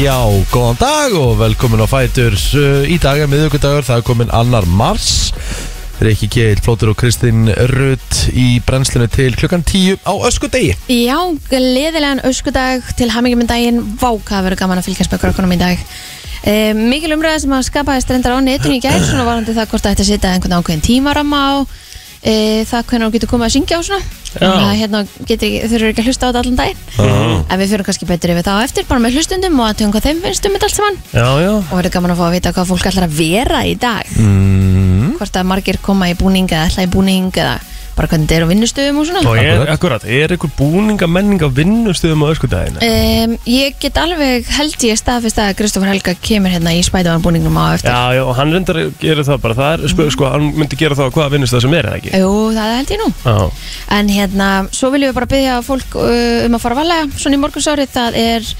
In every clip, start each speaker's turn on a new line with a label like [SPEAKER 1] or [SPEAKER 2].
[SPEAKER 1] Já, góðan dag og velkomin á Fætur Uh, Í dag er miðugudagur, það er komin annar mars Rikki Kjell, Flótur og Kristinn Rutt í brennslinu til klukkan 10 á öskudegi
[SPEAKER 2] Já, gleðilegan öskudag til hamingjum í daginn Váka að vera gaman að fylgjast með krökkunum í dag e, Mikil umræða sem að skapaði strendar á netun í gær Svona varandi það hvort það ætti að setja einhvern ákveðin tímaramma á e, Það hvernig hún getur komið að syngja á svona Þannig að hérna getur, ekki- þurfur ekki að hlusta á þetta allan daginn En við fyrir kannski betur yfir það á eftir Bara með hlustundum og að tjóðum hvað þeim finnst um þetta allt saman
[SPEAKER 3] Já, já
[SPEAKER 2] Og verður gaman að fá að vita hvað fólk ætlar að vera í dag
[SPEAKER 1] mm.
[SPEAKER 2] Hvort að margir koma í búning eða ætla í búning eða bara hvernig þetta er á vinnustöðum og svona
[SPEAKER 3] Og er,
[SPEAKER 1] Akkurat.
[SPEAKER 3] akkurat, er ykkur búninga menninga vinnustuðum á öskudagina?
[SPEAKER 2] Um, ég get alveg held ég staðfist að Kristoffer Helga kemur hérna í spædavanbúningnum á eftir.
[SPEAKER 3] Já, já, og hann reyndar að gera það bara Það er, sko, sko, hann myndi gera það á hvaða vinnustað sem er, eða ekki?
[SPEAKER 2] Jú, það held ég nú.
[SPEAKER 3] Já,
[SPEAKER 2] En hérna, svo viljum við bara byggja fólk uh, um að fara valega. Svona í morgunsárið, það er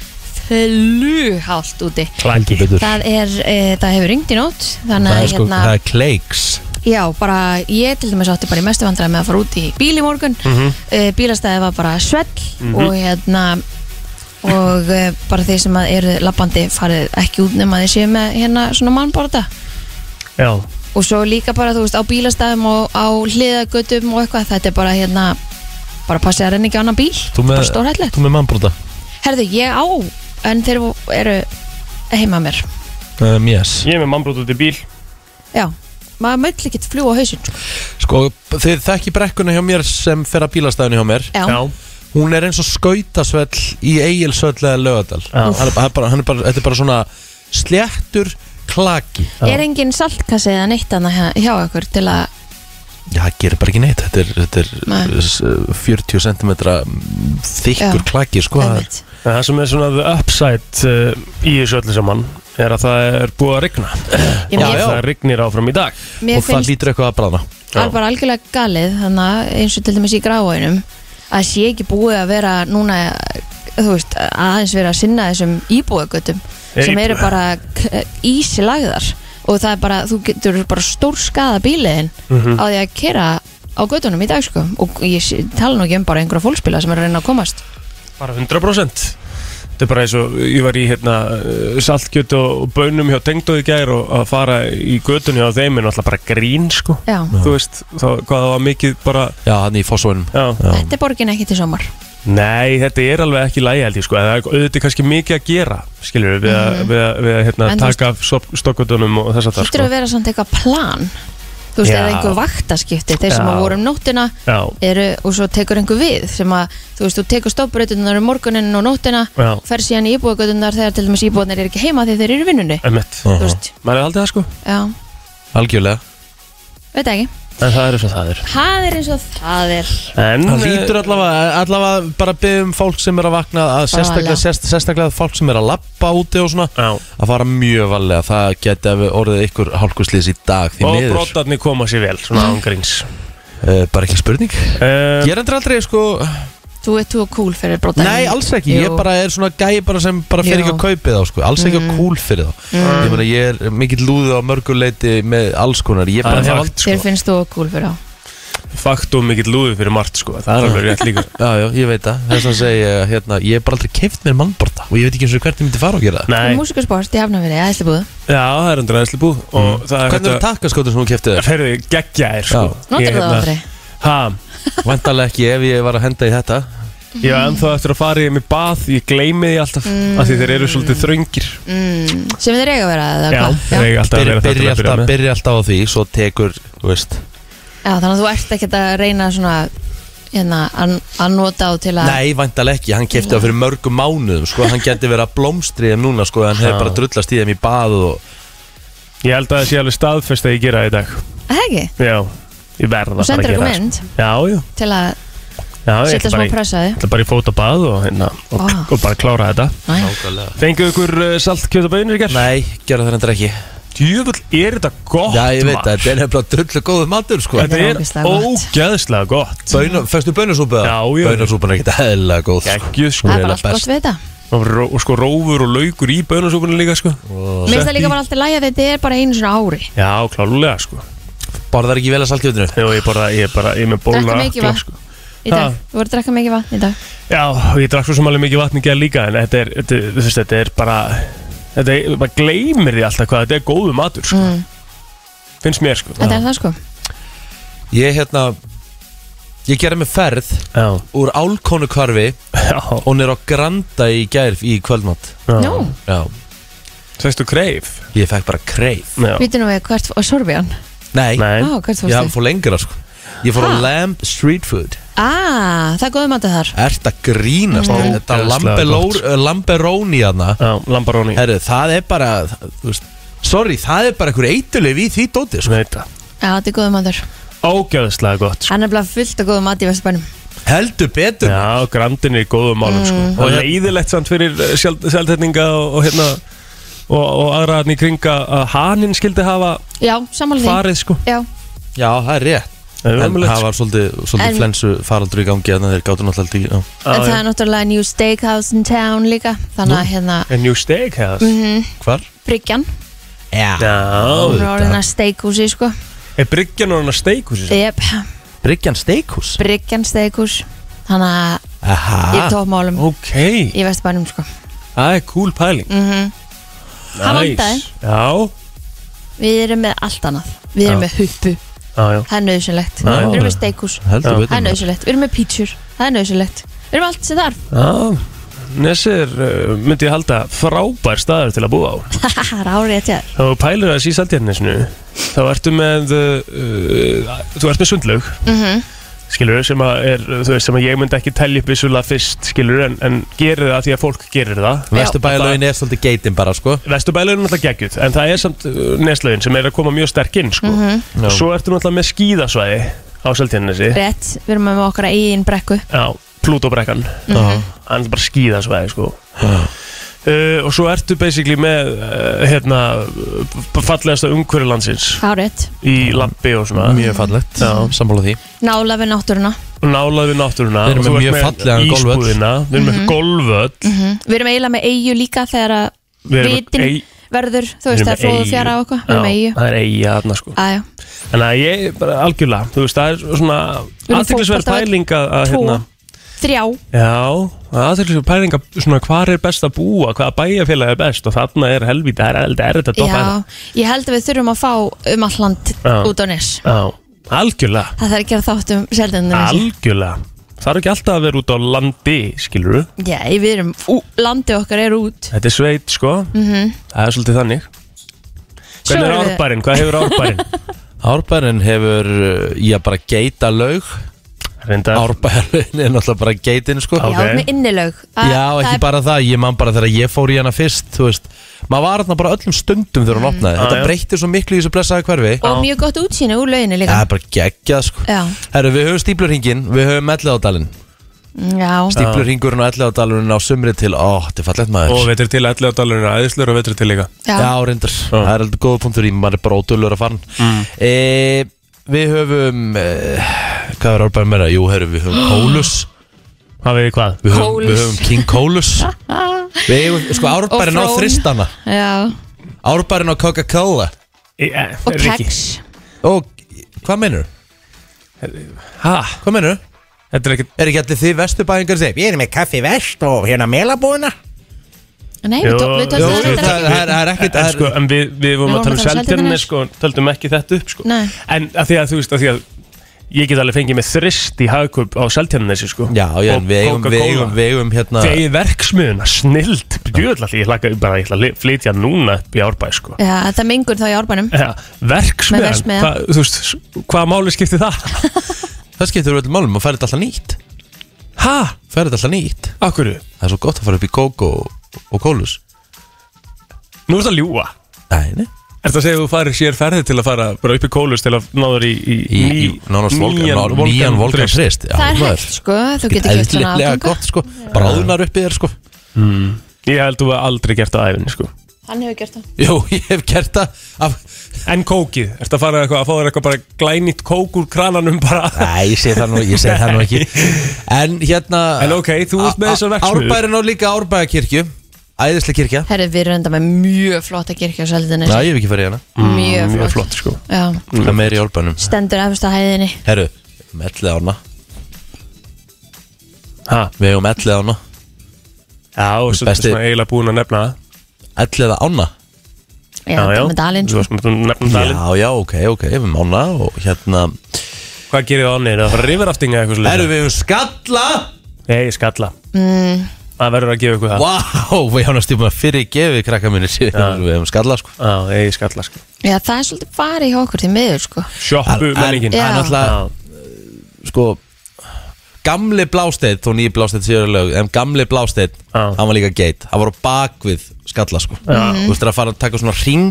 [SPEAKER 2] fluhált úti.
[SPEAKER 3] klaki
[SPEAKER 2] Það er, uh, það hefur ringt í nótt. Þannig
[SPEAKER 1] Það
[SPEAKER 2] að
[SPEAKER 1] er sko,
[SPEAKER 2] hérna,
[SPEAKER 1] það er kleiks
[SPEAKER 2] já, bara ég til dæmis átti bara í mestu vandræði með að fara út í bíl í morgun.
[SPEAKER 1] Mhm.
[SPEAKER 2] Mm bílastæði var bara svell og hérna, og uh, bara þeir sem að eru lappandi farið ekki út nema þeir séu með hérna svona mannborða.
[SPEAKER 3] Já,
[SPEAKER 2] og svo líka bara, þú veist, á bílastæðum og á hliðagötum og eitthvað þetta er bara hérna, bara passið að renna ekki á annan bíl
[SPEAKER 1] Þú með,
[SPEAKER 2] bara stórhættilegt
[SPEAKER 1] þú með mannbrúta
[SPEAKER 2] herðu, ég á, en þeir eru heima mér
[SPEAKER 1] um, yes.
[SPEAKER 3] ég er með mannbrót út í bíl
[SPEAKER 2] já, maður möll ekkert fljú á hausinn sko.
[SPEAKER 1] Sko, þið þekki brekkuna hjá mér sem fer að bílastæðinu hjá mér
[SPEAKER 2] já,
[SPEAKER 1] Hún er eins og skautasvell í Egilsvöll eða Lögadal
[SPEAKER 3] Já.
[SPEAKER 1] hann er, hann er bara, hann er bara, Þetta er bara svona sléttur klaki
[SPEAKER 2] er engin saltkassi eða neitt annað hjá- hjá okkur til að
[SPEAKER 1] Já, það gerir bara ekki neitt Þetta er, þetta er
[SPEAKER 2] Nei.
[SPEAKER 1] s- 40 cm þykkur
[SPEAKER 2] Já.
[SPEAKER 1] klaki sko. Það er-
[SPEAKER 2] einmitt.
[SPEAKER 3] En Það sem er svona the upside uh, í þessu öllu saman er að það er búið að rigna
[SPEAKER 2] Ég-
[SPEAKER 1] Já,
[SPEAKER 3] og
[SPEAKER 1] já.
[SPEAKER 3] það rignir áfram í dag
[SPEAKER 2] mér
[SPEAKER 1] Og það
[SPEAKER 2] finnst
[SPEAKER 1] lítur eitthvað að bráðna
[SPEAKER 3] Já.
[SPEAKER 2] alveg algjörlega galið þannig að eins og til dæmis í gráinum að sé ekki búið að vera núna þú veist, aðeins vera að sinna þessum íbúðagötum sem
[SPEAKER 3] Íbúða.
[SPEAKER 2] eru bara k- ísi lagðar og það er bara, þú getur bara stór skada bíliðin
[SPEAKER 3] Mhm.
[SPEAKER 2] á því að kera á götunum í dag sko og ég sé- tala nú ekki um bara einhverja fólksbíla sem er að reyna að komast
[SPEAKER 3] Bara 100% Þetta er bara eins og ég var í hérna, uh, saltkjöt og og baunum hjá tengdóð í gær og að fara í götunni á þeim er alltaf bara grín sko
[SPEAKER 2] Já,
[SPEAKER 3] Þú veist, þá, hvað það var mikið bara
[SPEAKER 1] Já, hann í fósvunum
[SPEAKER 3] já.
[SPEAKER 2] þetta er borgin ekki til somar
[SPEAKER 3] Nei, þetta er alveg ekki lægi held ég sko en það er auðvitað er kannski mikið að gera skiljum við, við, að, við, að, við að hérna,
[SPEAKER 2] Mhm. En þú veist-
[SPEAKER 3] taka af sopp- stokkutunum og þess að það
[SPEAKER 2] Hittur
[SPEAKER 3] sko
[SPEAKER 2] að vera samt eitthvað plan Þú veist,
[SPEAKER 3] Já.
[SPEAKER 2] eða einhver vaktaskipti þeir sem
[SPEAKER 3] Já.
[SPEAKER 2] að voru um nóttina
[SPEAKER 3] Já,
[SPEAKER 2] eru, og svo tekur einhver við sem að, þú veist, þú tekur stopbreytunar um morguninn og nóttina,
[SPEAKER 3] já,
[SPEAKER 2] fer síðan í íbúðagötunar þegar til dæmis íbúðanir er ekki heima því þeir eru í vinnunni
[SPEAKER 3] emitt
[SPEAKER 1] Já.
[SPEAKER 2] þú veist,
[SPEAKER 3] Maður er aldrei það sko
[SPEAKER 2] já,
[SPEAKER 1] Algjörlega
[SPEAKER 2] veit það ekki
[SPEAKER 3] En það er eins og það er
[SPEAKER 2] það er eins og það er
[SPEAKER 3] En eh,
[SPEAKER 1] Það lítur allavega, allavega bara byggjum fólk sem er að vakna að sérstaklega,
[SPEAKER 2] varlega.
[SPEAKER 1] sérst, sérstaklega fólk sem er að lappa úti og svona
[SPEAKER 3] Já.
[SPEAKER 1] að fara mjög valega það geti að orðið ykkur hálkuslýs í dag því
[SPEAKER 3] Og
[SPEAKER 1] miður,
[SPEAKER 3] brotarnir koma sér vel, svona ángríns
[SPEAKER 1] uh, bara ekki spurning
[SPEAKER 3] uh,
[SPEAKER 1] Ég er endur aldrei sko
[SPEAKER 2] þú ert þú cool fyrir brota
[SPEAKER 1] Nei, alls ekki, ég
[SPEAKER 2] Jú.
[SPEAKER 1] bara er svona gæi bara sem bara fer
[SPEAKER 2] Jú.
[SPEAKER 1] ekki að kaupi þá sko. alls ekki
[SPEAKER 2] Mm.
[SPEAKER 1] að kúl fyrir þá ég, meina, ég er mikill lúðu á mörguleiti með alls konar ég bara
[SPEAKER 3] Það er
[SPEAKER 1] hef
[SPEAKER 3] fakt,
[SPEAKER 1] aldrei
[SPEAKER 2] þér
[SPEAKER 3] sko.
[SPEAKER 2] finnst þú cool fyrir á
[SPEAKER 3] Fakt og mikill lúðu fyrir margt sko Það er alveg rétt líka
[SPEAKER 1] Já, já, ég veit það, þess að segja ég, hérna, ég hef bara aldrei keift mér mannborta og ég veit ekki eins og hvert ég myndi fara og gera það
[SPEAKER 3] Nei,
[SPEAKER 2] músikasport, ég hafna verið, æsli búðu
[SPEAKER 3] já, það er undir aðeinsli búð Og það er
[SPEAKER 1] Mm. Hvernig eru takkaskotin sem hún keftið þér?
[SPEAKER 3] Ferðu, geggja er sko
[SPEAKER 1] Já.
[SPEAKER 2] notar það aldrei
[SPEAKER 3] Ha,
[SPEAKER 1] Vandalega ekki ef ég var að henda í þetta
[SPEAKER 3] ég er ennþá eftir að fara í mig bað Ég gleymi því alltaf mm. Því þeir eru svolítið þröngir
[SPEAKER 2] mm, sem þeir eiga að vera eða
[SPEAKER 3] Já,
[SPEAKER 2] hvað?
[SPEAKER 3] þeir
[SPEAKER 2] já.
[SPEAKER 3] eiga alltaf að
[SPEAKER 1] Byrja,
[SPEAKER 3] vera
[SPEAKER 1] byrja,
[SPEAKER 3] þetta til að
[SPEAKER 1] alltaf,
[SPEAKER 3] byrja með
[SPEAKER 1] byrja alltaf á því, svo tekur, þú veist
[SPEAKER 2] já, þannig að þú ert ekkert að reyna svona hérna, að að nota á til að
[SPEAKER 1] Nei, vandalega ekki, hann keftið það fyrir mörgum mánuðum sko. hann geti verið að blómstri þeim núna sko, hann hefur
[SPEAKER 3] Já.
[SPEAKER 1] bara drullast í þeim í bað og...
[SPEAKER 3] Ég held að það sé alveg staðfest að ég gera það í dag
[SPEAKER 2] það ekki,
[SPEAKER 3] Já, ég verð að
[SPEAKER 2] þú
[SPEAKER 3] fara að
[SPEAKER 2] sendir
[SPEAKER 3] gera
[SPEAKER 2] okkur
[SPEAKER 3] það sko.
[SPEAKER 2] mynd
[SPEAKER 3] Já, já,
[SPEAKER 2] til að
[SPEAKER 3] já ég
[SPEAKER 2] setja
[SPEAKER 3] ætla
[SPEAKER 2] smá
[SPEAKER 3] bara í-
[SPEAKER 2] pressaði
[SPEAKER 3] ætla bara í fótabað og, hérna, og,
[SPEAKER 2] Vá.
[SPEAKER 3] og bara klára þetta
[SPEAKER 2] Næ.
[SPEAKER 3] Fengu ykkur uh, saltkjötaböðinir í gerð?
[SPEAKER 1] Nei, gera það hendur ekki
[SPEAKER 3] Djöfull, er þetta gott
[SPEAKER 1] Já, ég veit
[SPEAKER 3] maður?
[SPEAKER 1] það, þetta er nefnilega drullu góðu matur sko
[SPEAKER 3] Þetta
[SPEAKER 2] Þetta er
[SPEAKER 3] er
[SPEAKER 2] ógeðslega gott.
[SPEAKER 3] ógæðslega gott
[SPEAKER 1] Böna, Föstu bönasúpa
[SPEAKER 3] Já, já.
[SPEAKER 1] Bönasúpan er ekkert heðilega góð sko.
[SPEAKER 3] Gekkjuð sko
[SPEAKER 2] það er bara allt
[SPEAKER 1] best.
[SPEAKER 2] gott við þetta
[SPEAKER 3] og, ró, og sko rófur og laukur í bönasúpunni líka sko
[SPEAKER 2] Mér finnst það
[SPEAKER 3] Sett í.
[SPEAKER 2] líka bara alltaf læg að þetta er bara einu svona ári
[SPEAKER 3] Já, klálega sko
[SPEAKER 1] Borðar ekki vel að saltkjöfninu
[SPEAKER 3] Jó, ég bara, ég bara, ég er með bóla
[SPEAKER 2] Drekka mikið vatn
[SPEAKER 3] sko.
[SPEAKER 2] í dag
[SPEAKER 3] Ha.
[SPEAKER 2] Þú voru að drekka mikið vatn í dag
[SPEAKER 3] Eh, Já, og ég drakk svo sem alveg mikið vatn í gær líka en þetta er, þetta, er- þú veist, þetta er bara þetta er, maður gleymir því alltaf hvað þetta er góðu matur sko.
[SPEAKER 2] Mm.
[SPEAKER 3] finnst mér sko
[SPEAKER 2] Þetta er það sko
[SPEAKER 1] Ég hérna Ég gerði mig ferð
[SPEAKER 3] Já,
[SPEAKER 1] úr álkonu kvarfi
[SPEAKER 3] já,
[SPEAKER 1] og hún er á Granda í gærf í kvöldmatt
[SPEAKER 3] já
[SPEAKER 2] Nú,
[SPEAKER 1] Já,
[SPEAKER 3] Svestu kreif
[SPEAKER 1] ég fekk bara kreif
[SPEAKER 3] Já,
[SPEAKER 2] býtum við hvert og Sorbian
[SPEAKER 1] Nei,
[SPEAKER 3] nei,
[SPEAKER 2] Á, hvert
[SPEAKER 1] ég
[SPEAKER 2] fórstu?
[SPEAKER 1] fór lengra sko Ég fór á
[SPEAKER 2] Ha?
[SPEAKER 1] Lamb Street Food
[SPEAKER 2] Ah, það er góðum andið þar
[SPEAKER 1] Ert að grínast
[SPEAKER 3] Mm.
[SPEAKER 1] Þetta
[SPEAKER 3] Ógeðslega
[SPEAKER 1] lambelór-
[SPEAKER 3] gott.
[SPEAKER 1] uh, Lamberoni hana
[SPEAKER 3] já, lambaróni
[SPEAKER 1] Herru, það er bara þú veist, Sorry, það er bara einhver eitulif í því dóti sko.
[SPEAKER 3] Sveita
[SPEAKER 2] Já, þetta er góðum andur
[SPEAKER 3] Ógjöðslega gott sko.
[SPEAKER 2] Hann er bara fullt af góðum andið í Vestabænum
[SPEAKER 1] Heldur betur
[SPEAKER 3] Já, grandin er í góðum málum sko.
[SPEAKER 1] Mm.
[SPEAKER 3] og leiðilegt samt fyrir eh, sjald- sjaldhetninga og, og hérna og, og aðra hann í kringa að haninn skildi hafa
[SPEAKER 2] Já, sammála því
[SPEAKER 3] farið sko
[SPEAKER 2] Já,
[SPEAKER 1] Já, það er rétt
[SPEAKER 3] Það er
[SPEAKER 1] En
[SPEAKER 3] ömurlegt, sko.
[SPEAKER 1] það var svolítið, svolítið
[SPEAKER 2] En-
[SPEAKER 1] flensu faraldur í gangi Þannig að þeir gátu náttúrulega aldrei já.
[SPEAKER 3] Já,
[SPEAKER 2] en það
[SPEAKER 3] já.
[SPEAKER 2] er náttúrulega New Steakhouse in Town líka Þannig að hérna
[SPEAKER 3] A new steak house
[SPEAKER 1] Hvar?
[SPEAKER 2] Bryggjan,
[SPEAKER 1] Já,
[SPEAKER 3] Já
[SPEAKER 2] Mhm. hún er orðin
[SPEAKER 1] auðvitað.
[SPEAKER 2] að steakhúsi sko
[SPEAKER 3] Er bryggjan orðin að steak húsi?
[SPEAKER 2] Jep,
[SPEAKER 1] Bryggjan Steikhús
[SPEAKER 2] Bryggjan steakhús Þannig að í
[SPEAKER 1] Aha,
[SPEAKER 2] tópmálum
[SPEAKER 3] Ah, Ok,
[SPEAKER 2] í Vestabænum sko
[SPEAKER 3] það er cool pæling
[SPEAKER 2] mm Það
[SPEAKER 3] Nice.
[SPEAKER 2] vantaði.
[SPEAKER 3] Já,
[SPEAKER 2] Við erum með allt annað Við
[SPEAKER 3] Já.
[SPEAKER 2] erum með huppu,
[SPEAKER 3] já, já
[SPEAKER 2] það er nauðsynlegt
[SPEAKER 3] Já.
[SPEAKER 2] Við erum með steakhús,
[SPEAKER 1] heldur
[SPEAKER 3] Já.
[SPEAKER 1] betur
[SPEAKER 2] það er
[SPEAKER 1] maður.
[SPEAKER 2] nauðsynlegt Við erum með pítsur, það er nauðsynlegt Við erum með allt sem þarf
[SPEAKER 3] Já, Nesir uh, myndi ég halda frábær staður til að búa á
[SPEAKER 2] Haha, rárið að tjáður
[SPEAKER 3] Þá pælur það síðan sjálfdjarnisnu Þá ertu með uh, Þú ert með sundlaug Skilur, sem að, er, þú veist, sem að ég myndi ekki telja upp vissulega fyrst Skilur, en, en gerir það því að fólk gerir það
[SPEAKER 1] Vesturbælaugin er svolítið geitin bara sko
[SPEAKER 3] Vesturbælur er náttúrulega geggjuð En það er samt neslaugin sem er að koma mjög sterk inn sko.
[SPEAKER 1] Já.
[SPEAKER 3] Svo ertu náttúrulega með skíðasvæði Á sjálfdjarnisi
[SPEAKER 2] Mhm. Rétt, við erum með okkar eigin brekku
[SPEAKER 3] Já, Plútóbrekkan hann er bara skíðasvæði sko. uh, og svo ertu basically með uh, hérna b- fallegasta umhverju landsins
[SPEAKER 2] Hárið,
[SPEAKER 3] í labbi og svona
[SPEAKER 1] Já. Mjög fallegt,
[SPEAKER 3] Já.
[SPEAKER 1] sammála því
[SPEAKER 2] nála við náttúruna
[SPEAKER 3] og nálað við náttúruna
[SPEAKER 1] Við erum
[SPEAKER 3] og þú
[SPEAKER 1] með
[SPEAKER 3] ert
[SPEAKER 1] mjög fallegan golfvöll.
[SPEAKER 3] ísbúðina, við erum með golföll
[SPEAKER 2] Mhm. mm Við erum eiginlega með eigu líka þegar að
[SPEAKER 3] við erum með
[SPEAKER 2] Vitin,
[SPEAKER 3] ei-
[SPEAKER 2] verður, þú
[SPEAKER 3] við
[SPEAKER 2] veist,
[SPEAKER 3] erum
[SPEAKER 2] það er
[SPEAKER 3] með
[SPEAKER 2] flóðu
[SPEAKER 3] eyju.
[SPEAKER 2] fjara á okkur Við erum með
[SPEAKER 3] Já,
[SPEAKER 2] eigu
[SPEAKER 3] það er eiga þarna sko
[SPEAKER 2] Æja,
[SPEAKER 3] en að ég bara algjörlega þú veist það er svona
[SPEAKER 2] erum með
[SPEAKER 3] aðtýrlisverð
[SPEAKER 2] fótboltavöll,
[SPEAKER 3] pæling að að,
[SPEAKER 2] tvo,
[SPEAKER 3] hérna
[SPEAKER 2] þrjá
[SPEAKER 3] Já, aðtýrlisverð pæling að svona hvar er best að búa, hvaða bæjarfélag er best og þarna er helvítið, það er helvítið erfitt að doppa þetta.
[SPEAKER 2] Já, ég held að við þurfum að fá um alland
[SPEAKER 3] Já.
[SPEAKER 2] út á nes
[SPEAKER 3] Já, algjörlega
[SPEAKER 2] Það þarf að gera þátt um seldendunum
[SPEAKER 3] Algjörlega Það er ekki alltaf að vera út á landi, skilur
[SPEAKER 2] Já, við erum, ú, landi okkar er út
[SPEAKER 3] Þetta er sveit, sko
[SPEAKER 2] mhm.
[SPEAKER 3] Það er svolítið þannig Hvernig er
[SPEAKER 2] erum við-
[SPEAKER 3] árbærin? Hvað hefur árbærin?
[SPEAKER 1] Árbærin hefur, uh, já bara geita laug
[SPEAKER 3] Reyndar
[SPEAKER 1] Árbærin er náttúrulega bara geitin sko
[SPEAKER 3] Já.
[SPEAKER 2] Já, við erum með innilög Að-
[SPEAKER 1] Já,
[SPEAKER 2] það
[SPEAKER 1] ekki
[SPEAKER 2] er-
[SPEAKER 1] bara það, ég man bara þegar ég fór í hana fyrst Þú veist, maður var þarna bara öllum stundum þegar hún opnaði
[SPEAKER 3] Já, já.
[SPEAKER 1] Þetta breytti svo miklu í þessu blessaði hverfi
[SPEAKER 2] Mm. Og mjög gott útsýni úr löginni
[SPEAKER 1] Það
[SPEAKER 2] líka
[SPEAKER 1] er bara geggjað sko
[SPEAKER 2] Já,
[SPEAKER 1] Herru, við höfum stíplurhingin, við höfum elliðádalinn
[SPEAKER 2] já,
[SPEAKER 1] Stíplurhingurinn og elliðádalurinn á sumri til, ó, þetta er fallegt maður
[SPEAKER 3] Og veitur til ætli á dalurinn Æðislur og veitur til líka
[SPEAKER 2] já.
[SPEAKER 1] Já, reyndar, það er aldrei góða punktur í, maður er bara ódölur að fara mm. Við höfum, e, hvað er árbæðum meira? Jú, herru, við höfum Kólus
[SPEAKER 3] Hafið þið hvað?
[SPEAKER 1] Við höfum, við
[SPEAKER 2] Kólus.
[SPEAKER 1] höfum King Kólus Við höfum, sko, árbærin á
[SPEAKER 2] Og Frón.
[SPEAKER 1] þristana
[SPEAKER 2] já.
[SPEAKER 1] Árbærin á Coca-Cola
[SPEAKER 3] E, e,
[SPEAKER 2] Og
[SPEAKER 3] Riki.
[SPEAKER 2] keks
[SPEAKER 1] Og, hvað meinur?
[SPEAKER 3] Ha?
[SPEAKER 1] Hvað meinur?
[SPEAKER 3] Þetta er ekki
[SPEAKER 1] Er ekki allir þið vesturbæðingar sem Ég er með kaffi vest og hérna melabúðina
[SPEAKER 2] Nei, við
[SPEAKER 3] Jó,
[SPEAKER 2] tók- við
[SPEAKER 1] Jú,
[SPEAKER 2] tókum
[SPEAKER 3] jú,
[SPEAKER 1] það
[SPEAKER 2] þetta
[SPEAKER 1] það-
[SPEAKER 2] ekki
[SPEAKER 1] það er ekkert
[SPEAKER 3] En, sko, en við, við vorum
[SPEAKER 2] Við
[SPEAKER 3] að tala um
[SPEAKER 2] vorum að tala um
[SPEAKER 3] seldjarni
[SPEAKER 2] Seltjarnarnes.
[SPEAKER 3] sko, en Töldum ekki þetta upp sko.
[SPEAKER 2] Nei.
[SPEAKER 3] En að því að þú veist að því að Ég get alveg fengið með þrist í hagkaup á seldjarnanesi sko.
[SPEAKER 1] Já, já, en
[SPEAKER 3] Og
[SPEAKER 1] við eigum, við
[SPEAKER 3] Coca-Cola.
[SPEAKER 1] eigum, við eigum hérna
[SPEAKER 3] Þegi verksmiðuna, snild Bjöðlall, ég ætla bara ég ætla að li- flytja núna upp í árbæ sko.
[SPEAKER 2] Já, það mengur þá í árbænum
[SPEAKER 3] ja,
[SPEAKER 2] Með
[SPEAKER 3] Verksmiðan,
[SPEAKER 2] verksmiðja.
[SPEAKER 3] hvað, þú veist s- Hvaða máli skipti það?
[SPEAKER 1] Það skiptir við öllum málum og færið þetta alltaf nýtt
[SPEAKER 3] Ha?
[SPEAKER 1] Færið þetta alltaf nýtt
[SPEAKER 3] Akkurru?
[SPEAKER 1] Það er svo gott að fara upp í kók og, og kólus
[SPEAKER 3] Nú ertu að ljúa
[SPEAKER 1] Nei, nei
[SPEAKER 3] Ertu að segja að þú farir sér ferði til að fara bara upp í kólus til að náður í, í,
[SPEAKER 1] Í, í nánast volkan, nán- nýjan volkan frist
[SPEAKER 2] Það er hægt sko, þú getur gett svona
[SPEAKER 1] Eðlilega
[SPEAKER 2] afganga
[SPEAKER 1] gott sko Bráðnar uppi þér sko
[SPEAKER 3] Mm. Ég held þú að aldrei gert það á æfinni sko
[SPEAKER 2] Hann hefur gert það
[SPEAKER 1] Jú, ég hef gert það af...
[SPEAKER 3] En kókið, ertu að fara eitthvað að fá þér eitthvað bara glænýtt kók úr krananum bara
[SPEAKER 1] Nei, ég segi það nú, ég segi það nú ekki En hérna
[SPEAKER 3] En ok, þú ert með þessar verksmiðjur.
[SPEAKER 1] Árbærin á líka árbæðakirkju Æðislega kirkja
[SPEAKER 2] Herri, við erum enda með mjög flotta kirkja á seldinni
[SPEAKER 1] Já, ég hef ekki farið í hana Mm,
[SPEAKER 2] Mjög
[SPEAKER 3] Mjög
[SPEAKER 2] flott
[SPEAKER 3] flott sko
[SPEAKER 2] Já,
[SPEAKER 1] Það meir í árbænum
[SPEAKER 2] stendur efst á hæðinni
[SPEAKER 1] Herru, mellið ána
[SPEAKER 3] Ha,
[SPEAKER 1] Við hefum ellið ána
[SPEAKER 3] já, og
[SPEAKER 1] Besti-
[SPEAKER 3] svo besti... svona eiginlega búin að nefna það.
[SPEAKER 1] Ellið ána?
[SPEAKER 2] Já, já, já. með dalinn
[SPEAKER 3] Þú
[SPEAKER 2] sko.
[SPEAKER 3] varst búin að nefna dalinn
[SPEAKER 1] Já, já, ok, ok, við hefum ána og hérna
[SPEAKER 3] Hvað gerir það ánir? Það fara riverafting eða eitthvað
[SPEAKER 1] Erum
[SPEAKER 3] svolítið?
[SPEAKER 1] við hefum skalla?
[SPEAKER 3] Nei, skalla
[SPEAKER 2] mm,
[SPEAKER 3] Það verður að gefa ykkur
[SPEAKER 1] Vá,
[SPEAKER 3] það
[SPEAKER 1] wow, við hefum stífum að fyrir gefið krakka mínir síðan Við hefum skalla, sko
[SPEAKER 3] Já, nei, skalla sko
[SPEAKER 2] Já, það er svolítið farið hjá okkur til miður sko.
[SPEAKER 3] Sjoppu
[SPEAKER 1] En-
[SPEAKER 3] menningin
[SPEAKER 1] En
[SPEAKER 2] Já.
[SPEAKER 1] alltaf, sko Gamli Blásteinn, þó nýji Blásteinn séu lög En gamli Blásteinn,
[SPEAKER 3] Já.
[SPEAKER 1] hann var líka geit Hann var á bakvið skalla, sko Þú veist að fara að taka svona ring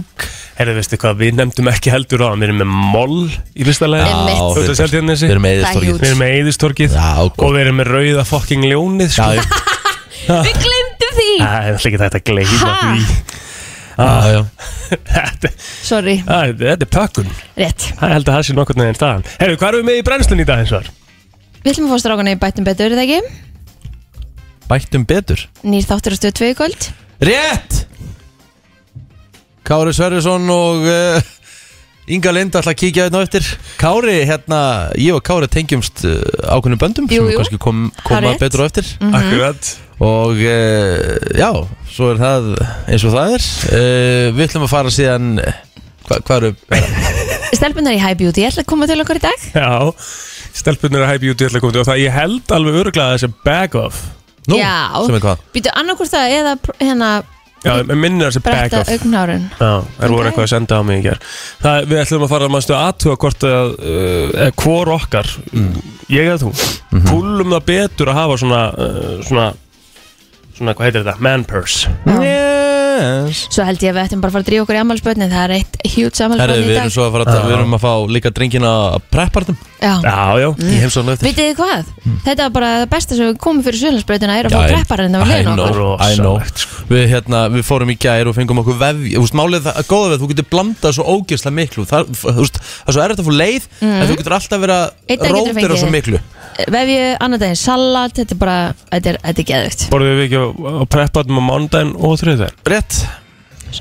[SPEAKER 3] Herðu, veistu hvað, við nefndum ekki heldur á Við erum með moll í fyrsta lagi
[SPEAKER 2] Einmitt.
[SPEAKER 1] Já,
[SPEAKER 3] Þú ert að
[SPEAKER 1] við-
[SPEAKER 3] selja
[SPEAKER 1] Við erum
[SPEAKER 3] þessi
[SPEAKER 1] með
[SPEAKER 2] Það er
[SPEAKER 1] eðistorgið
[SPEAKER 2] huge.
[SPEAKER 3] Við erum með Eðistorkið
[SPEAKER 1] Já, gott.
[SPEAKER 3] Og við erum með rauða fokking ljónið sko.
[SPEAKER 1] Já,
[SPEAKER 2] Við glemdum því
[SPEAKER 3] Æ, Það er alltaf ekki þetta að gleyma
[SPEAKER 2] Ha?
[SPEAKER 3] því Ah.
[SPEAKER 1] já, já
[SPEAKER 3] Þetta-
[SPEAKER 2] Sorry,
[SPEAKER 3] Æ, Þetta er pökkun
[SPEAKER 2] rétt
[SPEAKER 3] Það held að það sé nokkurn veginn staðan Herru, hvað erum við með í brennslun í dag eins og þar?
[SPEAKER 2] Við ætlum að fá strákana í bættum betur, er það ekki?
[SPEAKER 1] Bættum betur
[SPEAKER 2] Nýr þáttur á stöð 2 í kvöld
[SPEAKER 1] Rétt Kári Sverjesson og uh, Inga Lind ætla að kíkja hérna á eftir Kári, hérna, ég og Kári tengjumst uh, ákveðnum böndum
[SPEAKER 2] Jú,
[SPEAKER 1] sem við
[SPEAKER 2] jú.
[SPEAKER 1] kannski kom,
[SPEAKER 2] Það er
[SPEAKER 1] koma
[SPEAKER 2] rétt. Mhm.
[SPEAKER 1] betur á eftir
[SPEAKER 3] Akkurat
[SPEAKER 1] og uh, já, svo er það eins og það er uh, Við ætlum að fara síðan hva, hvað eru,
[SPEAKER 2] Stelpunar í High Beauty, ætla að koma til okkur í dag
[SPEAKER 3] Já, stelpunir að hæpa út í ætla að koma til og það ég held alveg öruglega þessi back off
[SPEAKER 1] nú,
[SPEAKER 2] Já.
[SPEAKER 1] sem er hvað
[SPEAKER 2] Býtu annarkur það eða pr- hérna
[SPEAKER 3] Já, mér minnir þessi back
[SPEAKER 2] bretta
[SPEAKER 3] off
[SPEAKER 2] augnárun
[SPEAKER 3] Já, það voru
[SPEAKER 2] Ok.
[SPEAKER 3] eitthvað að senda á mig í ger það, Við ætlum að fara að mannstu aðtuga hvort að uh, eða hvor okkar ég eða þú,
[SPEAKER 1] Mhm.
[SPEAKER 3] mm það betur að hafa svona uh, svona, svona, hvað heitir þetta, man purse
[SPEAKER 1] Yes
[SPEAKER 2] Svo held ég að við ættum bara að fara að drífa okkur í ammálspötni Það er eitt hjút
[SPEAKER 1] Herri,
[SPEAKER 2] ammálspötni í
[SPEAKER 1] við erum
[SPEAKER 2] dag
[SPEAKER 1] svo að fara að,
[SPEAKER 3] Já.
[SPEAKER 1] við erum að fá líka drengina að preppartum
[SPEAKER 2] Já.
[SPEAKER 3] Já, já,
[SPEAKER 1] í heimsókn á eftir
[SPEAKER 2] Vitið þið hvað? Þetta var bara það besta sem við komum fyrir Sjölandsbreytina er að
[SPEAKER 1] Mm. Já,
[SPEAKER 2] fá hérna
[SPEAKER 1] ég-
[SPEAKER 2] prepparinn að
[SPEAKER 1] I
[SPEAKER 2] við hliðin
[SPEAKER 1] know,
[SPEAKER 2] okkur
[SPEAKER 1] I know.
[SPEAKER 3] Rosalegt,
[SPEAKER 1] Við, hérna, við fórum í gær og fengum okkur vefj Þú veist, málið er það, góða við, að þú getur blandað svo ógeðslega miklu Það, þú veist, það er svo erfitt að fá leið En þú getur alltaf verið
[SPEAKER 2] Mhm. Einn
[SPEAKER 1] að
[SPEAKER 2] dag getur
[SPEAKER 1] rótira
[SPEAKER 2] fengið.
[SPEAKER 1] svo miklu
[SPEAKER 2] Vefju, annar daginn salat, þetta er bara, þetta er, þetta er geðvikt
[SPEAKER 3] borðum við ekki á, á preppatum á mánudaginn og þriðdaginn
[SPEAKER 1] Rétt?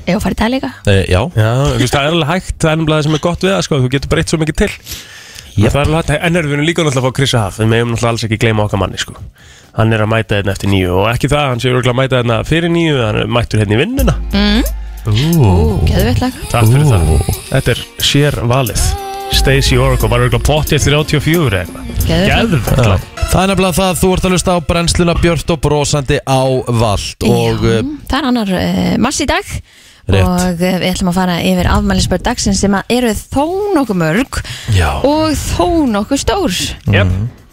[SPEAKER 2] Ég var farið það líka
[SPEAKER 1] E, já
[SPEAKER 3] Já, þú veist, það er alveg hægt, það er nefnilega það sem er gott við það, sko, þú getur breytt svo mikið til
[SPEAKER 1] Jep.
[SPEAKER 3] Það er alveg hægt, en erum við erum líka náttúrulega að fá Chris Haf, við meðum náttúrulega alls ekki gleyma okkar manni, sko Hann er að mæta hérna eftir nýju og ekki það, hann sé örugglega að mæta hérna fyrir nýju, hann er mættur hérna í vinnuna
[SPEAKER 2] Ú, geðvikt Mm. lag
[SPEAKER 3] Takk fyrir það Þetta er sér valið Stacey Oracle var örugglega pottið eftir 84 eða eitthvað.
[SPEAKER 2] Geðvikt
[SPEAKER 3] Geðvegt lag.
[SPEAKER 1] Það er nefnilega það, þú ert að lusta á brennsluna Björt og brosandi á vald Og
[SPEAKER 2] Já,
[SPEAKER 1] eh,
[SPEAKER 2] það er annar uh, mars í dag
[SPEAKER 1] Rétt.
[SPEAKER 2] og uh, við ætlum að fara yfir afmælisbörn dagsins sem að eru þó nokkuð mörg
[SPEAKER 1] Já.
[SPEAKER 2] og þó nokkuð stór
[SPEAKER 3] Jep.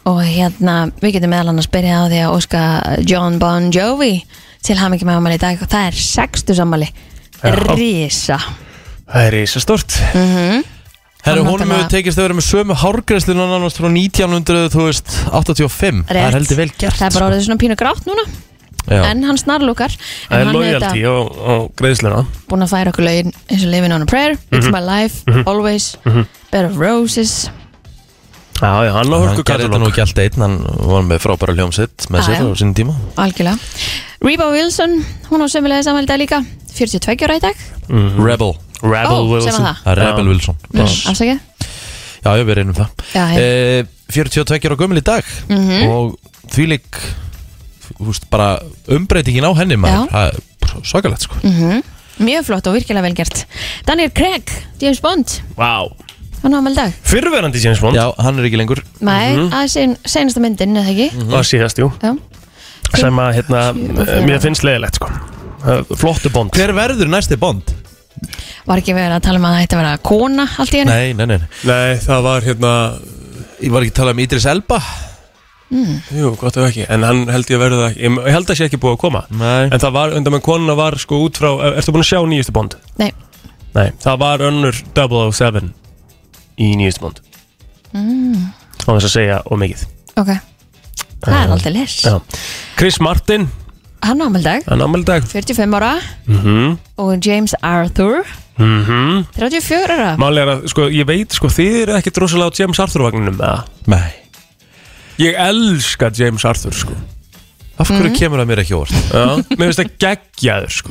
[SPEAKER 2] og hérna við getum meðal annars byrjað á því að óska John Bon Jovi til hamingi með afmæli í dag og það er sextu sammæli
[SPEAKER 3] Já.
[SPEAKER 2] Rísa
[SPEAKER 3] Það er risastórt.
[SPEAKER 2] Mhm.
[SPEAKER 1] herru,
[SPEAKER 2] Hann
[SPEAKER 1] honum
[SPEAKER 2] náttúrulega-
[SPEAKER 1] hefur tekist að vera með sömu hárgreslinu Annars frá 1985 Það
[SPEAKER 2] Rétt.
[SPEAKER 1] er heldur vel gert sko.
[SPEAKER 2] Það er bara orðið svona pínu grátt núna
[SPEAKER 1] Já.
[SPEAKER 2] en hann snarlúkar en
[SPEAKER 3] Það er
[SPEAKER 2] hann
[SPEAKER 3] lojaldi og, og greiðsluna Mhm.
[SPEAKER 2] búin að færa okkur lögin eins og Living on a Prayer
[SPEAKER 1] Mhm.
[SPEAKER 2] It's My Life, Always, Bed of Roses
[SPEAKER 3] Já, já, hann á
[SPEAKER 1] Hann
[SPEAKER 3] hörku
[SPEAKER 1] gerði þetta nú ekki alltaf einn, hann var með frábæra hljómsitt
[SPEAKER 2] Já,
[SPEAKER 1] með sér
[SPEAKER 2] já.
[SPEAKER 1] á sinni tíma
[SPEAKER 2] Algjörlega. Reba Wilson, hún á sömulega samanlega í dag líka, 42 ára í dag.
[SPEAKER 1] Rebel,
[SPEAKER 3] Mhm. Rebel
[SPEAKER 2] Ó, sem
[SPEAKER 3] Wilson
[SPEAKER 2] var það.
[SPEAKER 1] það er Rebel Wilson Yes.
[SPEAKER 2] Afsakið.
[SPEAKER 1] Já, já, við reynum það
[SPEAKER 2] Já, já. Mhm.
[SPEAKER 1] e, 42 ára gömul í dag og því lík veist, bara umbreytingin á henni maður,
[SPEAKER 2] Já.
[SPEAKER 1] það er bara svakalegt sko
[SPEAKER 2] Mhm. Mjög flott og virkilega vel gert. Daniel Craig, James Bond,
[SPEAKER 3] Vá.
[SPEAKER 2] hann á samanlega dag.
[SPEAKER 3] Fyrrverandi James Bond Mhm.
[SPEAKER 1] Já, hann er ekki lengur
[SPEAKER 2] Nei, mm -hmm. að sen, senasta myndin, eða ekki?
[SPEAKER 3] og síðast, jú
[SPEAKER 2] Mhm. Já.
[SPEAKER 3] sem að hérna,
[SPEAKER 2] Sjö og fjögur.
[SPEAKER 3] mér finnst leiðilegt sko Uh, flottu bond
[SPEAKER 1] Hver verður næsti Bond?
[SPEAKER 2] Var ekki verið að tala um að það ætti að vera kona allt í henni?
[SPEAKER 1] Nei, nei, nei, nei.
[SPEAKER 3] Nei, það var hérna
[SPEAKER 1] Ég var ekki að tala um Idris Elba
[SPEAKER 2] Mhm.
[SPEAKER 3] Jú, gott ef ekki, en hann held ég að verða það ekki Ég held að sé ekki búið að koma
[SPEAKER 1] Nei
[SPEAKER 3] En það var, undan með konuna var sko út frá er- Ertu búin að sjá nýjustu bond?
[SPEAKER 2] Nei.
[SPEAKER 3] Nei, það var önnur 007 Í nýjustu bond mm. Og þess að segja og mikið
[SPEAKER 2] Mhm. Ok. Það er aldrei les.
[SPEAKER 3] Eh, Já. Chris Martin,
[SPEAKER 2] Hann á samanlega dag,
[SPEAKER 3] hann ámæli dag
[SPEAKER 2] 45 ára
[SPEAKER 3] Mhm.
[SPEAKER 2] og James Arthur,
[SPEAKER 1] Mhm.
[SPEAKER 2] 34 ára.
[SPEAKER 3] Máli er að, sko, ég veit, sko, þið eru ekkit rosalega á James Arthur-vagninum, eða?
[SPEAKER 1] Nei
[SPEAKER 3] Ég elska James Arthur sko
[SPEAKER 1] Af hverju kemur það mér ekki óvart?
[SPEAKER 3] Já, Mér finnst það geggjaður sko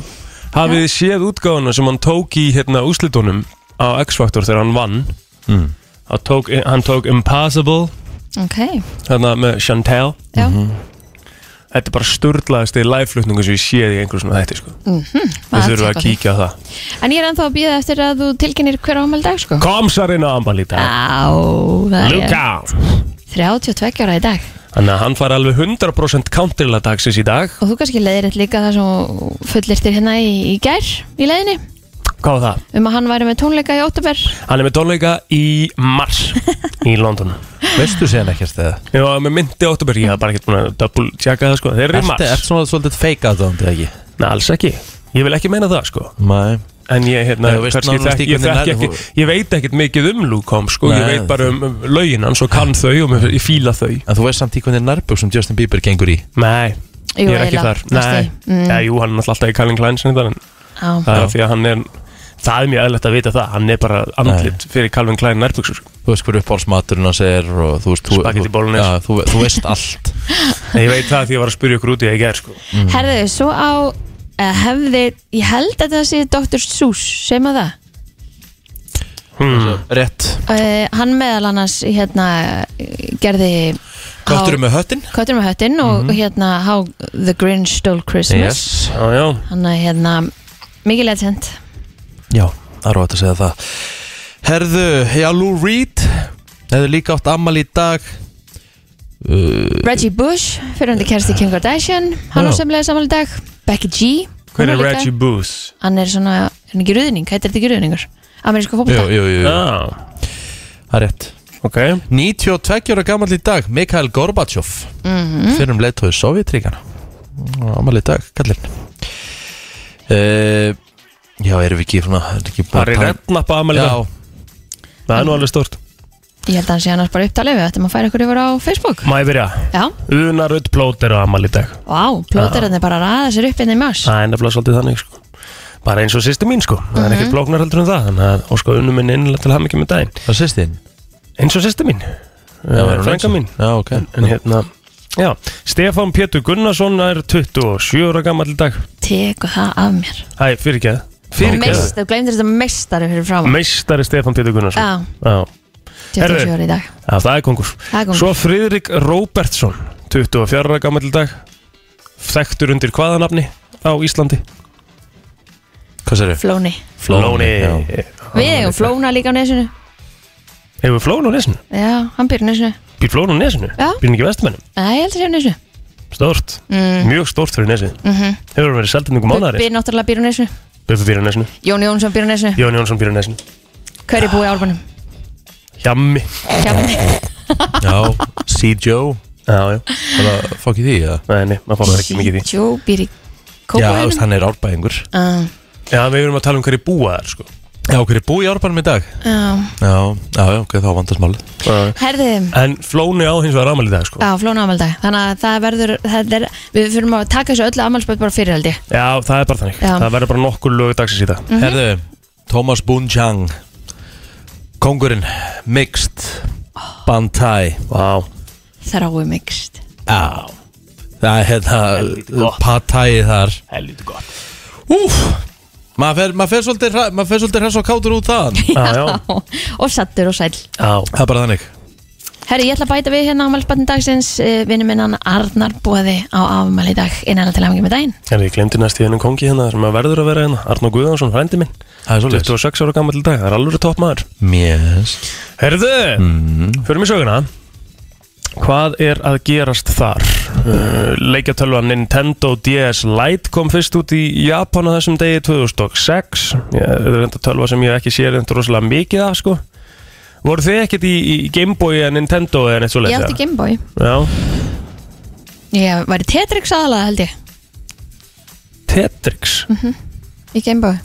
[SPEAKER 3] Hafið þið séð útgáfuna sem hann tók í hérna úslitunum á X-Factor þegar hann vann
[SPEAKER 1] Mm.
[SPEAKER 3] hann, tók, hann tók Impossible
[SPEAKER 2] Ok,
[SPEAKER 1] Mhm.
[SPEAKER 3] hérna með Chantel
[SPEAKER 2] já.
[SPEAKER 3] Þetta er bara störðlaðasti live-flutningu sem ég séð í einhverjum svona þætti sko. Við þurfum að kíkja á það
[SPEAKER 2] En ég er ennþá að býða eftir að þú tilkynir hver ámæli dag sko
[SPEAKER 3] Komsarinn á ambal í dag
[SPEAKER 2] Á, það
[SPEAKER 3] Look
[SPEAKER 2] er
[SPEAKER 3] out
[SPEAKER 2] 32 ára í dag
[SPEAKER 3] Þannig að hann fær alveg 100% counterlega dagsins í dag
[SPEAKER 2] Og þú kannski leiðir eitt líka það sem fullirtir hérna í, í gær í leiðinni
[SPEAKER 3] Hvað var það?
[SPEAKER 2] um að hann væri með tónleika í óttubur
[SPEAKER 3] Hann er með tónleika í mars í London
[SPEAKER 1] Veistu séðan ekkert eða?
[SPEAKER 3] Ég var með myndi óttubur, ég hafði bara ekkert búin að double checka það sko Þeir eru í
[SPEAKER 1] Ertu ert
[SPEAKER 3] mars
[SPEAKER 1] svona svolítið feika aðdóndi ekki?
[SPEAKER 3] Nei, alls ekki Ég vil ekki meina það sko
[SPEAKER 1] Nei
[SPEAKER 3] En ég, hérna,
[SPEAKER 1] Nei, þú veist
[SPEAKER 3] kannski
[SPEAKER 1] nánast
[SPEAKER 3] þekk,
[SPEAKER 1] í
[SPEAKER 3] ég,
[SPEAKER 1] hvernig
[SPEAKER 3] þekk
[SPEAKER 1] lagið
[SPEAKER 3] ekki,
[SPEAKER 1] þú-
[SPEAKER 3] ég veit ekkert mikið um Lúkom sko, ég
[SPEAKER 1] Nei,
[SPEAKER 3] veit bara um, um lögin hans og kann þau og mér- ég fíla þau
[SPEAKER 1] En þú veist samt í hvernig nærbögg sem Justin Bieber gengur í
[SPEAKER 3] Nei,
[SPEAKER 2] Jú,
[SPEAKER 3] ég er ekki
[SPEAKER 2] eiginlega,
[SPEAKER 3] þar Nei,
[SPEAKER 2] næstum því. Mm.
[SPEAKER 3] ja, jú, hann er náttúrulega alltaf í Calvin Klein sinni, en það
[SPEAKER 2] Já,
[SPEAKER 1] Já.
[SPEAKER 3] er því að hann er það er mjög eðlert að vita það, hann er bara andlit fyrir Calvin Klein nærbuksur
[SPEAKER 1] Þú veist hver uppáhaldsmaturinn hans er og þú veist þú-
[SPEAKER 3] Spaghetti
[SPEAKER 1] þú-
[SPEAKER 3] bolognese.
[SPEAKER 1] Já, þú, þú veist allt
[SPEAKER 3] Ég veit það því að ég var að spyrja ykkur út í það í gerð sko.
[SPEAKER 2] Herðu, svo á eh, hefði, ég held að það sé Dr. Seuss, segjum að það
[SPEAKER 3] hmm.
[SPEAKER 1] Rétt
[SPEAKER 2] uh, Hann meðal annars hérna eh, gerði
[SPEAKER 1] Kvarturum með höttin?
[SPEAKER 2] Köttur með höttin og hérna How the Grinch Stole Christmas
[SPEAKER 3] Já, já,
[SPEAKER 2] Hann er hérna mikið legend
[SPEAKER 1] Já, það er óvægt að segja það Herðu, já Lou Reed Hefðu líka átt ammali í dag
[SPEAKER 2] Reggie Bush, fyrir hundi kersti Kim Kardashian Hann
[SPEAKER 1] Já.
[SPEAKER 2] á semlega samanlega dag Becky G
[SPEAKER 3] hver
[SPEAKER 2] hún
[SPEAKER 3] er
[SPEAKER 2] líka-
[SPEAKER 3] Reggie Booth?
[SPEAKER 2] Hann er svona, er hann ekki ruðning, hættir þetta ekki ruðningur Amerísku
[SPEAKER 1] Jú,
[SPEAKER 2] fókbalta
[SPEAKER 1] jú, jú, jú.
[SPEAKER 3] Já,
[SPEAKER 1] það er rétt
[SPEAKER 3] Ah. ok
[SPEAKER 1] 92 ára gammal í dag, Mikhail Gorbachev Fyrir um leiðtóði Sovjetríkana Ammali í dag, kallinn uh, Já, erum við ekki svona er ekki búin að
[SPEAKER 3] Harry
[SPEAKER 1] tala-
[SPEAKER 3] Redknapp að amæli
[SPEAKER 1] Já,
[SPEAKER 3] það Það er nú alveg stort
[SPEAKER 2] Ég held að hann sé annars bara upptalið við ættum að færa ykkur yfir á Facebook
[SPEAKER 3] Má ég byrja?
[SPEAKER 2] Já,
[SPEAKER 3] Unarud plóter á amæli í dag
[SPEAKER 2] vá, plóterarnir bara ræða sér upp inn í mars
[SPEAKER 3] Það er nefnilega svolítið þannig sko. Bara eins og sýsti mín sko Það er
[SPEAKER 1] Mhm.
[SPEAKER 3] ekkert blóknar heldur en það Þannig að ósku unnum minn innlega til hamingi með daginn
[SPEAKER 1] það sést þín
[SPEAKER 3] Eins og sýsti mín Það er frænga mín
[SPEAKER 1] Já, ok
[SPEAKER 3] En hérna Já, Stefán Pétur Gunnarsson er 27 ára gammal í dag
[SPEAKER 2] Teku það af mér
[SPEAKER 3] Æ, fyrirgeð Fyrirgeð
[SPEAKER 2] Meist, þú glemdir þetta meistari fyrir fram
[SPEAKER 3] Meistari sko. Stefán Pétur Gunnarsson
[SPEAKER 2] Já,
[SPEAKER 3] Já,
[SPEAKER 2] 27
[SPEAKER 3] Herðu.
[SPEAKER 2] ára í dag
[SPEAKER 3] Já, það er kongur
[SPEAKER 2] Það er
[SPEAKER 3] Svo
[SPEAKER 2] komið
[SPEAKER 3] Friðrik Róbertsson 24 ára gammal í dag Þekktur undir hvaða nafni á Íslandi?
[SPEAKER 1] Hvað sér þau?
[SPEAKER 2] Flóni
[SPEAKER 1] já.
[SPEAKER 2] Við eigum Flóna líka á nesinu
[SPEAKER 3] Hefur Flóni á nesinu?
[SPEAKER 2] Já, hann byrja nesinu
[SPEAKER 3] Býr Flóni á nesinu?
[SPEAKER 2] Já.
[SPEAKER 3] Býr hann ekki vestumennum?
[SPEAKER 2] Nei, ég held að sé á nesinu
[SPEAKER 3] Stort,
[SPEAKER 2] mm.
[SPEAKER 3] mjög stort fyrir nesið
[SPEAKER 2] Mhm.
[SPEAKER 3] Hefur hann verið hérna seldendingum mánari?
[SPEAKER 2] Bubbi náttúrulega byrja á nesinu
[SPEAKER 3] Buffi býr á nesinu,
[SPEAKER 2] Jón Jónsson byrja á nesinu
[SPEAKER 3] Jón Jónsson býr á nesinu
[SPEAKER 2] Hver er búið í árbanum?
[SPEAKER 3] Hjammi
[SPEAKER 2] Hjá-
[SPEAKER 1] Já, C. Joe
[SPEAKER 3] Já, já,
[SPEAKER 1] Bara fokk í því, eða?
[SPEAKER 3] nei, nei, maður fór ekki mikið í því
[SPEAKER 2] Jó, byrja í
[SPEAKER 1] Já, þú veist,
[SPEAKER 2] kópaunum
[SPEAKER 1] hann er árbæðingur
[SPEAKER 3] Já, við erum að tala um hverju búa þar, sko
[SPEAKER 1] Já, hver er búið í árbænum í dag? Já, já, já, ok, þá vandast málið
[SPEAKER 3] Já.
[SPEAKER 2] Herðið
[SPEAKER 3] En Flóni á hins vegar ámæli í dag, sko
[SPEAKER 2] Já, flóna ámaldag, þannig að það verður það er, við fyrir að taka þessu öllu ámalspöld bara fyrir held ég
[SPEAKER 3] Já, það er bara þannig
[SPEAKER 2] Já.
[SPEAKER 3] Það verður bara nokkur lög dagsins í dag
[SPEAKER 1] Herðu, Thomas Boonjang Kongurinn Mixed Bantai
[SPEAKER 3] Vá
[SPEAKER 2] Þrái mikst
[SPEAKER 1] Já Það er
[SPEAKER 3] Helvítið
[SPEAKER 1] hérna
[SPEAKER 3] gott.
[SPEAKER 1] Patæi þar
[SPEAKER 3] Helviti gott
[SPEAKER 1] Úf Maður fer, maður fer svolítið hra- maður fer svolítið hress og kátur út þaðan
[SPEAKER 3] Já, já.
[SPEAKER 2] og sattur og sæll
[SPEAKER 3] Já,
[SPEAKER 1] Það er bara þannig
[SPEAKER 2] Herri, ég ætla að bæta við hérna ámalspöldin dagsins vinnum minn hann Arnar búaði á afmæli í dag innan til hafingi með daginn
[SPEAKER 3] en ég glemdi næst í hennum kongi hérna sem að verður að vera hérna Arnó Guðjónsson, frændi minn
[SPEAKER 1] Það er svolítið
[SPEAKER 3] 26 ára gammal í dag, það er alveg topp maður
[SPEAKER 1] Mjess
[SPEAKER 3] Herðu, förum í söguna Hvað er að gerast þar? Uh, Leikjatölva Nintendo DS Lite kom fyrst út í Japan á þessum degi 2006 Ég- Þetta er enda tölva sem ég hef ekki séð þetta rosalega mikið af sko Voru þið ekkert í, í Gameboy eða Nintendo eða neitt svo
[SPEAKER 2] Ég átti Gameboy
[SPEAKER 3] Já,
[SPEAKER 2] Ég væri Tetris aðalega held ég
[SPEAKER 3] Tetris
[SPEAKER 2] í Gameboy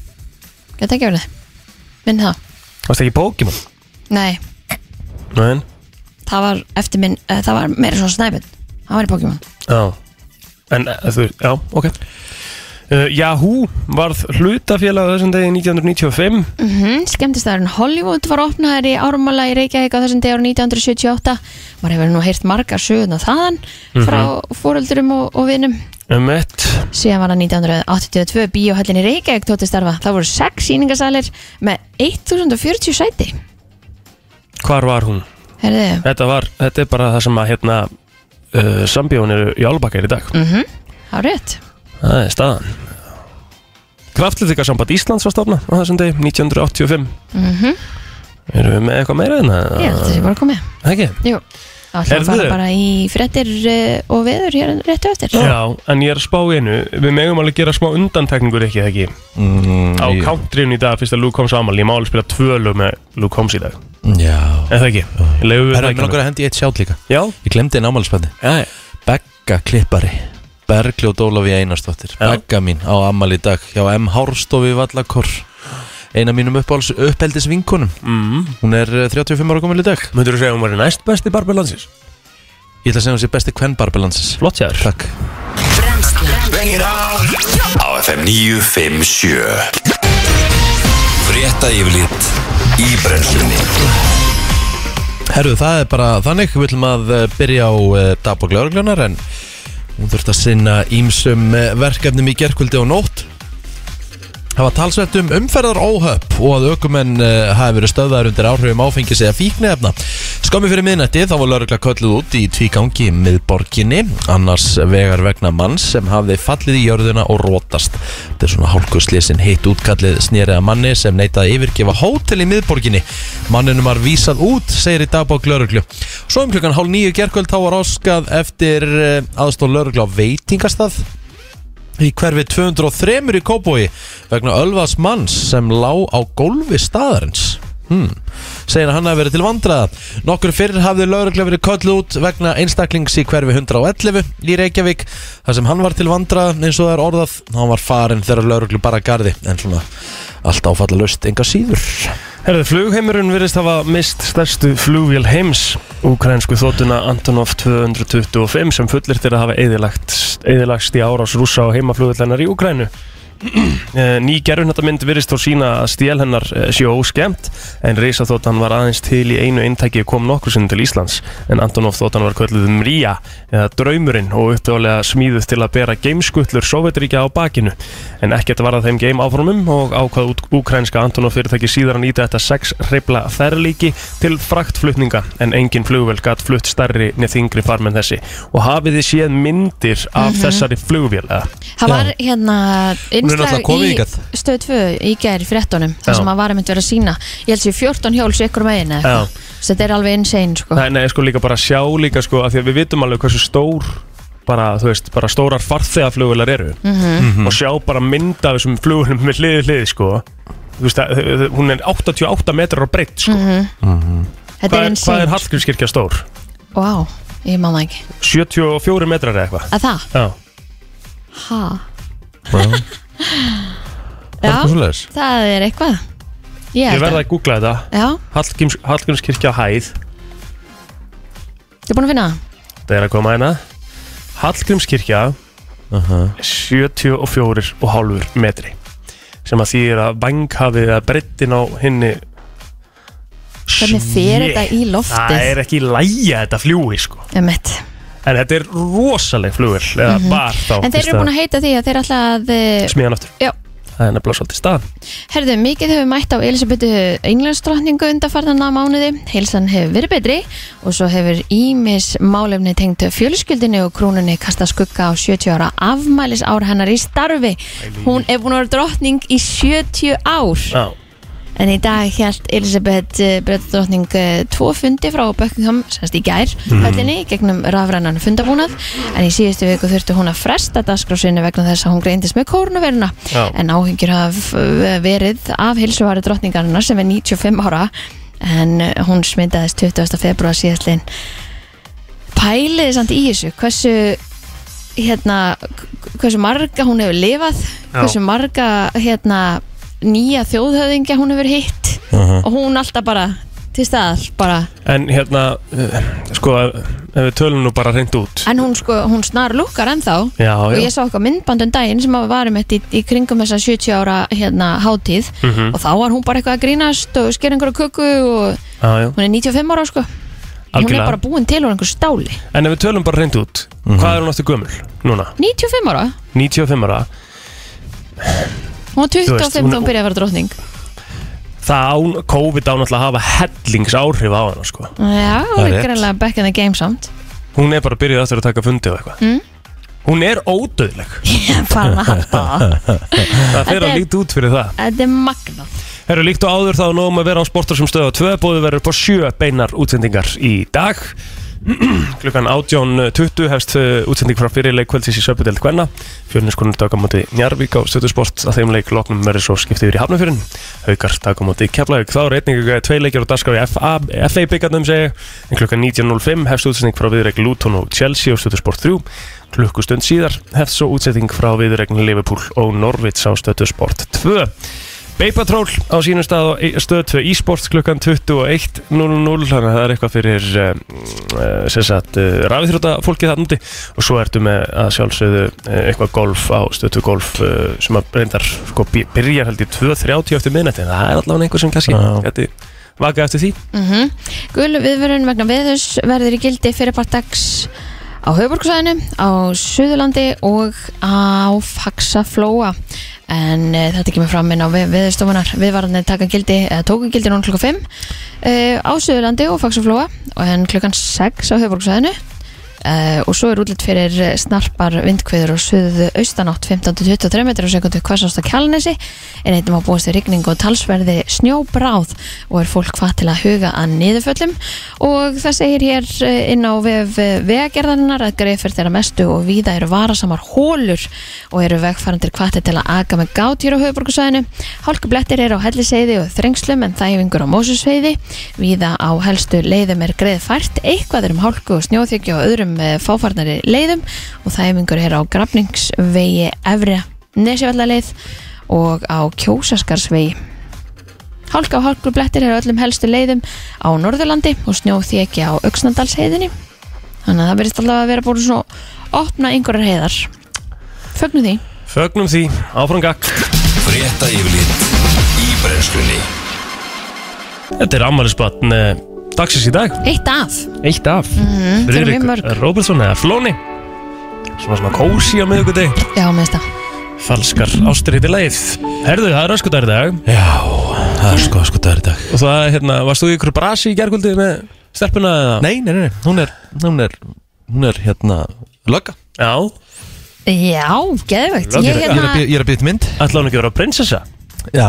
[SPEAKER 2] Gæti ekki verið Minn það
[SPEAKER 3] Varst ekki Pokémon?
[SPEAKER 2] Nei,
[SPEAKER 3] Nei,
[SPEAKER 2] það var eftir minn eh, það var meira svona snæpin Hann var í Pokémon
[SPEAKER 3] já En eh, þú, já, ok uh, Yahoo varð hlutafélag á þessum degi 1995
[SPEAKER 2] Mm -hmm, Skemmtistæðurinn Hollywood var opnaður í árumala í Reykjavík á þessum degur 1978 Maður hefur nú heyrt margar söguna þaðan
[SPEAKER 3] Mhm.
[SPEAKER 2] frá fóröldurum og, og vinum
[SPEAKER 3] Um ett
[SPEAKER 2] Síðan var það 1982 bíóhöllin í Reykjavík tóti starfa Það voru sex síningasalir með 1040 sæti
[SPEAKER 3] Hvar var hún?
[SPEAKER 2] Herðu,
[SPEAKER 3] Þetta var, þetta er bara það sem að hérna uh, sambjóðin eru í Álubakkar í dag
[SPEAKER 2] mm -hmm. Hárétt
[SPEAKER 3] Það er staðan Kraftlitikasamband Íslands var stofna á þessum degi 1985
[SPEAKER 2] mm
[SPEAKER 3] Erum við með eitthvað meira hérna? en það?
[SPEAKER 2] Ég held að þessi bara komið
[SPEAKER 3] Ekki?
[SPEAKER 2] Jú, þá ætlum við að
[SPEAKER 3] Heyrðu.
[SPEAKER 2] fara bara í frettir og veður hér réttu eftir
[SPEAKER 3] Já, en ég er að spá í einu Við megum alveg gera smá undantekningur ekki, ekki
[SPEAKER 1] mm,
[SPEAKER 3] Á
[SPEAKER 1] ég-
[SPEAKER 3] countryinu í dag, fyrst að Luke Combs amal Ég má alveg spila tvö lög með Luke Combs í dag
[SPEAKER 1] Já
[SPEAKER 3] En það ekki, leiðum við
[SPEAKER 1] Herra,
[SPEAKER 3] það
[SPEAKER 1] ég með
[SPEAKER 3] ekki
[SPEAKER 1] langar að hendi í eitt sjátt líka
[SPEAKER 3] Já,
[SPEAKER 1] Ég glemdi einn ámælisbændi
[SPEAKER 3] já,
[SPEAKER 1] Begga klippari Bergljóð Ólafi Einarsdóttir
[SPEAKER 3] Já.
[SPEAKER 1] Begga mín á ammali í dag Hjá M. Hárstofi Vallakor Eina mínum uppáhalds uppeldis vinkunum
[SPEAKER 3] mm.
[SPEAKER 1] Hún er eh, 35 ára komin í dag
[SPEAKER 3] Möndur þú segja að hún var næst besti barber landsins?
[SPEAKER 1] Ég ætla að segja hún sé besti kvennbarbilansis
[SPEAKER 3] Flott sér
[SPEAKER 1] Takk
[SPEAKER 4] á FM 957 Frétta yfirlit í brennslunni
[SPEAKER 1] Herru, það er bara þannig, við ætlum að eh, byrja á uh, dagbók lauruglunar en hún þurft að sinna ímsum eh, verkefnum í gerkvöldi og nótt Það var talsvert um umferðar óhöpp og að aukumenn uh, hafi verið stöðaður undir áhrifum áfengis eða fíknefna. Skömmi fyrir miðnætti þá var laurugla kölluð út í tvígangi miðborginni, annars vegar vegna manns sem hafði fallið í jörðuna og rótast. Þetta er svona hálkuslisin hitt útkallið snýriða manni sem neitaði yfirgefa hótel í miðborginni. Manninum var vísað út, segir í dagbók lauruglu. Svo um klukkan hálf nýju gerkvöld þá var óskað eftir uh, aðstóð laurugla á veitingastað í hverfi 203 í Kóbói vegna Ölvas manns sem lá á gólfi staðarins hmm. segir að hann hafi verið til vandræða nokkur fyrir hafði lauruglega verið köllu út vegna einstaklings í hverfi 111 í Reykjavík þar sem hann var til vandræða eins og það er orðað hann var farinn þegar lauruglu bara gardi en svona allt áfalla löst enga síður
[SPEAKER 3] Herðu, flugheimurinn virðist hafa mist stærstu flugvél heims Úkrainsku þótuna Antonov 225 sem fullirtir að hafa eðilagst, eðilagst í árás rúsa á heimaflugullennar í Úkrainu Eh, Ný gerfinhattamynd virðist þó sína að stél hennar eh, sé óskemmt en Reisaþóttan var aðeins til í einu eintæki og kom nokkur sinni til Íslands en Antonov þóttan var kvölluð Mría eða Draumurinn og uppdálega smíðuð til að bera geimskullur Sovjetríkja á bakinu en ekkert var að þeim geim áformum og ákvað út- úkrænska Antonov fyrirtæki síðar að nýta þetta sex hribla ferlíki til fraktflutninga en engin flugvél gatt flutt stærri neð þingri farmenn þessi og hafið þið séð myndir af þessari flugvél eða?
[SPEAKER 2] Mhm. Það var hérna
[SPEAKER 1] náttúrulega
[SPEAKER 2] innslag
[SPEAKER 1] komin
[SPEAKER 2] í
[SPEAKER 1] hingað.
[SPEAKER 2] stöð 2 í gær í frettunum þar
[SPEAKER 3] Já.
[SPEAKER 2] sem að varum einmitt verið að sína ég held sér 14 hjóls ykkur megin eða
[SPEAKER 3] Já.
[SPEAKER 2] eitthvað. Svo þetta er alveg insane sko
[SPEAKER 3] Nei, nei, sko líka bara sjá líka sko af Því að við vitum alveg hversu stór bara, þú veist, bara stórar farþegaflugular eru
[SPEAKER 2] Mhm.
[SPEAKER 3] og sjá bara mynda af þessum flugulum með hliði hliði sko þú veist, að, þ- þ- hún er 88 metrar á breytt sko,
[SPEAKER 2] Mhm.
[SPEAKER 1] Mhm.
[SPEAKER 3] hvað,
[SPEAKER 2] Þetta er
[SPEAKER 3] er, hvað er
[SPEAKER 2] insane
[SPEAKER 3] Hallgrímskirkja stór?
[SPEAKER 2] Vá, ég má það ekki
[SPEAKER 3] 74 metrar eða eitthvað
[SPEAKER 2] Að það?
[SPEAKER 3] Já,
[SPEAKER 2] Ha?
[SPEAKER 1] Wow.
[SPEAKER 2] Já, það er eitthvað Ég,
[SPEAKER 3] ég
[SPEAKER 2] held
[SPEAKER 3] verða að googla þetta
[SPEAKER 2] Já,
[SPEAKER 3] Hallgríms, Hallgrímskirkja hæð
[SPEAKER 2] þið er búin að finna það?
[SPEAKER 3] það er að koma hérna Hallgrímskirkja
[SPEAKER 1] uh -huh.
[SPEAKER 3] 74,5 metri sem að því er að vanghafið eða breyttin á henni
[SPEAKER 2] Hvernig fer þetta í loftið?
[SPEAKER 3] Það er ekki lægja þetta fljúi sko
[SPEAKER 2] Einmitt.
[SPEAKER 3] En þetta er rosaleg flugur eða bar þá
[SPEAKER 2] Mhm. En þeir eru búin að heita því að þeir ætla að eh,
[SPEAKER 3] Smíðan aftur
[SPEAKER 2] Já.
[SPEAKER 3] Það er nefnilega svolítið stað
[SPEAKER 2] Herðu, mikið hefur mætt á Elisabethu Englandsdrottningu undarfarnana mánuði, heilsan hefur verið betri og svo hefur Ímis málefni tengt fjölskyldinu og krúnunni kasta skugga á 70 ára afmælis ár hennar í starfi. Hún er búin að vera drottning í 70 ár.
[SPEAKER 3] Já
[SPEAKER 2] En í dag held Elisabeth Brettdrottning tvo fundi frá Buckingham, semst í gær,
[SPEAKER 3] Mhm.
[SPEAKER 2] höllinni, gegnum rafrannan fundabúnað. En í síðustu viku þurfti hún að fresta dagskrásinni vegna þess að hún greindist með kórnuveruna.
[SPEAKER 3] Já.
[SPEAKER 2] En áhyggjur haf eh, verið af hilsuvari drottningarinnar sem er 95 ára. En eh, hún smitaðist 20. februar síðastlinn. Pæliði samt í þessu, hversu hérna, k- hversu marga hún hefur lifað,
[SPEAKER 3] Já.
[SPEAKER 2] hversu marga hérna, nýja þjóðhöfðingja hún hefur hitt og hún alltaf bara til staðar bara,
[SPEAKER 3] En hérna, eh, sko, ef við tölum nú bara reynd út
[SPEAKER 2] en hún sko hún snar lukkar ennþá
[SPEAKER 3] Já,
[SPEAKER 2] og
[SPEAKER 3] já
[SPEAKER 2] ég sá eitthvað myndband um daginn sem að varum eitt í, í kringum þessa 70 ára hérna hátíð
[SPEAKER 3] Mhm.
[SPEAKER 2] og þá var hún bara eitthvað að grínast og sker einhverja köku og
[SPEAKER 3] Já, já,
[SPEAKER 2] hún er 95 ára sko hún er
[SPEAKER 3] algjörlega
[SPEAKER 2] bara búin til úr einhver stáli
[SPEAKER 3] En ef við tölum bara reynd út Hvað er hún aftur gömul núna?
[SPEAKER 2] 95 ára,
[SPEAKER 3] 95 ára
[SPEAKER 2] hún var 25
[SPEAKER 3] veist,
[SPEAKER 2] þegar
[SPEAKER 3] hún-
[SPEAKER 2] hún byrjaði að vera drottning
[SPEAKER 3] Það án, COVID án alltaf að hafa hellings áhrif á hana sko
[SPEAKER 2] já, hún
[SPEAKER 1] Það er
[SPEAKER 2] er
[SPEAKER 1] rétt.
[SPEAKER 2] greinlega back in the game samt
[SPEAKER 3] Hún er bara að byrja aftur að taka fundi og eitthvað
[SPEAKER 2] Mm.
[SPEAKER 3] Hún er ódöðleg
[SPEAKER 2] Ég er farin að halda
[SPEAKER 3] Það
[SPEAKER 2] það
[SPEAKER 3] fer
[SPEAKER 2] Þetta
[SPEAKER 3] að
[SPEAKER 2] er-
[SPEAKER 3] líta út fyrir það
[SPEAKER 2] Þetta er magna
[SPEAKER 3] Herru, líkt og áður þá er nóg um að vera á sportar sem stöða Tvö bóðu verður på sjö beinar útsendingar í dag Klukkan 18.20 hefst uh, útsending frá fyrirleik kvöldsins í Söpudeld Gvenna Fjörninskonur taka á móti Njarvík á stöðusport að þeim leik loknum verður svo skiptið yfir í Hafnafjörn Haukar taka á móti Keflavík þá er einnig uh, tvei leikir og daskar í FA, FA byggarnum segi en klukkan 19.05 hefst útsending frá viðreik Luton og Chelsea á stöðusport 3 klukkustund síðar hefst svo útsending frá viðreikn Liverpool og Norvits á stöðusport 2 Beipatról á sínum stað á E- stöð 2 e-sports klukkan 21.00 þannig að það er eitthvað fyrir um, uh, sem sagt uh, rafiðrjóta fólkið þarna úti og svo ertu með að sjálfsögðu uh, eitthvað golf á stöð 2 golf uh, sem að reyndar sko by- byrjar held í 2.30 eftir miðnætti en það er allavega einhver sem kannski
[SPEAKER 1] Já.
[SPEAKER 3] geti vakað eftir því
[SPEAKER 2] mm Gul viðvörun vegna veðurs verður í gildi fyrirpartags á höfuborgsvæðinu, á Suðurlandi og á Faxaflóa en e, þetta kemur fram inn á ve veðurstofunar viðvarandi taka gildi, eða tóku gildi núna klukka 5 e, á Suðurlandi og Faxaflóa og en klukkan 6 á höfuborgsvæðinu Uh, og svo er útlitt fyrir eh, snarpar vindkviður og suðu austanátt 15-23 metrar á sekundu hvassast á kjálnesi en einnig má búast við rigning og talsverði snjóbráð og er fólk hvað til að huga að niðurföllum og það segir hér eh, inn á vef vegagerðarinnar að greið fyrir þeirra mestu og víða eru varasamar hólur og eru vegfarandir hvað til að aga með gát hér á höfuborgarsvæðinu hálkublettir eru á helliseiði og þrengslum en þæfingur á mósusveiði víða á helstu leiðum er greið fært eitthvað er um hálku og snjóþykju og öðrum eh, fáfarnari leiðum og þæfingur eru á grafningsvegi efri nesjavallaleið og á kjósaskarsvegi. Hálka og hálkublettir eru á öllum helstu leiðum á Norðurlandi og snjóþeki á Öxnadalsheiðinni. Þannig að það verðist alltaf að vera búin svona opna einhverjar heiðar. Fögnum því.
[SPEAKER 3] Fögnum því, áfram gakk
[SPEAKER 4] Frétta yfirlit í brennslunni
[SPEAKER 3] Þetta er ammælisbatn dagsins í dag
[SPEAKER 2] Eitt af.
[SPEAKER 3] Eitt af
[SPEAKER 2] Mm, það eru mjög mörg.
[SPEAKER 3] Róbertsson eða Flóni Svona svona kósi á miðugudegi
[SPEAKER 2] Já, með þetta.
[SPEAKER 3] Falskar ástur heitir leið Herðu, það er öskudagur í dag
[SPEAKER 1] Já, það er sko, sko, það er í dag
[SPEAKER 3] Og það, hérna, varst þú í ykkur brasi í gerguldi með stelpuna eða?
[SPEAKER 1] Nei, nei, nei, nei, hún er, hún er, hún er hérna, lögga
[SPEAKER 3] Já,
[SPEAKER 2] Já, geðvögt. Ég
[SPEAKER 1] Ég er að
[SPEAKER 2] hérna,
[SPEAKER 1] bý- ég er að býta mynd
[SPEAKER 3] ætla hún ekki að vera prinsessa Mm.
[SPEAKER 1] Já,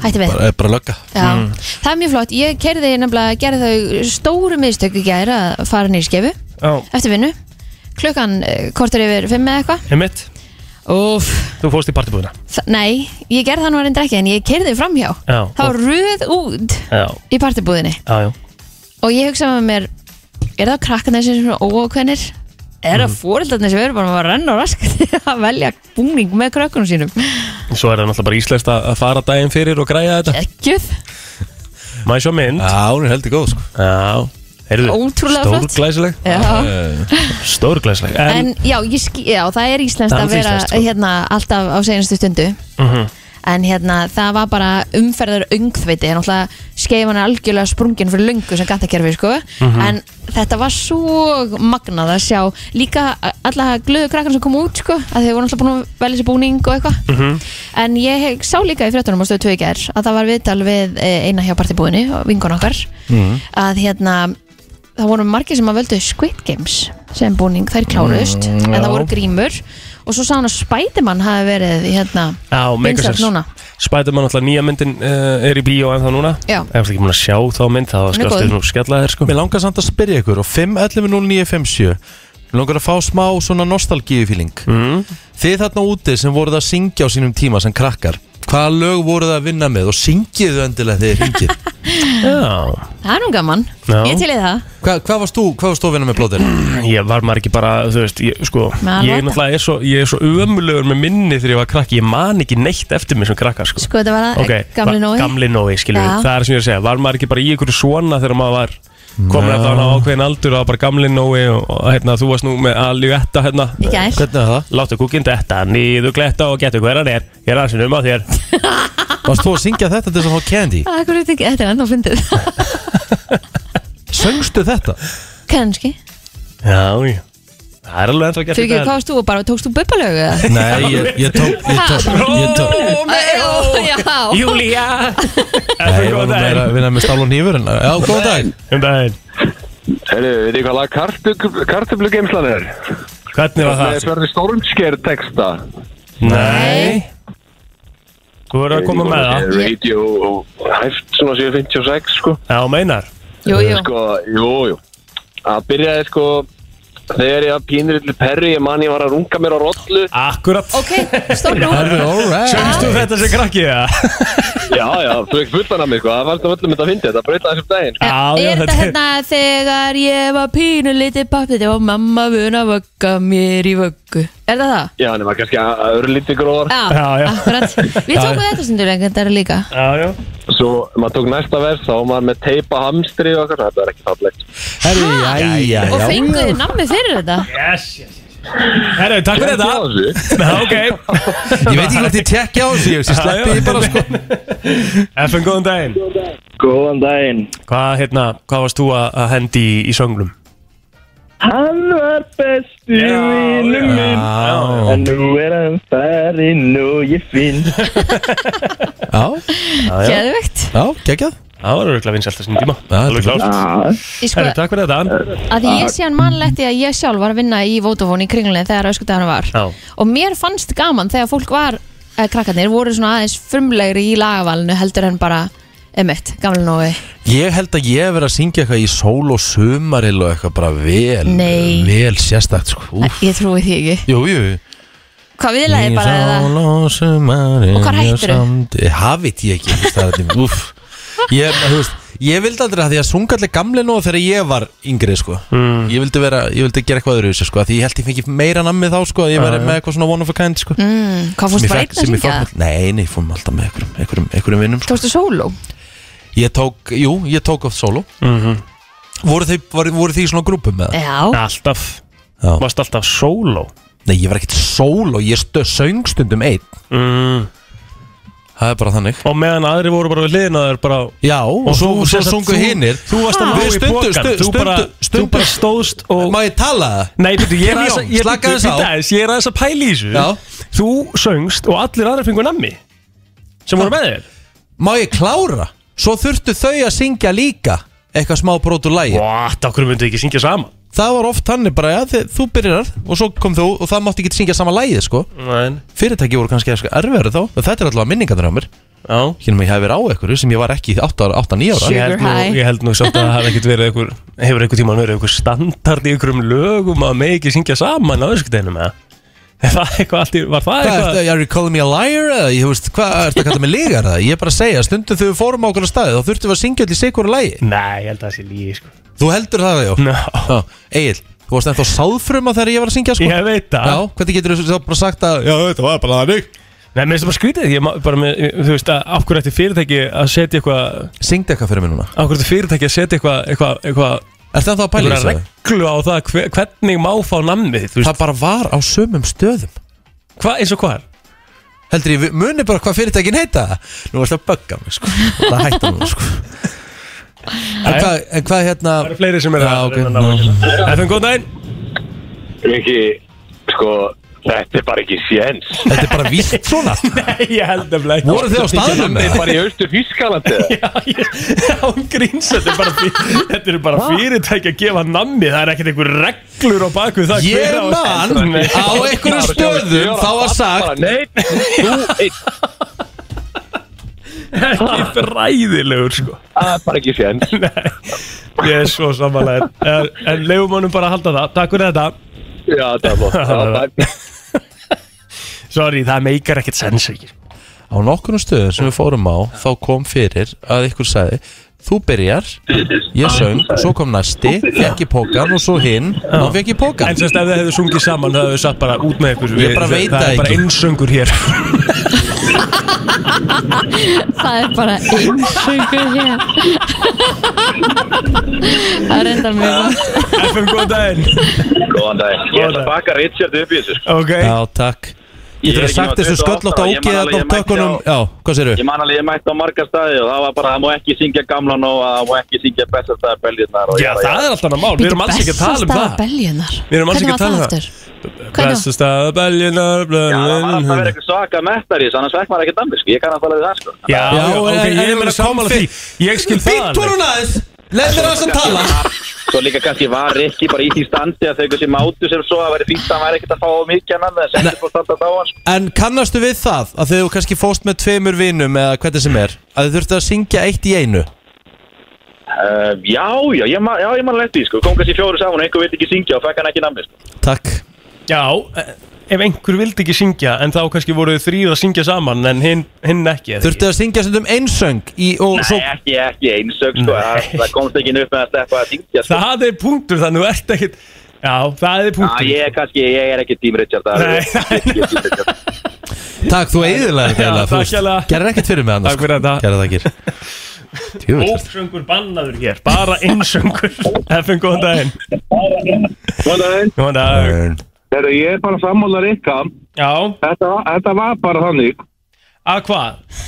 [SPEAKER 2] hætti við.
[SPEAKER 1] bara, eh, bara lögga
[SPEAKER 2] Já, það er mjög flott. Ég kerði nefnilega, gerði þau stóru miðstök í gæri að fara nýr skefu
[SPEAKER 3] Já,
[SPEAKER 2] eftir vinnu. Klukkan eh, kortur yfir fimm eða eitthvað.
[SPEAKER 3] heimitt,
[SPEAKER 2] Úf,
[SPEAKER 3] þú fórst í partibúðina
[SPEAKER 2] Þa- Nei, ég gerði það nú reyndar ekki en ég kerði framhjá
[SPEAKER 3] Já,
[SPEAKER 2] Það var röð út
[SPEAKER 3] já,
[SPEAKER 2] í partibúðinni
[SPEAKER 3] já, já
[SPEAKER 2] og ég hugsaði með mér er það krakkarnir sem eru óákveðnir er
[SPEAKER 1] Mm.
[SPEAKER 2] það fóreldarnir sem eru bara að renna og rask að velja búning með krakkunum sínum
[SPEAKER 3] Svo er það náttúrulega bara íslenskt að að fara daginn fyrir og græja þetta
[SPEAKER 2] Ekkjöð,
[SPEAKER 3] Má ég sjá mynd
[SPEAKER 1] Já, hún er heldur góð, sko
[SPEAKER 3] Já, heyrðu,
[SPEAKER 2] ótrúlega flott
[SPEAKER 3] stórglæsileg
[SPEAKER 2] Já.
[SPEAKER 3] Stórglæsileg
[SPEAKER 2] En já, ég skil, já, það er íslenskt
[SPEAKER 3] Það er
[SPEAKER 2] að vera
[SPEAKER 3] íslenskt, sko.
[SPEAKER 2] hérna, alltaf á senastu stundu
[SPEAKER 3] Mhm.
[SPEAKER 2] en hérna, það var bara umferðar öngþveiti, en alltaf skeifan er algjörlega sprungin fyrir lungu sem gattakerfi sko.
[SPEAKER 3] Mhm.
[SPEAKER 2] en þetta var svo magnað að sjá líka alla glöðu krakkan sem kom út sko, að þau voru alltaf búin að velja sér búning og eitthvað
[SPEAKER 3] Mhm.
[SPEAKER 5] Mm-hmm.
[SPEAKER 2] en ég hef- sá líka í fréttunum á stöðu 2 í gær að það var viðtal við eh, eina hjá partibúinu, vingun okkar
[SPEAKER 3] Mhm.
[SPEAKER 1] Mhm.
[SPEAKER 2] að hérna það voru margir sem að völdu Squid Games sem búning, þær klárust en það
[SPEAKER 3] Mm, já.
[SPEAKER 2] voru grímur og svo sá hann að Spiderman hafi verið hérna
[SPEAKER 3] Já, make
[SPEAKER 2] vinsæll
[SPEAKER 3] sense
[SPEAKER 2] núna
[SPEAKER 3] Spiderman alltaf nýja myndin uh, er í bíó en það núna
[SPEAKER 2] Já.
[SPEAKER 3] Ef það ekki mun að sjá þá mynd þá
[SPEAKER 2] er
[SPEAKER 3] skalstu
[SPEAKER 2] góð.
[SPEAKER 3] nú skella þér sko
[SPEAKER 1] Mér langar samt að spyrja ykkur og 5.11.09.57 Mér langar að fá smá svona nostalgíufíling
[SPEAKER 3] mm.
[SPEAKER 1] Þið þarna úti sem voruð að syngja á sínum tíma sem krakkar Hvaða lög voruð það að vinna með og syngiðu endilega þegar hringið
[SPEAKER 3] Já
[SPEAKER 2] Það er nú gaman,
[SPEAKER 3] Já.
[SPEAKER 2] ég til í það
[SPEAKER 1] Hva, Hvað varst þú, hvað varst þú að vinna með blóðir?
[SPEAKER 3] Ég var maður ekki bara, þú veist, ég, sko
[SPEAKER 2] Maður
[SPEAKER 3] Ég
[SPEAKER 2] veit
[SPEAKER 3] náttúrulega er svo, ég er svo ömulegur með minni þegar ég var krakki Ég man ekki neitt eftir mér sem krakka, sko
[SPEAKER 2] Sko þetta var það,
[SPEAKER 3] Ok,
[SPEAKER 2] gamli
[SPEAKER 3] va-
[SPEAKER 2] nói
[SPEAKER 3] Gamli Nói, skilur við,
[SPEAKER 2] Já.
[SPEAKER 3] það er sem ég er að segja Var maður ekki bara í einhverju svona þegar maður var Komin eftir hann á ákveðin aldur og bara gamli Nói Og, og hérna, þú varst nú með Aliuetta, hérna
[SPEAKER 2] Í gær
[SPEAKER 1] Hvernig er það?
[SPEAKER 3] Láttu kúkinn detta, niður gletta og getur hver hann er Ég er aðsinn um á þér
[SPEAKER 1] Varst þú að syngja þetta til þess að fá candy?
[SPEAKER 2] Ah, hverju þetta ekki- Þetta er ennþá fyndið
[SPEAKER 1] Söngstu þetta?
[SPEAKER 2] Kanski
[SPEAKER 3] Já, já Það er alveg ennþá gert í
[SPEAKER 2] Fyrir ekki,
[SPEAKER 3] dag.
[SPEAKER 2] hvað varst þú bara, tókst þú buppalögu?
[SPEAKER 1] Nei, ég, ég tók, ég tók, ég tók
[SPEAKER 2] Ó, já
[SPEAKER 3] Júlía
[SPEAKER 1] Nei, ég var nú meira að vinna með stál og nýfur en Já, góðan dag
[SPEAKER 3] Um daginn
[SPEAKER 6] Herru, veit ég hvað lag kartublugeimslan er?
[SPEAKER 3] Hvernig var
[SPEAKER 6] Það er
[SPEAKER 3] það?
[SPEAKER 6] sverði stórumsker texta
[SPEAKER 3] Nei Þú verður að koma með það
[SPEAKER 6] Radio hæft svona 756 sko
[SPEAKER 3] Já, meinar
[SPEAKER 2] Jú, jú,
[SPEAKER 6] Sko, jú, jú Það byrjaði sko Þegar ég að pínur yllu perri Ég man ég var að runga mér á rollu
[SPEAKER 3] Akkurat
[SPEAKER 2] ok, stopp nú
[SPEAKER 1] Herru, alright
[SPEAKER 3] Sjöngstu þetta sem krakkið það?
[SPEAKER 6] Já, já, þú veist fullan af mig sko Það var alltaf öllum þetta að fyndi Þetta breyta þessum daginn sko.
[SPEAKER 2] Er,
[SPEAKER 3] Já, já,
[SPEAKER 2] er þetta
[SPEAKER 3] þetta er-
[SPEAKER 2] hérna þegar ég var pínu liti pappi þegar var mamma vun að vögga mér í vöggu Er það það?
[SPEAKER 6] Já, nema kannski að öðru lítið gróðar
[SPEAKER 2] Já,
[SPEAKER 3] Já, já.
[SPEAKER 2] akkurat Við
[SPEAKER 3] Já,
[SPEAKER 2] tókum
[SPEAKER 3] já.
[SPEAKER 2] þetta stundur en þetta er líka
[SPEAKER 3] Já, já
[SPEAKER 6] Svo maður tók næsta vers Þá var maður með teipa hamstri og eitthvað Þetta er ekki fallegt
[SPEAKER 1] Herru, jæja,
[SPEAKER 2] Og
[SPEAKER 1] já
[SPEAKER 2] fenguð þið nammi fyrir þetta
[SPEAKER 3] Yes, yes, yes Herru, takk fyrir
[SPEAKER 6] Ekki á
[SPEAKER 3] þetta Já, ok
[SPEAKER 6] þessu.
[SPEAKER 1] Ég veit ekki hvort ég tekja á þessu, ég
[SPEAKER 3] Já, já.
[SPEAKER 1] sleppi því bara sko
[SPEAKER 3] FN, góðan daginn
[SPEAKER 7] Góðan daginn.
[SPEAKER 3] Hvað, hérna, hvað varst þú að að hendi í, í sönglum?
[SPEAKER 7] Hann var besti vinnu minn.
[SPEAKER 1] Já,
[SPEAKER 7] En nú er hann farinn og ég finn.
[SPEAKER 1] já,
[SPEAKER 2] Geðvegt
[SPEAKER 1] já, geggjað
[SPEAKER 3] Það var örgulega vinsælt að sinni tíma
[SPEAKER 1] Já,
[SPEAKER 3] Alveg
[SPEAKER 1] þetta er
[SPEAKER 3] klárt
[SPEAKER 7] Ah,
[SPEAKER 2] Ég sko,
[SPEAKER 3] Herru, takk fyrir þetta
[SPEAKER 2] að því
[SPEAKER 3] Ah.
[SPEAKER 2] ég sé hann mannlegt í að ég sjálf var að vinna í Vótafón í kringlunni þegar öskutæðan var
[SPEAKER 3] Já.
[SPEAKER 2] Og mér fannst gaman þegar fólk var eh, krakkarnir voru svona aðeins frumlegri í lagavalinu heldur en bara emitt, gamla nógu
[SPEAKER 1] Ég held að ég hef verið að syngja eitthvað í sól og sumaril og eitthvað bara vel
[SPEAKER 2] Nei.
[SPEAKER 1] Vel sérstakt sko Úff.
[SPEAKER 2] Ég trúi því ekki
[SPEAKER 1] Jú, jú
[SPEAKER 2] Hvað viðlaði bara eða
[SPEAKER 1] Í sól og sumaril
[SPEAKER 2] Og hvar hættirðu?
[SPEAKER 1] Það veit ég Eh, ekki, þú veist, það er þetta Úf Ég, þú veist, ég vildi aldrei að því að sunga allir gamli nóg þegar ég var yngri sko. ég, vildi vera, ég vildi gera eitthvað öðru sko. því ég held ég fengi meira nammi þá sko, að ég væri með eitthvað svona one of a kind sko. mm,
[SPEAKER 2] Mm, Hvað fórst bara einn að syngja?
[SPEAKER 1] Nei, nei, fórum alltaf með einhverjum, einhverjum, einhverjum vinnum sko.
[SPEAKER 2] Þú fórstu sóló?
[SPEAKER 1] Ég tók, jú, ég tók oft solo
[SPEAKER 3] Mhm.
[SPEAKER 1] voru, þið, var, voru þið í svona grúpum með það?
[SPEAKER 2] Já,
[SPEAKER 3] Alltaf
[SPEAKER 1] Já.
[SPEAKER 3] Varst alltaf sóló
[SPEAKER 1] Nei, ég var ekkert solo, ég stö, söng stundum einn
[SPEAKER 3] mm.
[SPEAKER 1] Það er bara þannig
[SPEAKER 3] Og meðan aðri voru bara við liðin að þeir bara
[SPEAKER 1] Já, og, svo,
[SPEAKER 3] þú-
[SPEAKER 1] svo
[SPEAKER 3] sem sagt,
[SPEAKER 1] sungu
[SPEAKER 3] þú-
[SPEAKER 1] hinnir
[SPEAKER 3] Þú varst að
[SPEAKER 1] Við
[SPEAKER 3] ná í
[SPEAKER 1] stundum-
[SPEAKER 3] bókan
[SPEAKER 1] stu-
[SPEAKER 3] Þú bara,
[SPEAKER 1] stundum-
[SPEAKER 3] þú bara
[SPEAKER 1] stundum-
[SPEAKER 3] stóðst og
[SPEAKER 1] Má ég tala það?
[SPEAKER 3] Nei, byrju, ég er aðeins að- ég-
[SPEAKER 1] Slaka
[SPEAKER 3] bíddu,
[SPEAKER 1] þess á.
[SPEAKER 3] bíddu aðeins, Ég er aðeins að pæla í þessu
[SPEAKER 1] Já.
[SPEAKER 3] Þú söngst og allir aðra fengur nammi sem voru með þér
[SPEAKER 1] Má ég klára? Svo þurftu þau að syngja líka Eitthvað smá brot úr lægi
[SPEAKER 3] What, okkur myndu ekki syngja saman
[SPEAKER 1] Það var oft þannig bara, já, þið, þú byrjar Og svo kom þú og það mátti ekki syngja sama lægi, sko
[SPEAKER 3] Nein.
[SPEAKER 1] Fyrirtæki voru kannski erfiðar þá en Þetta er allavega minningarnir á mér
[SPEAKER 3] Já
[SPEAKER 1] Hérna ég hef verið á einhverju sem ég var ekki 8-9 ára
[SPEAKER 2] Shit.
[SPEAKER 3] Ég held, nú,
[SPEAKER 2] Sugar high.
[SPEAKER 3] ég held nú samt að það hef ekkert verið einhver, hefur einhver tíma verið einhver standard í einhverjum lögum að megi ekki syngja saman á öskudeginum eða Er það eitthvað allt í, var það
[SPEAKER 1] Hvað er
[SPEAKER 3] eitthvað
[SPEAKER 1] þetta, are you calling me a liar? eða? Ég veist, hvað er þetta að kalla mig ligar það? Ég er bara að segja, stundum þegar við fórum á okkur staði þá þurftum við að syngja allir sikur lægi
[SPEAKER 3] Nei, ég held að það sé lígi sko.
[SPEAKER 1] Þú heldur það, já?
[SPEAKER 3] no.
[SPEAKER 1] Já, Egil, þú varst ennþá sáðfruma þegar ég var að syngja sko
[SPEAKER 3] Ég veit það
[SPEAKER 1] Já, hvernig getur þú bara sagt að Já, þetta var bara þannig
[SPEAKER 3] Nei, mér finnst það bara skrítið ég, ma- bara, með, Þú veist að af hverju ætti fyrirtæki að setja eitthvað
[SPEAKER 1] Syngdu eitthvað fyrir mig núna
[SPEAKER 3] Af hverju ætti fyrirtæki að setja eitthvað eitthvað eitthvað
[SPEAKER 1] Ertu ennþá að pæla í
[SPEAKER 3] eitthvað
[SPEAKER 1] þessu?
[SPEAKER 3] reglu á það hver, hvernig má fá namnið Þú veist,
[SPEAKER 1] Það bara var á sömum stöðum
[SPEAKER 3] hvað eins og hvað
[SPEAKER 1] Heldur ég, muni bara hvað fyrirtækin heita Nú varst að bögga mig sko Það hætta nú sko En
[SPEAKER 3] Jæja.
[SPEAKER 1] hvað, en hvað hérna
[SPEAKER 3] Það eru fleiri sem er
[SPEAKER 1] Já,
[SPEAKER 3] að
[SPEAKER 1] ok,
[SPEAKER 3] reyna að ná Það er góð næn
[SPEAKER 6] Riki, sko Þetta er bara ekki séns
[SPEAKER 1] Þetta er bara víst svona
[SPEAKER 3] Nei, ég held nefnilega ekki
[SPEAKER 1] Voru þið á staðnum
[SPEAKER 6] Þetta
[SPEAKER 1] með
[SPEAKER 6] er
[SPEAKER 1] það?
[SPEAKER 6] bara í austur Þýskalandi
[SPEAKER 3] Án gríns, þetta er bara, fyr, þetta er bara fyrirtæki að gefa nammi Það er ekkert einhver reglur á baku það
[SPEAKER 1] Ég
[SPEAKER 3] hver á-
[SPEAKER 1] man
[SPEAKER 3] Nei.
[SPEAKER 1] á einhverjum stöðum þá var sagt
[SPEAKER 6] Nei,
[SPEAKER 3] Ekki fræðilegur sko
[SPEAKER 6] það er bara ekki séns
[SPEAKER 3] Nei, ég er svo samanlega En, en leifum honum bara að halda það Takk fyrir þetta
[SPEAKER 6] Já, það er bara það var-
[SPEAKER 3] Sorry, það meikar ekkert sens ekki
[SPEAKER 1] Á nokkurnu stöðum sem við fórum á þá kom fyrir að ykkur sagði Þú byrjar, ég söng, svo kom næsti, fekk ég pókan og svo hinn og fekk ég pókan
[SPEAKER 3] En semst ef þið hefðu sungið saman Það hefðu satt bara út með ykkur
[SPEAKER 1] Ég bara
[SPEAKER 3] Við-
[SPEAKER 1] veit
[SPEAKER 3] það
[SPEAKER 1] það
[SPEAKER 3] er bara
[SPEAKER 1] ekki.
[SPEAKER 3] einsöngur hér
[SPEAKER 2] það er bara einsöku hér Það er enda mjög gott
[SPEAKER 3] FM, góð daginn
[SPEAKER 6] Góðan dag Ég ætla
[SPEAKER 3] Góðan dag.
[SPEAKER 6] að baka Richard upp í þessu sko.
[SPEAKER 3] Ok,
[SPEAKER 1] Já, takk Getur þú
[SPEAKER 6] er ekki
[SPEAKER 1] sagt
[SPEAKER 6] nema
[SPEAKER 1] þessu
[SPEAKER 6] 28
[SPEAKER 1] sköllótt á
[SPEAKER 6] ára, ég man
[SPEAKER 1] ógeðan á
[SPEAKER 6] alveg, ég mætti
[SPEAKER 1] tökkunum
[SPEAKER 6] á-
[SPEAKER 1] Já, hvað séru?
[SPEAKER 6] Ég man alveg, ég mætti á marga staði og það var bara, það má ekki syngja gamlan og það má ekki syngja bestastæði belgjurnar
[SPEAKER 3] já það er alltaf annað mál Við erum alls ekki að tala um
[SPEAKER 2] Besta
[SPEAKER 3] það
[SPEAKER 2] beljunar
[SPEAKER 3] Við erum alls
[SPEAKER 2] Hvernig
[SPEAKER 3] ekki
[SPEAKER 2] var
[SPEAKER 3] að tala um
[SPEAKER 2] það
[SPEAKER 3] það.
[SPEAKER 2] aftur? Hvernig var
[SPEAKER 3] Bestu staða beljunar
[SPEAKER 6] Já, það var alltaf verið eitthvað svaka mettar í þessu, annars vekk maður ekki dammi, sko. Ég kann að fara við það, sko.
[SPEAKER 3] Já, já,
[SPEAKER 1] Já,
[SPEAKER 3] ok,
[SPEAKER 1] en- en-
[SPEAKER 3] ég er meira
[SPEAKER 1] en-
[SPEAKER 3] sammála því Ég skil það
[SPEAKER 1] Býttu
[SPEAKER 3] alveg
[SPEAKER 1] hún aðeins Leð mér aðeins að tala
[SPEAKER 8] Svo líka kannski var Rikki bara í því standi að þau einhversi mátu sem svo að veri fínt að hann væri ekkert að fá mikið hann en
[SPEAKER 1] Nei.
[SPEAKER 8] sendur búið standa þá hann sko.
[SPEAKER 1] En kannastu við það að þegar þú kannski fóst með tveimur vinum eða hvernig sem er að þið þurftu að syngja eitt í einu
[SPEAKER 8] uh, Já, já, ég man, já, ég man lett því sko kom kannski fjóru saman og einhver vildi ekki syngja og fekk hann ekki namni sko.
[SPEAKER 1] Takk
[SPEAKER 3] Já, eh, ef einhver vildi ekki syngja en þá kannski voru þrýð að syngja saman en hinn, hinn ekki eða
[SPEAKER 1] Þurftu að syngja stundum einsöng í, og svo
[SPEAKER 8] Nei, ekki, ekki einsög sko það,
[SPEAKER 3] Nei.
[SPEAKER 8] það komst ekki upp með að sleppa að syngja
[SPEAKER 3] ekki.
[SPEAKER 8] sko.
[SPEAKER 3] Það er punktur þannig þú ert ekkit Já, það er
[SPEAKER 8] Já,
[SPEAKER 3] punktur
[SPEAKER 8] ég er kannski, ég er ekki tím Richard það er-
[SPEAKER 3] Nei.
[SPEAKER 8] ég er ekki Team Richard.
[SPEAKER 1] Takk, þú eiðilega
[SPEAKER 3] Já,
[SPEAKER 1] þetta
[SPEAKER 3] takk hérlega.
[SPEAKER 1] Gerðir ekkert fyrir mig annars
[SPEAKER 3] Takk fyrir þetta.
[SPEAKER 1] Gerðir takkir Tjúvill
[SPEAKER 3] Ópsöngur bannaður hér, bara einsöngur Efum, góðan daginn
[SPEAKER 6] Góðan daginn.
[SPEAKER 3] Góðan dag
[SPEAKER 6] Herru, ég er bara að sammála Rikka.
[SPEAKER 3] Já,
[SPEAKER 6] Þetta, þetta var bara þannig.
[SPEAKER 3] að hvað?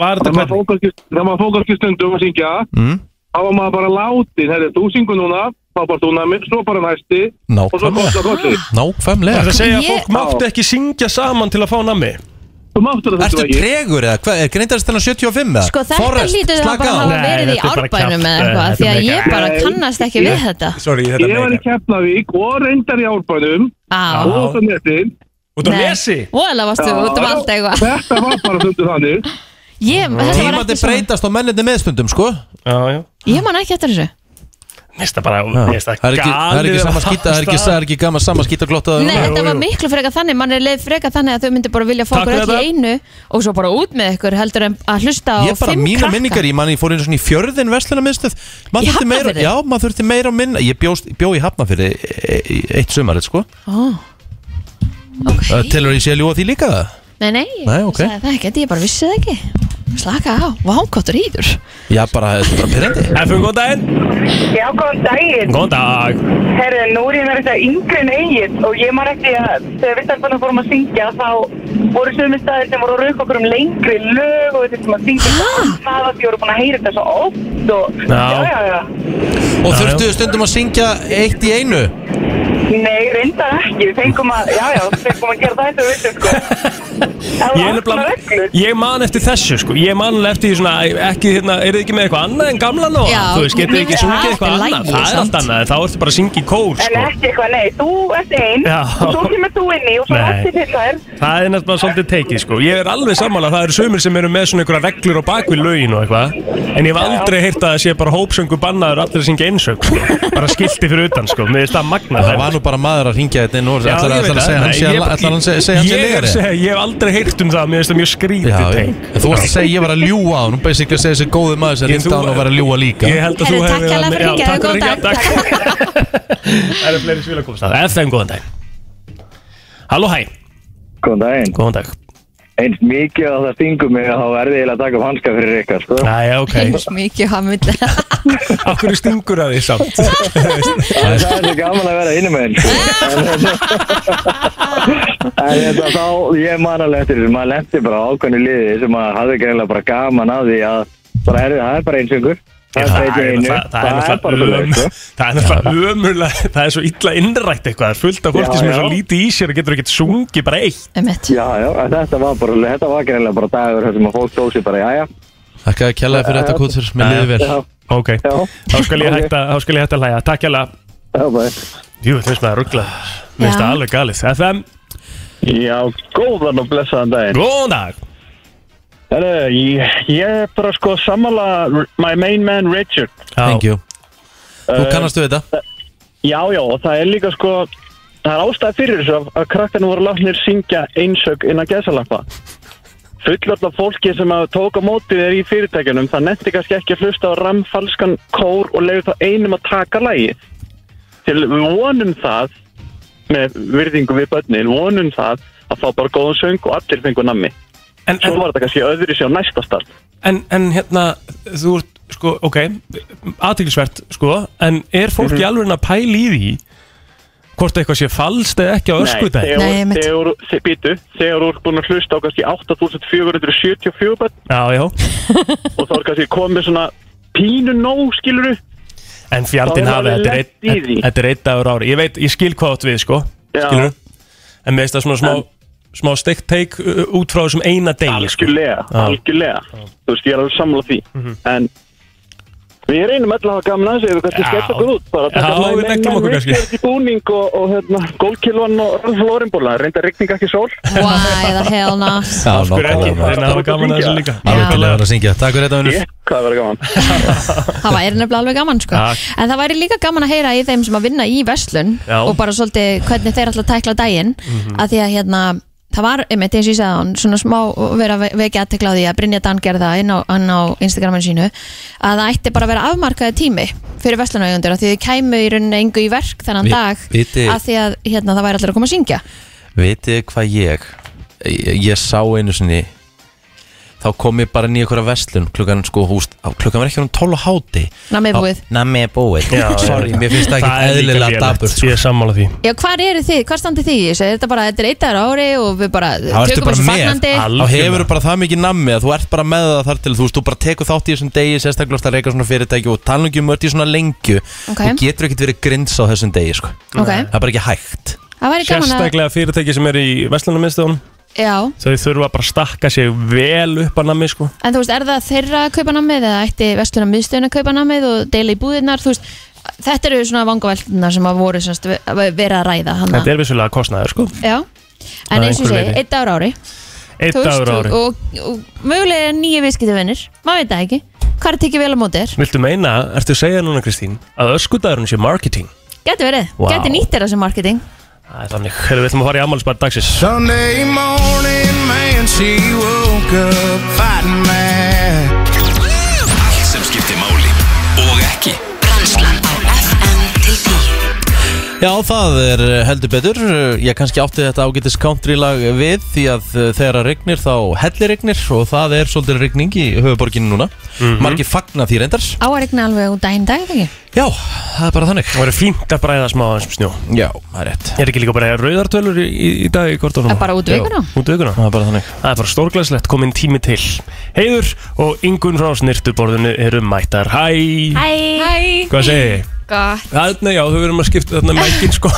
[SPEAKER 3] Var
[SPEAKER 6] Þegar
[SPEAKER 3] þetta
[SPEAKER 6] maður
[SPEAKER 3] hvernig?
[SPEAKER 6] fók ekki- þegar maður fók ekki stundum að syngja,
[SPEAKER 1] Mm.
[SPEAKER 6] þá var maður bara látið. Herru, þú syngur núna, þá bara þú næmi, svo bara næsti og svo
[SPEAKER 1] Nákvæmlega
[SPEAKER 6] koll og
[SPEAKER 3] Það
[SPEAKER 6] kolli.
[SPEAKER 3] er
[SPEAKER 1] Nákvæmlega
[SPEAKER 3] að segja að
[SPEAKER 2] Ég-
[SPEAKER 3] fólk máttu ekki syngja saman til að fá nammi
[SPEAKER 6] Þú máttur að þetta
[SPEAKER 1] Ertu
[SPEAKER 6] ekki.
[SPEAKER 1] tregur eða hvað, er greindast þennan 75 eða?
[SPEAKER 2] Sko þetta
[SPEAKER 1] Forrest,
[SPEAKER 2] hlýtur það
[SPEAKER 1] slaka
[SPEAKER 2] bara að
[SPEAKER 1] á.
[SPEAKER 2] hafa
[SPEAKER 3] Nei,
[SPEAKER 2] verið í
[SPEAKER 3] þetta er bara
[SPEAKER 2] árbænum
[SPEAKER 3] kjaft.
[SPEAKER 2] eða eitthvað
[SPEAKER 3] Nei,
[SPEAKER 2] Því að
[SPEAKER 3] þetta er
[SPEAKER 2] ég
[SPEAKER 3] mega-
[SPEAKER 2] bara
[SPEAKER 6] Nei.
[SPEAKER 2] kannast ekki við þetta
[SPEAKER 3] Sorry, þetta
[SPEAKER 6] Ég var í Keflavík og reyndar í árbænum
[SPEAKER 2] Á,
[SPEAKER 6] og út á neti.
[SPEAKER 3] Út á
[SPEAKER 2] Nei.
[SPEAKER 3] lesi
[SPEAKER 2] Voðalega varstu
[SPEAKER 6] Ah.
[SPEAKER 2] út um allt eitthvað
[SPEAKER 6] Þetta var bara stundu þannig.
[SPEAKER 2] Ég, þetta var
[SPEAKER 1] Tímandi
[SPEAKER 2] ekki svona
[SPEAKER 1] breytast og mennirni meðstundum sko
[SPEAKER 3] Já, já
[SPEAKER 2] Ég man ekki eftir þessu
[SPEAKER 3] Mér finnst það bara,
[SPEAKER 1] Já.
[SPEAKER 3] mér finnst það
[SPEAKER 1] Það er ekki, það er ekki
[SPEAKER 3] galið
[SPEAKER 1] sama
[SPEAKER 3] að
[SPEAKER 1] skýta, það er ekki,
[SPEAKER 3] fasta.
[SPEAKER 1] það er ekki gaman sama skýta glottaður
[SPEAKER 2] Nei,
[SPEAKER 3] jú,
[SPEAKER 2] þetta var
[SPEAKER 3] jú.
[SPEAKER 2] miklu frekar þannig, mann er leið frekar þannig að þau myndu bara vilja fá
[SPEAKER 3] Takk
[SPEAKER 2] okkur
[SPEAKER 3] fyrir
[SPEAKER 2] öll í einu og svo bara út með ykkur heldur en að hlusta á
[SPEAKER 1] Ég bara,
[SPEAKER 2] fimm
[SPEAKER 1] mína
[SPEAKER 2] krakka
[SPEAKER 1] minningar, ég man ég fór einu svona í fjörðin versluna minnstöð
[SPEAKER 2] Í
[SPEAKER 1] meira,
[SPEAKER 2] Hafnarfirði?
[SPEAKER 1] Já, maður þurfti meira og minna Ég bjóst, bjó í Hafnafyrði e- e- eitt sumarið sko
[SPEAKER 2] Ó,
[SPEAKER 1] Ö,
[SPEAKER 2] ok.
[SPEAKER 1] Telur ég sé að ljúa því líka það?
[SPEAKER 2] Nei, nei, ég
[SPEAKER 1] Nei, ok.
[SPEAKER 2] sagði það ekki, ég bara vissi það ekki Slaka á, vánkottur íður
[SPEAKER 1] Já, bara, þetta er bara pyrrandi
[SPEAKER 3] Efum, góðan daginn
[SPEAKER 9] Já, góðan daginn.
[SPEAKER 3] Góðan dag
[SPEAKER 9] Herru, nú er ég með þetta yngri en eigin og ég man ekki að þegar við starfanum fórum að syngja þá voru sömu staðir sem voru að rauka okkur um lengri lög og þetta sem að syngja það að því voru búin að heyra þetta svo oft og
[SPEAKER 3] Já.
[SPEAKER 9] já, já, já.
[SPEAKER 1] Og
[SPEAKER 3] Já,
[SPEAKER 1] þurftu stundum að syngja eitt í einu
[SPEAKER 9] Nei, reyndar ekki, við fengum að, já, já, við fengum að gera það þetta við vissum sko. Það
[SPEAKER 3] Ég, er
[SPEAKER 9] var alltaf
[SPEAKER 3] nefnilega,
[SPEAKER 9] reglur.
[SPEAKER 3] ég man eftir þessu sko Ég man alveg eftir því svona ekki, hérna, Er þið ekki með eitthvað annað en gamla nóg
[SPEAKER 2] Já,
[SPEAKER 3] Þú veist, getið þið ekki
[SPEAKER 2] það
[SPEAKER 3] sungið
[SPEAKER 2] er
[SPEAKER 3] eitthvað
[SPEAKER 2] lagið
[SPEAKER 3] annað Það er
[SPEAKER 2] samt.
[SPEAKER 3] allt annað, þá ertu bara að syngja í kór
[SPEAKER 9] En
[SPEAKER 3] sko.
[SPEAKER 9] ekki eitthvað, nei, þú ert einn
[SPEAKER 3] Já.
[SPEAKER 9] og svo kemur þú inn í og svo
[SPEAKER 3] Nei.
[SPEAKER 9] allir til þær
[SPEAKER 3] Það er nefnilega svolítið tekið sko Ég er alveg sammála, það eru sömur sem eru með svona einhverja reglur á bakvið lögin og eitthvað En ég hef aldrei heyrt að það sé bara hópsöngu bannaður og allir að syngja einsöng sko. Bara skilti fyrir utan sko, mér er það magna
[SPEAKER 1] Það var nú bara maður að ringja þetta inn og
[SPEAKER 3] Já,
[SPEAKER 1] ætlar að
[SPEAKER 3] ég veit
[SPEAKER 1] ætlar að segja
[SPEAKER 3] það. Nei,
[SPEAKER 1] hann sé
[SPEAKER 3] ég-
[SPEAKER 1] ætlar hann sé- segja hann sé
[SPEAKER 3] Ég er að
[SPEAKER 1] legari
[SPEAKER 3] segja, ég hef aldrei heyrt um það, mér finnst það mjög
[SPEAKER 1] Já,
[SPEAKER 3] skrítið
[SPEAKER 1] já.
[SPEAKER 3] tengt.
[SPEAKER 1] En þú varst að segja ég var að ljúa á Nú basically að segja þessi góði maður sem
[SPEAKER 3] Ég-
[SPEAKER 1] ringta
[SPEAKER 3] þú-
[SPEAKER 1] á hann og var að ljúa líka
[SPEAKER 3] Ég held að
[SPEAKER 2] Herru,
[SPEAKER 3] þú
[SPEAKER 2] takk hérlega fyrir
[SPEAKER 3] hringið,
[SPEAKER 2] hringið, góðan dag.
[SPEAKER 3] Það eru fleiri sem vilja komast að FM, góðan dag Halló, hæ,
[SPEAKER 10] Góðan daginn.
[SPEAKER 3] góðan dag
[SPEAKER 10] Eins mikið að það stingur mig þá verði ég eiginlega að taka upp hanska fyrir Rikka, sko.
[SPEAKER 3] Næja, ok,
[SPEAKER 2] Eins mikið hafa myndi
[SPEAKER 3] af hverju stingur að því samt
[SPEAKER 10] Það er svo gaman að vera innum einn sko. En þetta þá, ég man alveg eftir þessu, maður lendi bara á ákveðnu liði sem maður hafði greinlega bara gaman að því að bara er, það er bara einsöngur
[SPEAKER 3] Já,
[SPEAKER 10] Það er bara einu,
[SPEAKER 3] náttúrulega-
[SPEAKER 10] það er bara
[SPEAKER 3] náttúrulega
[SPEAKER 10] svoleiðis,
[SPEAKER 3] öm-
[SPEAKER 10] sko.
[SPEAKER 3] Það er náttúrulega ömurlega Það er svo illa innrætt eitthvað Það er fullt af fólki
[SPEAKER 10] Já,
[SPEAKER 3] sem er svo
[SPEAKER 10] já.
[SPEAKER 3] lítið í sér og getur ekkert sungi bara eitt
[SPEAKER 2] Einmitt.
[SPEAKER 10] Já, já, en þetta var bara, þetta var greinlega bara dagur þar sem að fólk tósi bara, já, já,
[SPEAKER 1] Þakka að kjallaði fyrir þetta kútur, mér liði vel
[SPEAKER 10] já,
[SPEAKER 3] Ok,
[SPEAKER 10] já,
[SPEAKER 3] þá skal ég hætta Þá skal ég hætta að hlæja, takk hjá
[SPEAKER 10] já, bara.
[SPEAKER 3] Jú, þú veist maður ruggla Mér finnst
[SPEAKER 2] Já.
[SPEAKER 3] það alveg galið FM,
[SPEAKER 6] Já, góðan og blessaðan daginn.
[SPEAKER 3] góðan dag
[SPEAKER 6] Herru, ég, ég er bara sko sammála my main man Richard.
[SPEAKER 1] Thank you Þú
[SPEAKER 6] Eh,
[SPEAKER 1] kannast við þetta
[SPEAKER 6] Já, já, og það er líka sko, það er ástæð fyrir þessu að- að krakkarnir voru látnir syngja einsög innan gæsalappa. Fullorðna fólki sem að tóka mótið er í fyrirtækjunum, það netti kannski ekki að hlusta á ramfalskan kór og leiði þá einum að taka lagi. Til vonum það, með virðingu við börnin, vonum það að fá bara góðan söng og allir fengu nammi.
[SPEAKER 3] En,
[SPEAKER 6] Svo
[SPEAKER 3] en,
[SPEAKER 6] var þetta kannski öðru sér næsta stað.
[SPEAKER 3] en, en hérna, þú ert sko, ok, aðtiklisvert sko, en er fólk
[SPEAKER 10] Mhm.
[SPEAKER 3] í alveg að pæla í því hvort eitthvað sé falskt eða ekki á öskutæði?
[SPEAKER 6] Nei,
[SPEAKER 2] Nei, einmitt.
[SPEAKER 6] þegar, þegar, býtu, þegar þú ert búin að hlusta á kannski 8474 börn
[SPEAKER 3] Já, já,
[SPEAKER 6] og þá er kannski komið svona pínu nóg, skiluru
[SPEAKER 3] en fjaldin
[SPEAKER 6] Þá er
[SPEAKER 3] hafi
[SPEAKER 6] alveg
[SPEAKER 3] þetta er
[SPEAKER 6] lent í því.
[SPEAKER 3] einn- þetta er einn dagur á ári ég veit, ég skil hvað átt við sko
[SPEAKER 6] Já.
[SPEAKER 3] skilur, en mér veist það svona smá
[SPEAKER 6] En-
[SPEAKER 3] smá steikt teik uh, út frá þessum eina degi sko. Já.
[SPEAKER 6] algjörlega,
[SPEAKER 3] Mhm.
[SPEAKER 6] algjörlega þú veist, ég er alveg sammála því en
[SPEAKER 11] Við reynum öll að hafa gaman að þessu, ef við kannski
[SPEAKER 3] Já.
[SPEAKER 11] skemmt okkur út bara.
[SPEAKER 3] Já, við nektum okkur kannski.
[SPEAKER 11] Við í búning og, og hérna, gólkilvan og röðflórinbóla, reynda rigning ekki sól.
[SPEAKER 2] Why the hell not
[SPEAKER 1] Já,
[SPEAKER 3] Af hverju ekki?
[SPEAKER 1] nákvæmlega.
[SPEAKER 3] Þannig að hafa gaman að þessu líka
[SPEAKER 1] Alveg til að vera að syngja Takk fyrir þetta, Unnur
[SPEAKER 11] Ég, hvað verður gaman.
[SPEAKER 2] Það væri nefnilega alveg gaman sko
[SPEAKER 3] Takk.
[SPEAKER 2] En það væri líka gaman að heyra í þeim sem að vinna í verslun
[SPEAKER 3] Já.
[SPEAKER 2] Og bara svolítið hvernig þeir alltaf tækla daginn mm
[SPEAKER 1] Mhm.
[SPEAKER 2] Því að hérna Það var, einmitt eins og ég sagði hann, svona smá vera að vekja aðtekla á því að Brynja Dan gerða inn á, hann á Instagraminu sínu að það ætti bara að vera afmarkaði tími fyrir verslunaugundur að því þið kæmu í rauninni engu í verk þennan
[SPEAKER 1] Vi-
[SPEAKER 2] dag
[SPEAKER 1] viti-
[SPEAKER 2] að því að hérna, það væri allir að koma að syngja
[SPEAKER 1] Vitið hvað ég Ég, ég sá einu sinni Þá kom ég bara inn í einhverja verslun Klukkan sko húst á- Klukkan var ekki um 12 á háti
[SPEAKER 2] Nammi búið.
[SPEAKER 1] Nammi búið
[SPEAKER 3] Já,
[SPEAKER 1] Sorry,
[SPEAKER 3] já.
[SPEAKER 1] mér finnst það
[SPEAKER 3] er
[SPEAKER 1] ekki
[SPEAKER 3] líka
[SPEAKER 1] eðlilega
[SPEAKER 3] lélegt.
[SPEAKER 1] dabur sko.
[SPEAKER 3] Ég er sammála því
[SPEAKER 2] Já, hvar eru þið? Hvar standið þið í þessu? Er þetta bara, þetta er eitt dagar á ári og við bara
[SPEAKER 1] Þá ertu
[SPEAKER 2] tökum
[SPEAKER 1] bara
[SPEAKER 2] þessu
[SPEAKER 1] með.
[SPEAKER 2] fagnandi?
[SPEAKER 3] Al-
[SPEAKER 1] Þá hefur bara það mikið nammi að þú ert bara með það þar til þú veist, þú bara tekur þátt í þessum degi sérstaklega að reyka svona fyrirtæki og talangjum ört í um svona lengju
[SPEAKER 2] Ok.
[SPEAKER 1] og getur ekkert verið grins á þessum degi sko.
[SPEAKER 2] Ok.
[SPEAKER 1] það er bara ekki hægt
[SPEAKER 2] Það væri gaman að,
[SPEAKER 3] Sérstaklega fyrirtæki sem er í Vestlunarmiðstöðunum
[SPEAKER 2] já,
[SPEAKER 3] Þau þurfa bara að stakka sig vel upp að nammi sko
[SPEAKER 2] En þú veist, er það þeirra að kaupa námið eða ætti vestluna miðstöðun að kaupa námið og deila í búðirnar, þú veist, þetta eru svona vangaveldunar sem að voru semst, verið að ræða hann
[SPEAKER 3] Þetta er vissulega kostnaður sko
[SPEAKER 2] Já, en
[SPEAKER 3] Að
[SPEAKER 2] eins og ég
[SPEAKER 3] einhverju
[SPEAKER 2] segi,
[SPEAKER 3] leyti.
[SPEAKER 2] eitt dagur ári
[SPEAKER 3] Eitt
[SPEAKER 2] þú
[SPEAKER 3] dagur á ári
[SPEAKER 2] Og, og mögulega nýju viðskiptavinnir, maður veit það ekki Hvað er tekið vel á móti þér?
[SPEAKER 3] Viltu meina, ertu að segja núna Kristín að öskudagurinn sé marketing?
[SPEAKER 2] Gæti verið,
[SPEAKER 3] Vá.
[SPEAKER 2] gæti nýtt þér þessi marketing
[SPEAKER 3] Það er þannig, Heyrðu, við ætlum að fara í afmælisbæri dagsins
[SPEAKER 12] Sunday morning, man, she woke up fighting mad.
[SPEAKER 4] Allt sem skiptir máli og ekki
[SPEAKER 13] Brænslan á FM til 10
[SPEAKER 1] Já, það er eh, heldur betur Ég kannski átti þetta ágætis country lag við því að eh, þegar að regnir þá hellir regnir og það er svolítið regning í höfuborginu núna
[SPEAKER 3] Mhm.
[SPEAKER 1] Margir fagna því reyndar
[SPEAKER 2] Áarigna alveg út daginn í dag, ekki?
[SPEAKER 1] Já, það er bara þannig
[SPEAKER 3] Það verður fínt að bræða smá aðeins um snjó
[SPEAKER 1] Já, það er rétt
[SPEAKER 3] Er ekki líka bara rauðartölur í, í, í dag í kortunum?
[SPEAKER 2] Það er bara út vikuna
[SPEAKER 3] Út aukuna?
[SPEAKER 1] Það er bara þannig
[SPEAKER 3] Það er bara stórglæslegt, komin tími til Heiður og Ingun frá snirtuborðinu eru mættar Hæ,
[SPEAKER 2] Hæ, Hæ.
[SPEAKER 3] hvað segir þið?
[SPEAKER 2] gott
[SPEAKER 3] Þannig, já, þau verðum að skipta þarna mækin sko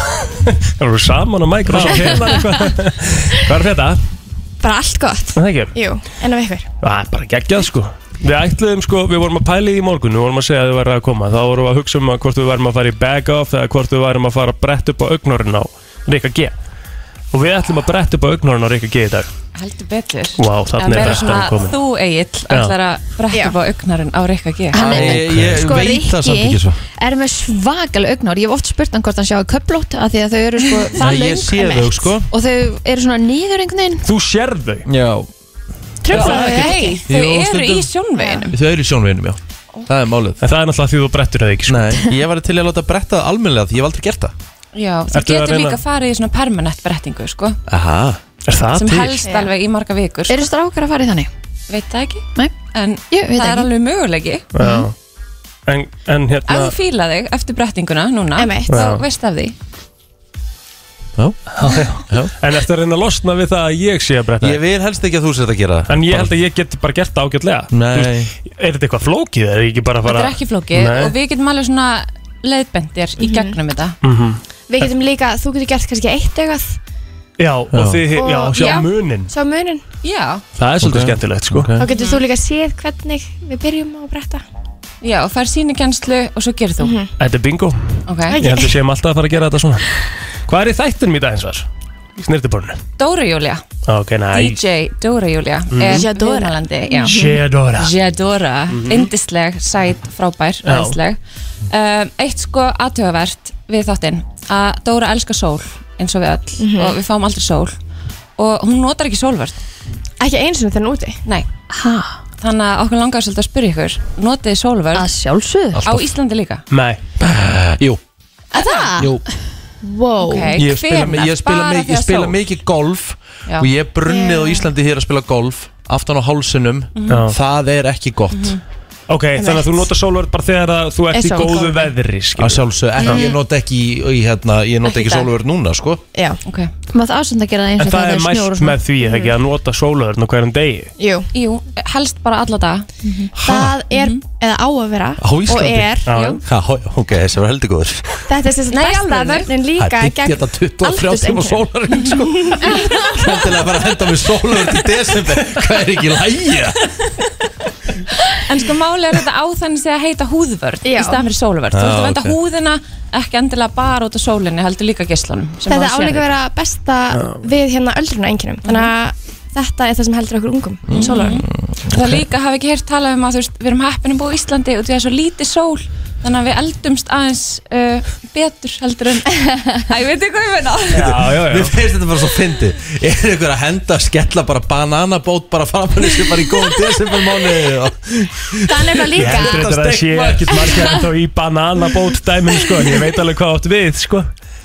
[SPEAKER 3] Það eru saman á mækin og svo hérna eitthvað Hvað er þetta?
[SPEAKER 14] Bara allt gott
[SPEAKER 3] Það ekki?
[SPEAKER 14] Jú, en af ykkur
[SPEAKER 3] Það er bara geggjað sko Við ætluðum sko, við vorum að pæli í morgun Við vorum að segja að þau verða að koma Þá vorum við að hugsa um að hvort við værum að fara í bag off Eða hvort við værum að fara að brett upp á augnorinn á Rika G Og við ætlum að brett upp á augnorinn á Rika G í dag
[SPEAKER 14] Heldur betur
[SPEAKER 3] Vá, þarna er brettan komin
[SPEAKER 14] þú eigill
[SPEAKER 3] ætlar
[SPEAKER 14] að brekka upp á augnarinn á Rikka G
[SPEAKER 2] Hann er,
[SPEAKER 1] Ég- ég
[SPEAKER 2] sko,
[SPEAKER 1] veit það samt ekki
[SPEAKER 2] Rikki
[SPEAKER 1] svo.
[SPEAKER 2] er með svakal augnár Ég hef oft spurt hann hvort hann sjáu köplót af því að þau eru sko það
[SPEAKER 1] ég
[SPEAKER 2] löng
[SPEAKER 1] sé þau sko
[SPEAKER 2] og þau eru svona nýður einhvern veginn
[SPEAKER 3] Þú sérð þau
[SPEAKER 1] Já,
[SPEAKER 14] Tröflaðu
[SPEAKER 1] Já,
[SPEAKER 14] þau
[SPEAKER 1] ekki.
[SPEAKER 14] Þau
[SPEAKER 1] Jú,
[SPEAKER 14] eru
[SPEAKER 1] stundum.
[SPEAKER 14] í sjónveginum
[SPEAKER 1] þau eru í sjónveginum, já Það er málið
[SPEAKER 3] En það er náttúrulega því þú brettur eða ekki sko.
[SPEAKER 1] Nei, ég var til í að láta bretta það almennilega því ég hef aldrei gert það
[SPEAKER 14] Já, þú
[SPEAKER 3] Ertu að
[SPEAKER 14] getur
[SPEAKER 3] reyna-
[SPEAKER 14] líka farið í svona permanent brettingu sko,
[SPEAKER 1] Aha
[SPEAKER 3] Er það Ah,
[SPEAKER 14] sem
[SPEAKER 3] til?
[SPEAKER 14] helst alveg í marga vikur sko.
[SPEAKER 2] Eru strákar að fara í þannig?
[SPEAKER 14] Veit það ekki
[SPEAKER 2] Nei,
[SPEAKER 14] En
[SPEAKER 2] Ég veit
[SPEAKER 14] það er
[SPEAKER 2] ekki.
[SPEAKER 14] alveg möguleiki
[SPEAKER 3] Já. En, en
[SPEAKER 14] Ef
[SPEAKER 3] hérna
[SPEAKER 14] Mhm. þú fíla þig eftir brettinguna núna
[SPEAKER 13] Einmitt.
[SPEAKER 3] Já.
[SPEAKER 14] Þá veist af því
[SPEAKER 3] En eftir að reyna að losna við það að ég sé að bretta
[SPEAKER 1] Ég vil helst ekki að þú sér að gera það
[SPEAKER 3] En ég held að ég get bara gert það ágætlega
[SPEAKER 1] Nei.
[SPEAKER 3] Þú veist, Er þetta eitthvað flókið? Er ég ekki bara að fara
[SPEAKER 14] Þetta er ekki flókið
[SPEAKER 3] Nei.
[SPEAKER 14] og við getum alveg svona leiðbendir í
[SPEAKER 2] Mhm.
[SPEAKER 14] gegnum þetta
[SPEAKER 3] Mhm.
[SPEAKER 13] Við getum líka, þú getur gert kannski eitt eitthvað
[SPEAKER 3] Já, og þið, já,
[SPEAKER 13] Og-
[SPEAKER 3] sjá
[SPEAKER 13] já.
[SPEAKER 3] munin
[SPEAKER 13] Sá munin
[SPEAKER 14] Já,
[SPEAKER 3] Það er svolítið
[SPEAKER 1] Ok.
[SPEAKER 3] skemmtilegt, sko
[SPEAKER 1] Eh?
[SPEAKER 13] Þá getur þú líka séð hvernig við byrjum á bretta
[SPEAKER 14] já, og fær síni kjenslu og svo gerir þú
[SPEAKER 2] Mhm.
[SPEAKER 3] Þetta er bingo
[SPEAKER 14] Ok,
[SPEAKER 3] Ég held að séum alltaf að fara að gera þetta svona Hvað er í þættinum í dag eins og þar? Í snirtiborinu
[SPEAKER 14] Dóra Júlia
[SPEAKER 3] Ok, næ
[SPEAKER 14] DJ Dóra Júlia er
[SPEAKER 13] J'adore.
[SPEAKER 14] viðmælandi, já.
[SPEAKER 3] Shedora
[SPEAKER 14] J'adora, indisleg, sæt, frábær,
[SPEAKER 3] Já.
[SPEAKER 14] aðeinsleg um, Eitt sko aðtöfavert við þáttinn að Dóra elskar sól eins og við öll og við fáum aldrei sól og hún notar ekki sólvörð
[SPEAKER 13] Ekki eins og þennan úti
[SPEAKER 14] Nei,
[SPEAKER 2] ha,
[SPEAKER 14] þannig að okkur langar svolítið að spyrja ykkur Notið þið
[SPEAKER 2] að
[SPEAKER 14] sólvörð
[SPEAKER 2] sjálfsög
[SPEAKER 14] á Íslandi líka?
[SPEAKER 3] Nei,
[SPEAKER 1] Jú,
[SPEAKER 14] Það?
[SPEAKER 1] jú
[SPEAKER 13] Wow
[SPEAKER 14] Okay,
[SPEAKER 1] ég spila, mi- ég spila,
[SPEAKER 14] Bara
[SPEAKER 1] mi- ég
[SPEAKER 14] þegar
[SPEAKER 1] spila
[SPEAKER 14] sól?
[SPEAKER 1] mikið golf
[SPEAKER 14] Já. Mhm.
[SPEAKER 1] og ég er brunnið á Íslandi hér að spila golf aftan á hálsunum
[SPEAKER 3] Já.
[SPEAKER 1] það er ekki gott
[SPEAKER 3] ok, þannig að þú notar sólvörð bara þegar að þú ert
[SPEAKER 13] Er
[SPEAKER 3] í
[SPEAKER 13] sól.
[SPEAKER 3] góðu veðri skilur.
[SPEAKER 1] að sjálfsög, en ég nota ekki í- í, hérna, ég nota
[SPEAKER 14] Ekki í
[SPEAKER 1] ekki
[SPEAKER 14] dag.
[SPEAKER 1] sólverð núna sko.
[SPEAKER 13] Já,
[SPEAKER 14] Ok,
[SPEAKER 2] Maður það ásend að gera það
[SPEAKER 3] En
[SPEAKER 2] eins og
[SPEAKER 3] það
[SPEAKER 2] það
[SPEAKER 3] er
[SPEAKER 2] er snjór og
[SPEAKER 3] mælt
[SPEAKER 2] svona
[SPEAKER 3] með því er það ekki að nota sólöðurinn á hverjum degi
[SPEAKER 13] jú
[SPEAKER 14] jú, Mhm. helst bara alla daga
[SPEAKER 13] Það er, eða á að vera
[SPEAKER 1] Á
[SPEAKER 13] Og
[SPEAKER 1] Íslandi?
[SPEAKER 13] er
[SPEAKER 3] Já.
[SPEAKER 1] ha, hó- ok, þessi var heldur góður
[SPEAKER 13] Þetta er þess að
[SPEAKER 14] Nei,
[SPEAKER 13] besta
[SPEAKER 14] alvöru.
[SPEAKER 13] vörnin
[SPEAKER 1] það
[SPEAKER 13] líka
[SPEAKER 1] er byggt hérna þetta 23 tíma
[SPEAKER 13] aldurseinkennum.
[SPEAKER 1] sólverð sko. hendilega bara að henda með sólverð í desember, hvað er ekki lægja
[SPEAKER 14] En sko máli er þetta á þannig að heita húðvörn í staðan fyrir sólvörn. Þú
[SPEAKER 13] Já,
[SPEAKER 14] ert að venda
[SPEAKER 13] ok.
[SPEAKER 14] húðina ekki endilega bara út á sólinni, heldur líka geislunum. sem
[SPEAKER 13] Þetta
[SPEAKER 14] þú sérð.
[SPEAKER 13] áleika að vera besta við hérna öldruna enginum Þannig að þetta er það sem heldur okkur ungum mm.
[SPEAKER 14] Það líka hafi ekki heyrt talað um að þú veist, við erum heppin að búa í Íslandi og því að svo lítið sól þannig að við eldumst aðeins uh, betur heldur en Æ, ég veit ekki hvað ég meina
[SPEAKER 3] já, já.
[SPEAKER 1] Mér finnst þetta bara svo fyndi Er ykkur að henda að skella bara bananabót bara framann þessu bara í góðum desembermánu
[SPEAKER 13] Það er nefnilega
[SPEAKER 3] Ég
[SPEAKER 13] líka
[SPEAKER 3] heldur þetta að sé ekkert margir ennþá í bananabót dæminu sko En ég veit alveg hvað átt við sko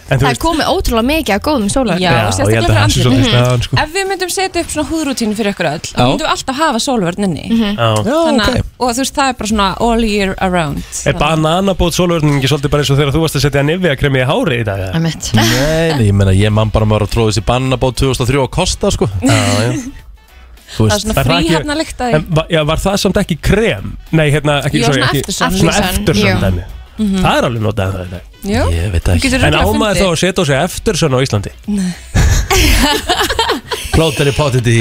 [SPEAKER 3] En þú
[SPEAKER 13] Það er
[SPEAKER 3] veist,
[SPEAKER 13] komið ótrúlega mikið af góðum sólar
[SPEAKER 14] Já, og
[SPEAKER 3] ég held
[SPEAKER 14] sérstaklega
[SPEAKER 3] að
[SPEAKER 14] fyrir
[SPEAKER 3] hann sé
[SPEAKER 14] andlitið.
[SPEAKER 3] svolítið staðan sko
[SPEAKER 14] Ef við myndum setja upp svona húðrútínu fyrir ykkur öll þá
[SPEAKER 3] Já.
[SPEAKER 14] myndum við alltaf hafa sólvörn inni
[SPEAKER 3] Já. Já,
[SPEAKER 14] Þannig,
[SPEAKER 3] ok.
[SPEAKER 14] að- Og þú veist, það er bara svona all year around
[SPEAKER 3] Er bananabót sólvörningi svolítið bara eins og þegar þú varst að setja nefja kremi í hári í dag? eða?
[SPEAKER 14] Einmitt.
[SPEAKER 1] Nei, nei, ég menna ég man bara maður að tróða þessi bananabót 2003 og kosta sko
[SPEAKER 3] Já, já
[SPEAKER 1] Þú
[SPEAKER 14] Það er svona
[SPEAKER 3] rak ég-
[SPEAKER 14] fríhafnarlykt að því.
[SPEAKER 3] En va- Já, var það samt ekki krem? Nei, hérna, ekki,
[SPEAKER 14] Jú,
[SPEAKER 3] sorry,
[SPEAKER 14] svona
[SPEAKER 3] ekki
[SPEAKER 14] eftirsjón.
[SPEAKER 3] Svona
[SPEAKER 14] Eftirsjón,
[SPEAKER 3] eftirsjón
[SPEAKER 14] jú.
[SPEAKER 3] dæmi
[SPEAKER 14] Mhm.
[SPEAKER 3] Það er alveg notað það í dag
[SPEAKER 14] Jú. Ég
[SPEAKER 1] veit
[SPEAKER 14] ekki. Þú getur
[SPEAKER 3] En
[SPEAKER 14] örugglega
[SPEAKER 3] ámaður
[SPEAKER 14] fundið.
[SPEAKER 3] þá að setja á sig eftirsjón á Íslandi?
[SPEAKER 1] Plóter í potið í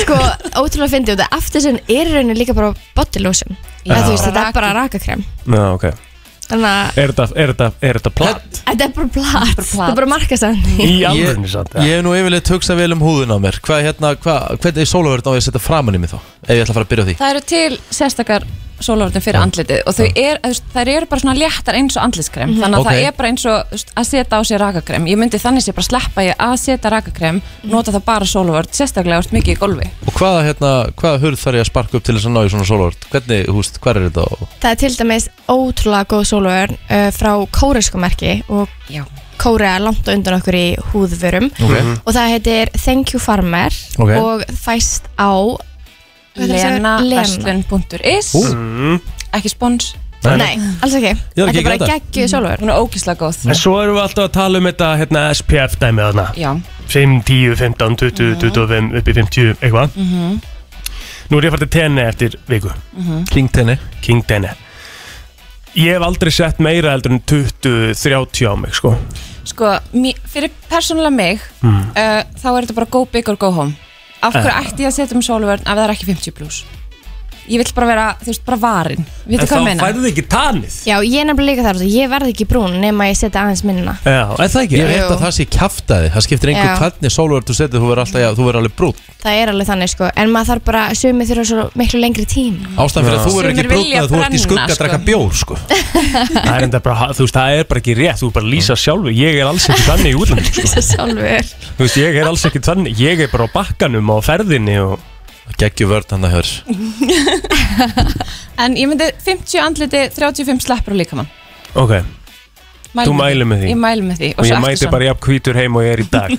[SPEAKER 13] Sko, ótrúlega fyndið og það aftur sem er í rauninu líka bara body lotion
[SPEAKER 3] Já.
[SPEAKER 13] Eða þú veist, þetta er bara rakakrem
[SPEAKER 3] Já, ok
[SPEAKER 13] Þannig að
[SPEAKER 3] Er þetta- er þetta- er þetta platt?
[SPEAKER 13] þetta er bara plat Þetta er bara markastæðning
[SPEAKER 1] Ég-
[SPEAKER 3] samt,
[SPEAKER 1] Ég hef nú yfirleitt hugsað vel um húðun á mér Hvað hérna, hva, hvernig er sólaverðin á ég að setja framann í mig þá Ef ég ætla að fara að byrja á því
[SPEAKER 14] Það eru til sérstakar sólarvörnum fyrir andlitið og þau er, þú veist, þær eru bara svona léttar eins og andlitskrem
[SPEAKER 2] Mhm.
[SPEAKER 14] þannig að
[SPEAKER 1] Ok.
[SPEAKER 14] það er bara eins og þú veist, að setja á sig rakakrem ég myndi þannig sé bara sleppa ég að setja rakakrem
[SPEAKER 3] Mhm.
[SPEAKER 14] nota það bara sólarvörn, sérstaklega ert mikið í golfi
[SPEAKER 1] Og hvaða, hérna, hvaða hurð þarf ég að sparka upp til þess að ná í svona sólaverð Hvernig, húst, hver er þetta og
[SPEAKER 13] Það er til dæmis ótrúlega góð sólaugurn uh, frá kóreisku merki og
[SPEAKER 14] Já.
[SPEAKER 13] Kórea er langt á undan okkur í húðvörum
[SPEAKER 14] Ok. Mhm.
[SPEAKER 13] og það heitir Thank You Farmer
[SPEAKER 14] Ok.
[SPEAKER 13] og fæst á Hvað er það að segja?
[SPEAKER 14] lenaverslun.is
[SPEAKER 13] Ú.
[SPEAKER 14] ekki spons Mhm.
[SPEAKER 3] Nei.
[SPEAKER 13] Nei, alls ekki
[SPEAKER 3] Ég er
[SPEAKER 13] Þetta
[SPEAKER 3] ekki
[SPEAKER 13] er bara
[SPEAKER 3] að græta.
[SPEAKER 13] geggju sólaugurn
[SPEAKER 14] Hún er ógislega góð
[SPEAKER 3] En svo erum við alltaf að tala um þetta hérna, SPF dæmið þarna
[SPEAKER 14] Já.
[SPEAKER 3] 5, 10, 15, 20, 25, upp í 50, eitthvað
[SPEAKER 14] Mhm.
[SPEAKER 3] Nú er ég að fara til tenni eftir viku
[SPEAKER 14] Mhm.
[SPEAKER 1] King tenni
[SPEAKER 3] King tenni Ég hef aldrei sett meira heldur en 20, 30 á mig sko
[SPEAKER 14] sko, mí- fyrir persónulega mig
[SPEAKER 3] Mm.
[SPEAKER 14] uh, þá er þetta bara go big or go home af hverju
[SPEAKER 3] Eh.
[SPEAKER 14] ætti ég að setja um sólarvörn ef það er ekki 50 plus ég vil bara vera, þú veist, bara varin við
[SPEAKER 3] En
[SPEAKER 14] hvað ég
[SPEAKER 3] þá
[SPEAKER 14] meina
[SPEAKER 3] færðu ekki tanið
[SPEAKER 13] Já, ég er nefnilega líka þar og ég verð ekki brún nema ég setja aðeins minna
[SPEAKER 3] Já, er það ekki?
[SPEAKER 1] Ég veit
[SPEAKER 13] Jú.
[SPEAKER 1] að það sé kjaftaði Það skiptir einhver
[SPEAKER 13] Já.
[SPEAKER 1] hvernig sólaverð þú setja Þú verður alltaf, já, þú verður alveg brún
[SPEAKER 13] Það er alveg þannig sko, en maður þarf bara sumið þurfa svo miklu lengri tíma
[SPEAKER 1] Ástæðan fyrir að þú verður
[SPEAKER 13] Sumir
[SPEAKER 1] ekki brún
[SPEAKER 13] vilja
[SPEAKER 1] að þú ert í
[SPEAKER 13] brenna,
[SPEAKER 1] skugga að
[SPEAKER 13] sko.
[SPEAKER 1] drakka bjór sko
[SPEAKER 3] það, er enda bara, þú veist, það er bara ekki rétt, þú er bara að
[SPEAKER 1] Mm.
[SPEAKER 3] lýsa sjálfu Ég er alls ekki þannig í útlandum sko.
[SPEAKER 13] Lýsa sjálfur
[SPEAKER 3] Þú veist, ég er alls ekki þannig Ég er bara á bakkanum og á ferðinni og...
[SPEAKER 1] Gekkju vörð hann að hörs
[SPEAKER 14] En ég myndi 50 andliti, 35 sleppur á líkamann
[SPEAKER 3] Ok,
[SPEAKER 14] Mæli
[SPEAKER 3] Þú mælir með því?
[SPEAKER 14] Ég mæli með því
[SPEAKER 3] og ég mæti bara jafn hvítur heim og ég er í dag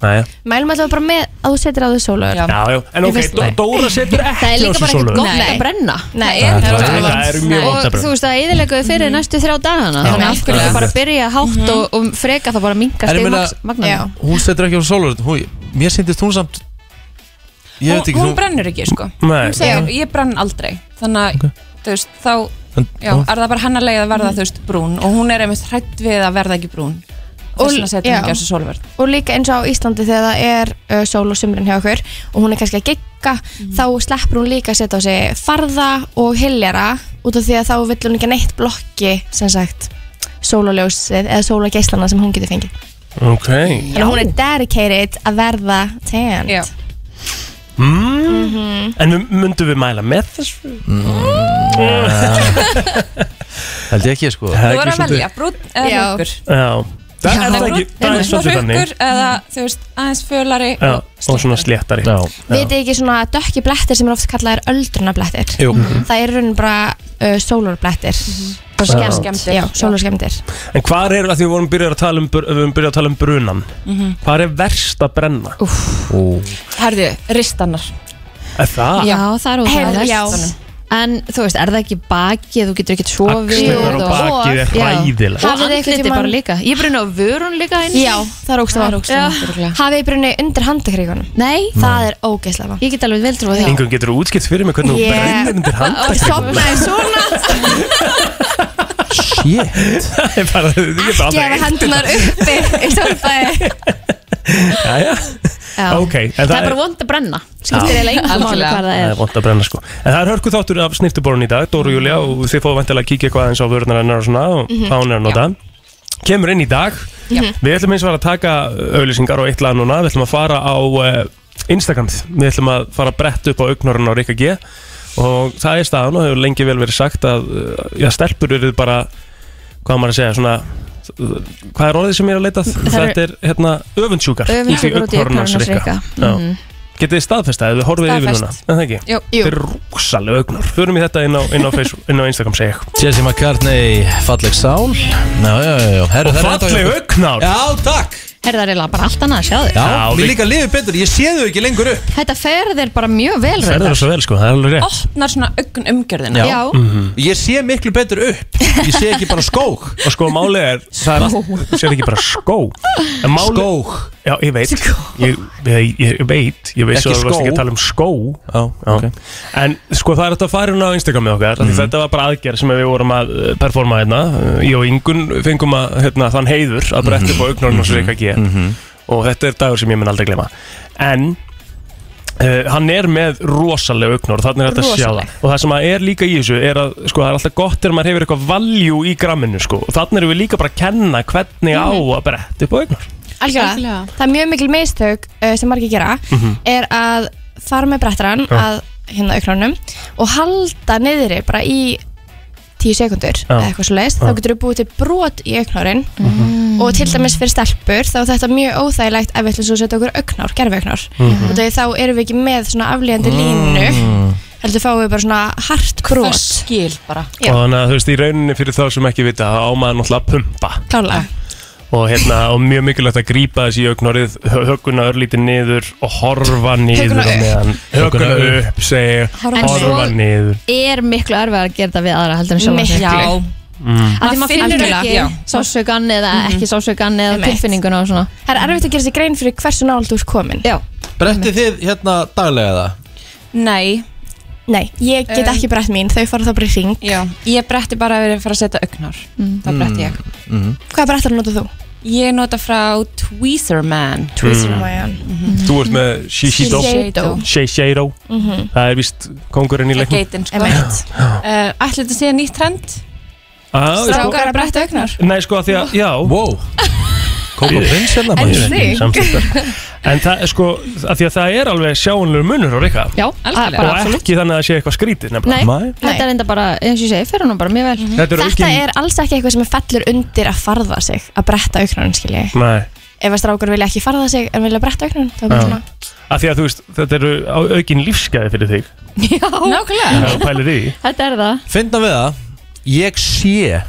[SPEAKER 3] Næja
[SPEAKER 13] Mælum alltaf bara með að þú setjir á því sólaugurn
[SPEAKER 3] Já, já, en
[SPEAKER 13] Í
[SPEAKER 3] ok,
[SPEAKER 13] fyrsta
[SPEAKER 3] Dó-
[SPEAKER 13] lagi.
[SPEAKER 3] Dóra setur ekki
[SPEAKER 2] Það
[SPEAKER 3] á
[SPEAKER 2] er líka
[SPEAKER 3] sig
[SPEAKER 2] bara ekkert
[SPEAKER 3] sólarlag.
[SPEAKER 2] gott að brenna
[SPEAKER 13] Nei,
[SPEAKER 3] Það er-
[SPEAKER 2] það
[SPEAKER 3] það er-
[SPEAKER 2] vont.
[SPEAKER 3] það er mjög
[SPEAKER 2] Nei,
[SPEAKER 3] vont að
[SPEAKER 2] Og
[SPEAKER 3] brenna.
[SPEAKER 2] þú veist að eðileguðu fyrir næstu þrjá dagana
[SPEAKER 1] Já.
[SPEAKER 2] Þannig af hverju
[SPEAKER 1] Já.
[SPEAKER 2] ekki bara að byrja hátt og, og freka það bara minka
[SPEAKER 1] En ég
[SPEAKER 2] stegum
[SPEAKER 1] meina-
[SPEAKER 2] magna
[SPEAKER 1] Hún setur ekki á sólaverð Mér sýndist hún samt Ég veit
[SPEAKER 14] Hún,
[SPEAKER 1] ekki
[SPEAKER 14] hún
[SPEAKER 1] þú-
[SPEAKER 14] brennur ekki, sko
[SPEAKER 1] Nei.
[SPEAKER 14] Hún segir, ég brenn aldrei Þannig að, þú veist, þá
[SPEAKER 1] En-
[SPEAKER 14] já,
[SPEAKER 1] já.
[SPEAKER 14] er það bara hennar leið að verða, þú veist, brún Og hún er einmitt hrætt við að verða ekki brún
[SPEAKER 13] Og-
[SPEAKER 14] Þess vegna setjum
[SPEAKER 13] já.
[SPEAKER 14] við ekki á þessu sólverð
[SPEAKER 13] og líka eins og á Íslandi þegar það er uh, sól og sumrin hjá okkur og hún er kannski að gigga
[SPEAKER 14] Mm.
[SPEAKER 13] þá sleppur hún líka að setja á sig farða og hiljara út af því að þá vill hún ekki neitt blokki sem sagt sólaljósið eða sólageislana sem hún getur fengið
[SPEAKER 3] Ok
[SPEAKER 13] þannig að hún er dedicated að verða tanned Já.
[SPEAKER 3] mm.
[SPEAKER 13] Mhm.
[SPEAKER 3] En við- myndum við mæla með þessu?
[SPEAKER 1] Mm. Held ég ekki sko
[SPEAKER 14] Þú er að velja, brún eða rökkur
[SPEAKER 3] Já, það er það ekki Það er svolítið
[SPEAKER 14] Rökkur
[SPEAKER 3] þannig
[SPEAKER 14] eða, þú veist, aðeins fölari
[SPEAKER 3] Já, og svona sléttari Já,
[SPEAKER 13] Vitið þið ekki svona dökki blettir sem er oft kallaðir öldrunablettir
[SPEAKER 3] Jú. Mhm.
[SPEAKER 13] það er í raunin bara uh, sólurblettir
[SPEAKER 3] Já.
[SPEAKER 13] bara skemmt,
[SPEAKER 3] Skemmdir,
[SPEAKER 13] já, sólurskemmtir
[SPEAKER 3] En hvar er að því við vorum byrjað að tala um, br- við vorum byrjað að tala um brunan
[SPEAKER 14] Mhm.
[SPEAKER 3] Hvar er verst að brenna? Úff
[SPEAKER 14] Herðu, ristannar
[SPEAKER 3] Er það?
[SPEAKER 2] Já, það er
[SPEAKER 13] Heyrðu, já.
[SPEAKER 2] óþægilegt En þú veist, er það ekki bakið, þú getur ekki sofið
[SPEAKER 3] Axlirnar og bakið er
[SPEAKER 2] Já.
[SPEAKER 13] Hafið
[SPEAKER 3] hræðilegt.
[SPEAKER 2] Og
[SPEAKER 13] þið einhvern
[SPEAKER 2] andlitið
[SPEAKER 13] tímann-
[SPEAKER 2] bara líka Ég brunna á vörun líka einu
[SPEAKER 13] Já, það er ógst að
[SPEAKER 2] Það er ógeðslega vont, örugglega.
[SPEAKER 13] Hafið þið brunni undir handakríkunum?
[SPEAKER 2] Nei
[SPEAKER 13] Það er ógeðslega vant
[SPEAKER 2] Ég get alveg vel trúið
[SPEAKER 3] Ingun getur útskipt fyrir mig hvernig hún
[SPEAKER 13] Ég-
[SPEAKER 3] brennir undir handtak
[SPEAKER 13] Sopnaði svona
[SPEAKER 1] Shit
[SPEAKER 3] Það er bara, ég er bara
[SPEAKER 13] Gefa hendunar uppi í svolfæði
[SPEAKER 3] Jæja,
[SPEAKER 2] Já.
[SPEAKER 3] Ok, en
[SPEAKER 2] það,
[SPEAKER 3] það
[SPEAKER 2] er
[SPEAKER 3] er-
[SPEAKER 2] bara vond að brenna skiptir eiginlega engu máli hvað það
[SPEAKER 3] Það
[SPEAKER 2] er
[SPEAKER 3] er vond að brenna sko En það er hörku þáttur af snirtuborun í dag, Dóru Júlia Og þið fóðu vantilega að kíkja eitthvað aðeins á vörðnar hennar og svona Og
[SPEAKER 15] Mhm.
[SPEAKER 3] hvað hún er að nota Kemur inn í dag
[SPEAKER 15] Já.
[SPEAKER 16] Mhm.
[SPEAKER 3] Við ætlum eins og að taka auðlýsingar og eitt lag núna Við ætlum að fara á uh, Instagramið Við ætlum að fara að bretta upp á augnarinn á Rikka G Og það er staðan og hefur lengi vel verið sagt að uh, Já, stelpur eru bara Hvað á maður að segja, svona Hvað er orðið sem ég er að leitað?
[SPEAKER 2] Það eru-
[SPEAKER 3] Þetta er hérna öfundsjúkar
[SPEAKER 2] Öfundsjúkar út í augnhárunars Rikka. Mhm.
[SPEAKER 3] Getið þið staðfesta ef þið horfið yfir
[SPEAKER 2] Staðfest.
[SPEAKER 3] núna En það ekki?
[SPEAKER 2] Jú. Jú.
[SPEAKER 3] Þetta er rúsalega augnar Förum í þetta inn á, inn á, Facebook, inn á Instagram segi ég
[SPEAKER 1] Jesse McCartney, falleg sál Já, já, já, já Herru, það er
[SPEAKER 3] Og
[SPEAKER 1] ennþá
[SPEAKER 3] falleg
[SPEAKER 1] hjá okkur.
[SPEAKER 3] augnár.
[SPEAKER 1] Já, takk
[SPEAKER 2] Herra, það er eiginlega bara allt annað að sjá þig
[SPEAKER 1] Já, mér líka lifið betur, ég sé þau ekki lengur upp
[SPEAKER 2] þetta fer þér bara mjög vel
[SPEAKER 3] Ferður það
[SPEAKER 2] reyndar.
[SPEAKER 3] svo vel sko, það er alveg rétt Mm.
[SPEAKER 14] opnar svona ögn umgjörðina
[SPEAKER 2] Já.
[SPEAKER 3] Mhm.
[SPEAKER 1] Ég sé miklu betur upp Ég sé ekki bara skók
[SPEAKER 3] Og sko málið er, það er Þú sér ekki bara skó En máli,
[SPEAKER 1] Skóg.
[SPEAKER 3] Já, ég veit Ég, ég, ég veit, ég veist
[SPEAKER 1] Ekki
[SPEAKER 3] að þú varst
[SPEAKER 1] skó.
[SPEAKER 3] ekki að tala um skó Já,
[SPEAKER 1] ok.
[SPEAKER 3] En sko það er þetta að fara hún á Instagram með okkar mm
[SPEAKER 1] Mhm.
[SPEAKER 3] Þetta var bara aðgerð sem við vorum að eh, performa hérna Eh, Ég og Ingun fengum að hérna, þann heiður að bretta upp á augnarinn og svo
[SPEAKER 1] Mhm.
[SPEAKER 3] ekki að Og þetta er dagur sem ég mun aldrei glema En Uh, hann er með rosaleg augnor þannig er þetta að sjá það
[SPEAKER 15] Rosaleg.
[SPEAKER 3] og það sem að er líka í þessu er að sko, það er alltaf gott þegar maður hefur eitthvað valjú í gramminu sko. og þannig erum við líka bara að kenna hvernig á
[SPEAKER 2] Mhm.
[SPEAKER 3] að brett upp á augnor
[SPEAKER 13] Algjörlega. Það er mjög mikil meistök uh, sem margir gera
[SPEAKER 3] Mhm.
[SPEAKER 13] er að fara með brettarann
[SPEAKER 3] Já.
[SPEAKER 13] að hérna auknarnum og halda niðri bara í 10 sekundur
[SPEAKER 15] Já.
[SPEAKER 13] eða eitthvað svo leist,
[SPEAKER 15] Já.
[SPEAKER 13] þá getur við búið til brot í auknarinn
[SPEAKER 14] Mhm.
[SPEAKER 13] og til dæmis fyrir stelpur þá er þetta mjög óþægilegt ef við ætlum svo að setja okkur auknar, gerfi auknar
[SPEAKER 15] Mhm. Mm.
[SPEAKER 13] og þegar þá erum við ekki með svona aflíðandi
[SPEAKER 3] Mm.
[SPEAKER 13] línu heldur fáum við bara svona hart brot skil bara
[SPEAKER 3] og þannig að þú veist í rauninni fyrir þá sem ekki vita þá á maður náttúrulega að pumpa
[SPEAKER 13] Klálega
[SPEAKER 3] og, hérna, og mjög mikilvægt að grípa þessi í augnarið högguna örlítið niður og horfa niður
[SPEAKER 2] Högguna
[SPEAKER 3] á
[SPEAKER 2] upp.
[SPEAKER 3] meðan högguna
[SPEAKER 1] Högguna
[SPEAKER 3] upp segi ég,
[SPEAKER 2] Horfa niður.
[SPEAKER 3] horfa
[SPEAKER 2] En svo-
[SPEAKER 3] niður
[SPEAKER 2] er miklu erfið að gera þetta við aðra heldur en sjálf
[SPEAKER 14] Miklu. Já.
[SPEAKER 3] mm.
[SPEAKER 2] að því maður finnur
[SPEAKER 13] Algjörlega,
[SPEAKER 2] ekki
[SPEAKER 13] já. Mhm.
[SPEAKER 2] sásaukan eða ekki sásaukan eða
[SPEAKER 13] Einmitt.
[SPEAKER 2] tilfinninguna og svona
[SPEAKER 13] Það er erfitt að gera sér grein fyrir hversu nált þú ert komin
[SPEAKER 2] Já
[SPEAKER 1] Brettið þið hérna daglega það?
[SPEAKER 14] Nei
[SPEAKER 13] Nei, ég get
[SPEAKER 14] Um,
[SPEAKER 13] ekki brett mín, þau fara þá bara í ring
[SPEAKER 14] Já, ég bretti bara að vera að fara að setja augnar Það bretti ég
[SPEAKER 3] Mhm.
[SPEAKER 1] mm.
[SPEAKER 13] Hvað brettar notar þú?
[SPEAKER 14] Ég nota frá Tweezer Man
[SPEAKER 3] Tweezer Mm. Man. Þú ert með Shishido
[SPEAKER 14] Shishido.
[SPEAKER 3] Shishido
[SPEAKER 14] Mhm.
[SPEAKER 3] Það er vist kongurinn í
[SPEAKER 14] Það er
[SPEAKER 3] leiknum
[SPEAKER 14] geitin sko uh, Ætli þetta sé nýtt trend
[SPEAKER 3] Ah, sko-
[SPEAKER 14] Strákar að bretta augnar
[SPEAKER 3] Nei, sko, af því að, já
[SPEAKER 1] Wow Kókó prins hérna
[SPEAKER 14] En
[SPEAKER 3] maður.
[SPEAKER 14] þig.
[SPEAKER 3] Samstundar. En það er sko, af því að það er alveg sjáunlega munur á Rikka
[SPEAKER 2] Já,
[SPEAKER 3] Og
[SPEAKER 2] algjörlega.
[SPEAKER 3] ekki þannig að það sé eitthvað skrítið
[SPEAKER 2] Nei,
[SPEAKER 3] nefnilega
[SPEAKER 2] þetta er enda bara, eins og ég segi, fer hún bara mjög vel
[SPEAKER 1] Mhm.
[SPEAKER 3] Þetta eru
[SPEAKER 13] Þetta
[SPEAKER 3] aukin-
[SPEAKER 13] er alls ekki eitthvað sem er fellur undir að farða sig að bretta auknarinn, skilji
[SPEAKER 3] Nei.
[SPEAKER 13] Ef að strákur vilja ekki farða sig en vilja bretta auknarinn, þá er bara
[SPEAKER 3] Já.
[SPEAKER 13] svona
[SPEAKER 3] Af því að þú veist, þetta eru á- aukin lífsgæði fyrir þig
[SPEAKER 2] Já,
[SPEAKER 3] Það er
[SPEAKER 2] nákvæmlega
[SPEAKER 3] pælir í því.
[SPEAKER 2] Þetta er það
[SPEAKER 1] Finna við það Ég sé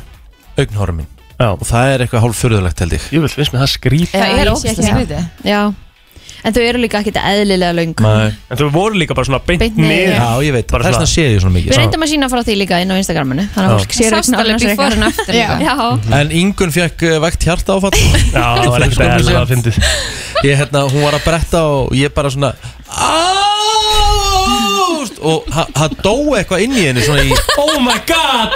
[SPEAKER 1] augnhórum mín
[SPEAKER 3] Já.
[SPEAKER 1] Og það er eitthvað hálf furðulegt held ég
[SPEAKER 3] Ég vil finnst með það skrítið
[SPEAKER 2] Já,
[SPEAKER 14] Það er
[SPEAKER 2] ég sé
[SPEAKER 14] ógæslega
[SPEAKER 2] ekki
[SPEAKER 14] skrítið
[SPEAKER 2] það. Já, en þau eru líka ekkert eðlilega löng
[SPEAKER 3] En þú voru líka bara svona beint,
[SPEAKER 2] Beint niður.
[SPEAKER 3] niður
[SPEAKER 2] Já,
[SPEAKER 1] ég veit, þess vegna sé ég svona
[SPEAKER 2] Við reyndum að sína frá því líka inn á Instagraminu
[SPEAKER 1] Já.
[SPEAKER 2] Þannig að fólk sér
[SPEAKER 14] Sást
[SPEAKER 2] augnhárunars
[SPEAKER 14] alveg before
[SPEAKER 2] Rikka.
[SPEAKER 14] and after
[SPEAKER 2] Já.
[SPEAKER 14] líka.
[SPEAKER 2] Já,
[SPEAKER 1] En Ingun fekk eh, vægt hjarta áfatt Já,
[SPEAKER 3] það var ekkert eðlilega að fyndið
[SPEAKER 1] Ég hérna, hún var að bretta og ég bara svona Ást Og ha- það dó eitthvað inn í henni svona í
[SPEAKER 3] Oh my god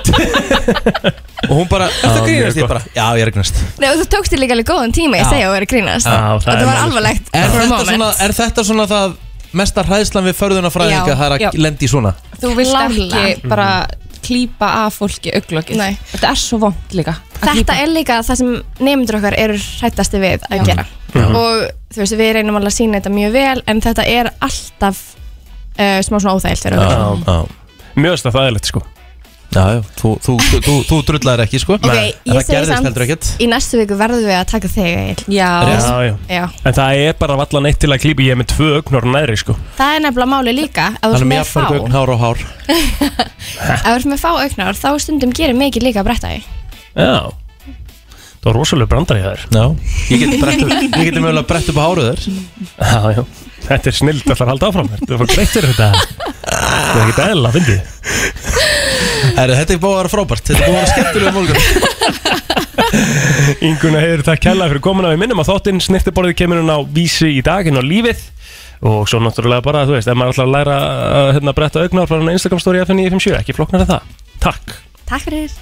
[SPEAKER 1] Og hún bara, er það grínast? Ég bara, já, ég er að grínast
[SPEAKER 13] Nei, og þú tókst þér líka alveg góðan tíma í
[SPEAKER 1] Já.
[SPEAKER 13] segja og er að grínast
[SPEAKER 1] Já, það
[SPEAKER 13] Og
[SPEAKER 1] er
[SPEAKER 13] Þetta var
[SPEAKER 1] málið.
[SPEAKER 13] alvarlegt
[SPEAKER 1] Er
[SPEAKER 13] for a
[SPEAKER 1] þetta
[SPEAKER 13] moment.
[SPEAKER 1] svona, er þetta svona það mesta hræðslan við förðuna fræðinga
[SPEAKER 14] Já,
[SPEAKER 1] það er
[SPEAKER 14] já.
[SPEAKER 1] að lendi í svona
[SPEAKER 14] Þú vilt
[SPEAKER 13] Klárlega.
[SPEAKER 14] ekki bara klípa af fólki auglokið
[SPEAKER 13] Mm. Nei.
[SPEAKER 14] Þetta er svo vond líka
[SPEAKER 13] Þetta er líka það sem nefndur okkar eru hrættasti við að gera
[SPEAKER 14] Já.
[SPEAKER 1] Mhm.
[SPEAKER 13] og þú veist, við reynum alveg að sína þetta mjög vel en þetta er alltaf uh, smá svona óþægilt fyrir okkur
[SPEAKER 3] Mjög stað þægilegt sko
[SPEAKER 1] Já, já, þú, þú, þú, þú, þú drullar ekki sko
[SPEAKER 13] Ok,
[SPEAKER 1] En
[SPEAKER 13] ég
[SPEAKER 1] það
[SPEAKER 13] segi
[SPEAKER 1] gerðist heldur
[SPEAKER 13] samt,
[SPEAKER 1] ekkert
[SPEAKER 13] í næstu viku verðum við að taka þig Egill.
[SPEAKER 3] Já, já.
[SPEAKER 13] Já.
[SPEAKER 3] En það er bara vallan eitt til að klípa Ég er með tvö augnor næri sko
[SPEAKER 13] Það er nefnilega máli líka að þú
[SPEAKER 3] Hann
[SPEAKER 13] ert
[SPEAKER 3] er
[SPEAKER 13] með
[SPEAKER 3] mjög
[SPEAKER 13] fá
[SPEAKER 3] fyrir augnhár og hár
[SPEAKER 13] að þú ert með fá auknar þá stundum gerir mikið líka að bretta þig
[SPEAKER 3] Já Það var rosalega brandar í þær
[SPEAKER 1] Já, ég get brett upp- ég geti mögulega brett upp á hárið þér
[SPEAKER 3] Já, já Þetta er snild að fara halda áfram Þetta var greittur þetta Það er ekki eðla að fyndi
[SPEAKER 1] Herru, þetta er búið að vera frábært Þetta er búið að vera skemmtilega mólgur
[SPEAKER 3] Inguna hefur það kjallað fyrir komuna Við minnum að þáttinn snirtiborðið kemur hún á vísi í dag Hinn á lífið Og svo náttúrulega bara, þú veist, ef maður ætlar að læra að hérna, bretta augnar frá hann Instagram story FN957, ekki flóknar en það. Takk.
[SPEAKER 13] Takk fyrir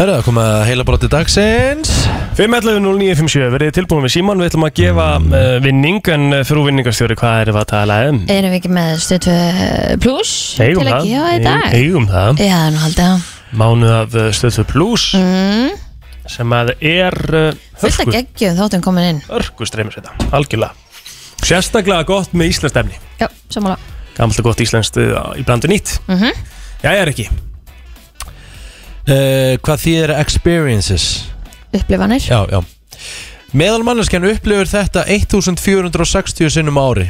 [SPEAKER 1] Herra, það kom að heila broti dagsins
[SPEAKER 3] 5.11.09.57, verðið tilbúin við Síman Við ætlum að gefa
[SPEAKER 1] Mm.
[SPEAKER 3] uh, vinning En uh, frú vinningastjóri, hvað erum við að tala um?
[SPEAKER 2] Erum við ekki með stötu plus
[SPEAKER 3] Eigum
[SPEAKER 2] til að
[SPEAKER 3] það,
[SPEAKER 2] gefa í dag?
[SPEAKER 3] eigum það
[SPEAKER 2] Já, nú haldið það.
[SPEAKER 3] Mánuð af uh, stöðu plus
[SPEAKER 2] Mm,
[SPEAKER 3] Sem að er uh,
[SPEAKER 2] fullt að geggjum þáttum komin inn.
[SPEAKER 3] Hörku streymir þetta, algjörlega Sérstaklega gott með íslenskt efni
[SPEAKER 2] Já, samanlega.
[SPEAKER 3] Gamalt og gott íslenskt uh, í blandu nýtt
[SPEAKER 2] Mm
[SPEAKER 3] Jæja, Rikki
[SPEAKER 1] uh, Hvað þýðir experiences?
[SPEAKER 2] Upplifanir.
[SPEAKER 1] Já, já Meðalmanneskjan upplifur þetta 1460 sinnum á ári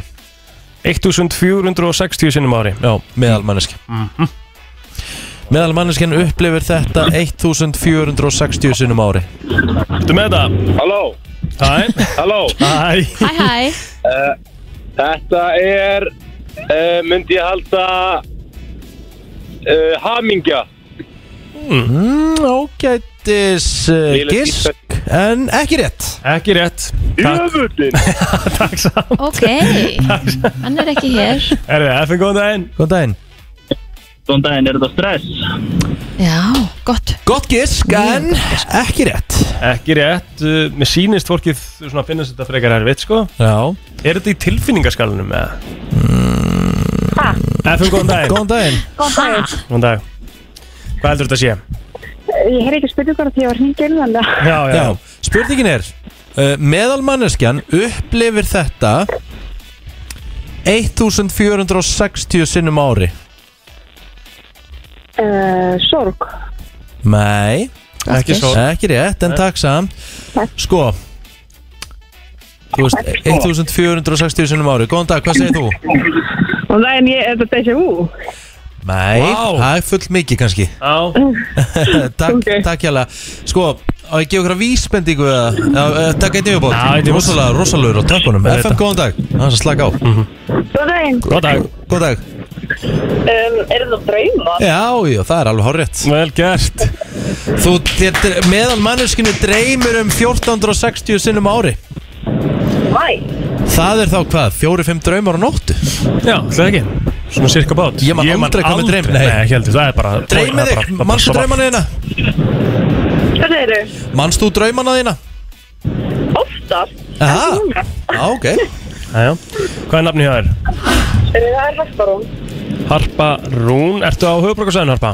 [SPEAKER 3] 1460 sinnum á ári Mhm.
[SPEAKER 1] Já, meðalmanneskjan mm -hmm. Meðalmanneskjan upplifur þetta 1460 sinnum á ári
[SPEAKER 3] Ertu með það?
[SPEAKER 6] Halló
[SPEAKER 3] Hæ
[SPEAKER 6] Halló Eh,
[SPEAKER 3] Hæ
[SPEAKER 2] Hæ, hæ.
[SPEAKER 6] Þetta er uh, myndi ég halda uh, hamingja
[SPEAKER 1] mm, Ágætis uh,
[SPEAKER 6] Lélegt
[SPEAKER 1] gisk En ekki rétt
[SPEAKER 3] Ekki rétt
[SPEAKER 6] Jöfullin
[SPEAKER 2] Ok, hann er ekki hér.
[SPEAKER 3] Erfið, FN, góðan daginn
[SPEAKER 1] Góðan daginn
[SPEAKER 15] Góðan daginn, er þetta stress?
[SPEAKER 2] Já, gott.
[SPEAKER 1] Gott gisk, en ekki rétt
[SPEAKER 3] Ekki rétt, uh, mér sýnist fólkið svona að finna þetta frekar erfitt sko
[SPEAKER 1] Já
[SPEAKER 3] Er þetta í tilfinningaskalunum eða? Mm. FM, góðan daginn
[SPEAKER 1] Góðan daginn
[SPEAKER 17] Góðan daginn.
[SPEAKER 3] Góðan dag Hvað heldur þetta að sé?
[SPEAKER 17] Ég hef ekki spurning hvort ég var hringin, þannig að...
[SPEAKER 3] Já, já,
[SPEAKER 1] Spurningin er uh, Meðalmanneskjan upplifir þetta 1460 sinnum á ári
[SPEAKER 17] Uh, sorg.
[SPEAKER 1] Nei
[SPEAKER 17] Ekki svo.
[SPEAKER 1] Ekki rétt, en takk samt Sko Þú veist, 1460 sinnum á ári Góðan dag, hvað segir þú?
[SPEAKER 17] Og það en ég, er þetta déjà vu?
[SPEAKER 1] Nei, það er full mikið kannski takk, takk hjá Sko, á ég gefa ykkur að vísbendingu eða, eða, eða, Takk einnig viðbót
[SPEAKER 3] Já, einn í viðbót.
[SPEAKER 1] Rosalega, rosalögur á tökunum
[SPEAKER 3] Auðvitað.
[SPEAKER 1] FM, góðan dag, það er að slaka á
[SPEAKER 17] Góðan daginn.
[SPEAKER 3] Mhm. Góðan dag
[SPEAKER 1] Góðan dag
[SPEAKER 17] Um, er þetta drauma?
[SPEAKER 1] Já, já, það er alveg horrið
[SPEAKER 3] Vel gert
[SPEAKER 1] Þú, þér, meðal manneskinu dreymir um 1460 sinnum á ári
[SPEAKER 17] Mæ.
[SPEAKER 1] Það er þá hvað, 4-5 draumar á nóttu?
[SPEAKER 3] Já, það ekki Svona cirka bát
[SPEAKER 1] Ég man aldrei hvað með dreym,
[SPEAKER 3] Nei,
[SPEAKER 1] nei.
[SPEAKER 3] ekki heldur, það er bara
[SPEAKER 1] Dreymið þig, manstu draumana þína?
[SPEAKER 17] Hvað er þetta?
[SPEAKER 1] Manstu draumana þína?
[SPEAKER 17] Oftast.
[SPEAKER 1] Aha, á, ok
[SPEAKER 3] Æja, hvað er nafni hjá þér?
[SPEAKER 17] Uh, það er hættarón.
[SPEAKER 3] Harpa Rún, ertu á höfubrókarsæðin Harpa?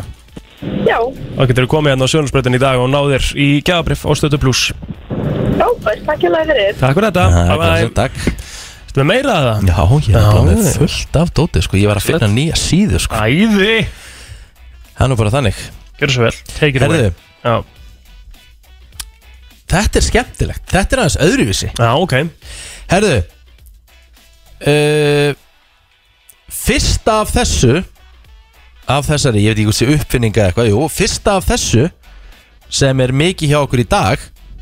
[SPEAKER 17] Já.
[SPEAKER 3] Og getur þú komið hérna á Sjónusbreytin í dag og náðir í gjafabrif og stötu pluss
[SPEAKER 17] Já, bæst, takk ég lægir þér.
[SPEAKER 3] Takk fyrir
[SPEAKER 1] Ah,
[SPEAKER 3] þetta
[SPEAKER 1] blessaður, Takk
[SPEAKER 3] Ertu með meira að það?
[SPEAKER 1] Já, ég er bara með
[SPEAKER 3] Já.
[SPEAKER 1] fullt af dóti sko. Ég var að finna nýja síðu sko.
[SPEAKER 3] Æði
[SPEAKER 1] Það er nú bara þannig
[SPEAKER 3] Gjörðu svo vel, take it away
[SPEAKER 1] Herðu.
[SPEAKER 3] Já.
[SPEAKER 1] Þetta er skemmtilegt, þetta er aðeins öðruvísi
[SPEAKER 3] Já, ok
[SPEAKER 1] Herðu uh, Fyrsta af þessu Af þessari, ég veit ekki hvað sé uppfinninga eða eitthvað Jú, fyrsta af þessu Sem er mikið hjá okkur í dag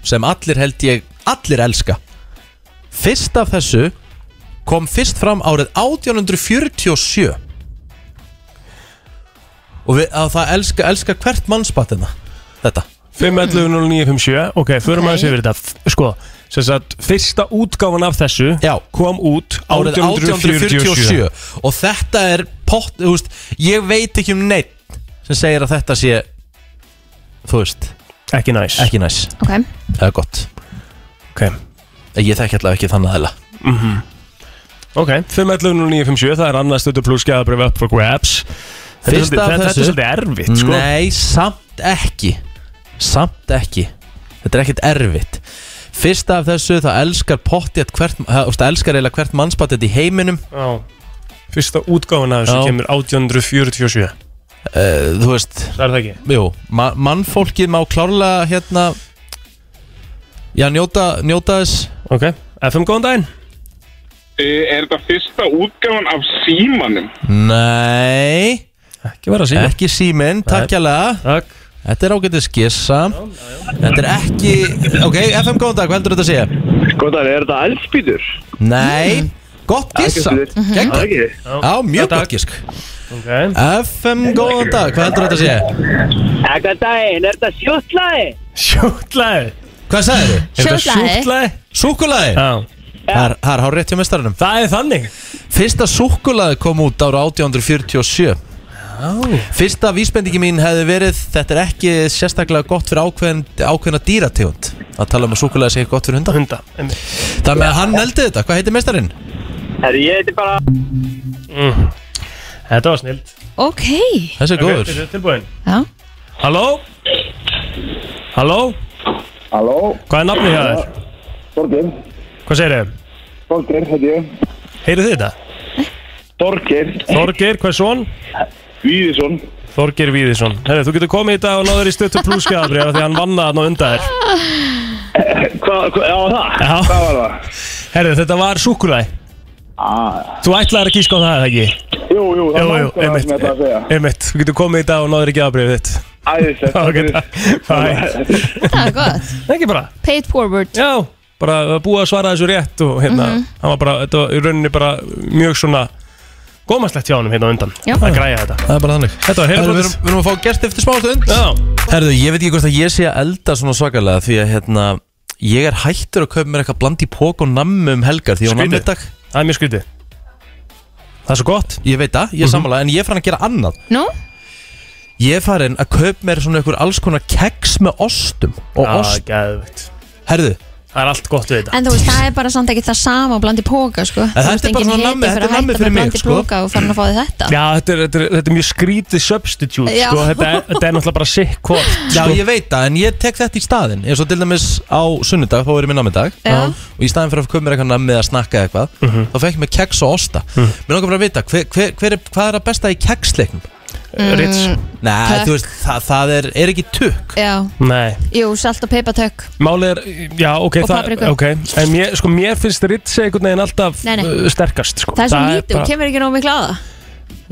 [SPEAKER 1] Sem allir held ég, allir elska Fyrsta af þessu Kom fyrst fram árið 1847 Og við, að það elska, elska hvert mannspatina Þetta
[SPEAKER 3] 5.11.09.57 Ok, förum
[SPEAKER 1] Ok.
[SPEAKER 3] aðeins yfir þetta F- Sko, sem sagt, fyrsta útgáfan af þessu
[SPEAKER 1] Já.
[SPEAKER 3] kom út
[SPEAKER 1] árið 1847 og þetta er pott, þú veist, ég veit ekki um neitt sem segir að þetta sé þú veist
[SPEAKER 3] ekki næs,
[SPEAKER 1] ekki næs.
[SPEAKER 2] Ok.
[SPEAKER 1] það er gott
[SPEAKER 3] okay.
[SPEAKER 1] ég þekki allavega ekki þannig aðeila
[SPEAKER 3] mm -hmm. Ok, 5.11.09.57 Það er annað stötu pluss skjáðabrif up for grabs Þetta er
[SPEAKER 1] Fyrsta
[SPEAKER 3] svolítið-
[SPEAKER 1] af
[SPEAKER 3] þetta- Þetta
[SPEAKER 1] þessu-
[SPEAKER 3] er svolítið erfitt, sko
[SPEAKER 1] Nei, samt ekki Samt ekki Þetta er ekkert erfitt Fyrsta af þessu það elskar pottjætt hvert það það elskar eiginlega hvert mannspattjætt í heiminum
[SPEAKER 3] Já. Fyrsta útgáfan af þessu
[SPEAKER 1] Já.
[SPEAKER 3] kemur 1847
[SPEAKER 1] uh, Þú veist
[SPEAKER 3] Það er það ekki
[SPEAKER 1] Jú, ma mannfólkið má klárlega hérna Já, njóta, njóta þess
[SPEAKER 3] Ok, FM góðan daginn
[SPEAKER 6] Eh,
[SPEAKER 18] Er þetta fyrsta útgáfan af símanum?
[SPEAKER 1] Nei
[SPEAKER 3] Ekki vera síminn
[SPEAKER 1] Ekki síminn, takk jæglega
[SPEAKER 3] Takk
[SPEAKER 1] Þetta er ágætið skissa Þetta er ekki Ok, FM góðan dag, hvað heldur þetta að sé?
[SPEAKER 7] Góðan dag, er þetta eldspýtur?
[SPEAKER 3] Mm.
[SPEAKER 1] Nei, gott gissa
[SPEAKER 7] Ekki spyrir.
[SPEAKER 1] Gekka
[SPEAKER 7] Ekki.
[SPEAKER 1] Já, mjög gott gisk
[SPEAKER 3] okay.
[SPEAKER 1] FM góðan dag, hvað heldur þetta að sé?
[SPEAKER 7] Góðan daginn, er þetta sjóttlaði?
[SPEAKER 3] Sjóttlaði
[SPEAKER 1] Hvað sagðir þið?
[SPEAKER 7] Sjóttlaði. Súkkulaði?
[SPEAKER 1] Súkkulaði?
[SPEAKER 3] Já
[SPEAKER 1] Það er, það er hár rétt hjá mestarunum
[SPEAKER 3] Það er þannig
[SPEAKER 1] Fyrsta súkkulaði kom út ára 1847 Fyrsta vísbendingi mín hefði verið Þetta er ekki sérstaklega gott fyrir ákveðin, ákveðina dýrategund Að tala um að súkulega sé gott fyrir hunda
[SPEAKER 3] Hunda
[SPEAKER 1] Það með að hann neldi þetta, hvað heitir mestarinn?
[SPEAKER 15] Herri, ég heiti bara
[SPEAKER 3] mm. Þetta var snild
[SPEAKER 2] Ok
[SPEAKER 1] Þessi er góður.
[SPEAKER 3] Tilbúin
[SPEAKER 2] Já.
[SPEAKER 3] Halló Halló Halló Hvað er nafnið hjá þér?
[SPEAKER 7] Þorgeir
[SPEAKER 3] Hvað segir þér?
[SPEAKER 7] Þorgeir, hætti ég
[SPEAKER 3] Heyrið þið þetta?
[SPEAKER 7] Þorgeir
[SPEAKER 3] Þorgeir, hvað er svon?
[SPEAKER 7] Víðisson
[SPEAKER 3] Þorgeir Víðisson Herri, þú getur komið í dag og náður í stöttu plúskjafabrið Því hann vann það á undan þér
[SPEAKER 7] Hvað, hva, já það?
[SPEAKER 3] Já.
[SPEAKER 7] Hvað var það?
[SPEAKER 3] Herri, þetta var súkulæði ah. Þú ætlaðir að kíska á það eða ekki?
[SPEAKER 7] Jú, jú, það
[SPEAKER 3] Jú, jú,
[SPEAKER 7] mætti það sem ég ætlaði að segja.
[SPEAKER 3] einmitt, einmitt Þú getur komið í dag og náður í gjafabrið þitt
[SPEAKER 7] Æðislegt, takk
[SPEAKER 3] Ok,
[SPEAKER 7] fyrir.
[SPEAKER 3] takk Bye.
[SPEAKER 2] Það er gott
[SPEAKER 3] Ekki bara
[SPEAKER 2] Pay it forward
[SPEAKER 3] Já bara búið að svara þessu rétt og hérna,
[SPEAKER 2] Mhm.
[SPEAKER 3] hann var bara, þetta var í rauninni bara mjög svona gómaslegt hjá honum hérna á undan,
[SPEAKER 2] Já.
[SPEAKER 3] að græja þetta
[SPEAKER 1] Það er bara þannig
[SPEAKER 3] Þetta var
[SPEAKER 1] Herðu, Við
[SPEAKER 3] heilbrotið
[SPEAKER 1] erum- við erum að fá gest eftir smá stund
[SPEAKER 3] Já
[SPEAKER 1] Herðu, ég veit ekki hvort að ég sé að elda svona svakalega Því að hérna, ég er hættur að kaupa mér eitthvað bland í pók og nammi um helgar Því að nammi dag
[SPEAKER 3] Það er mjög skrítið Það er svo gott Mhm.
[SPEAKER 1] Ég veit það, ég er sammála, en ég er farin að gera annað
[SPEAKER 2] Nú?
[SPEAKER 1] Ég er farin að kaupa mér svona einhver alls konar keks með ostum Og
[SPEAKER 3] Já,
[SPEAKER 1] ost
[SPEAKER 3] Ah, geðveikt.
[SPEAKER 1] Herðu
[SPEAKER 3] Það er allt gott við þetta
[SPEAKER 2] En þú veist, það er bara samt ekki það sama og blandi póka, sko
[SPEAKER 3] þetta
[SPEAKER 2] Þú veist,
[SPEAKER 3] er bara
[SPEAKER 2] engin
[SPEAKER 3] svona
[SPEAKER 2] hetja
[SPEAKER 3] nammi-
[SPEAKER 2] fyrir
[SPEAKER 3] þetta er
[SPEAKER 2] að
[SPEAKER 3] nammi
[SPEAKER 2] hætta
[SPEAKER 3] fyrir
[SPEAKER 2] með
[SPEAKER 3] mig,
[SPEAKER 2] blandi
[SPEAKER 3] sko.
[SPEAKER 2] póka og farin að fá þig þetta
[SPEAKER 3] Já, þetta er, þetta, er, þetta er mjög skrítið substitute
[SPEAKER 2] Já.
[SPEAKER 3] sko. þetta, er, þetta er náttúrulega bara sikk hvort
[SPEAKER 1] Já,
[SPEAKER 3] sko.
[SPEAKER 1] ég veit það, en ég tek þetta í staðin eins og til dæmis á sunnudag, þá er ég með nammidag
[SPEAKER 2] Já.
[SPEAKER 1] og í staðin fyrir að köpa mér eitthvað nammi eða snakka eða eitthvað
[SPEAKER 3] Mhm.
[SPEAKER 1] þá fekk ég mér keks og osta Mér langar bara að vita, hver, hver, hver er, hvað er að besta í keksleiknum?
[SPEAKER 3] Eh,
[SPEAKER 2] Mm, Ritz.
[SPEAKER 1] Nei,
[SPEAKER 2] Tök.
[SPEAKER 1] þú veist, það, það er, er ekki tukk
[SPEAKER 2] Já,
[SPEAKER 3] Nei
[SPEAKER 2] jú, salt og peipatökk
[SPEAKER 3] Málið er, já, ok,
[SPEAKER 2] Og
[SPEAKER 3] það,
[SPEAKER 2] papriku.
[SPEAKER 3] ok En mér, sko, mér finnst ritse einhvern veginn alltaf
[SPEAKER 2] Nei, nei.
[SPEAKER 3] uh, sterkast sko.
[SPEAKER 2] Það er svo lítið,
[SPEAKER 3] bara-
[SPEAKER 2] þú kemur ekki nóg mikið á það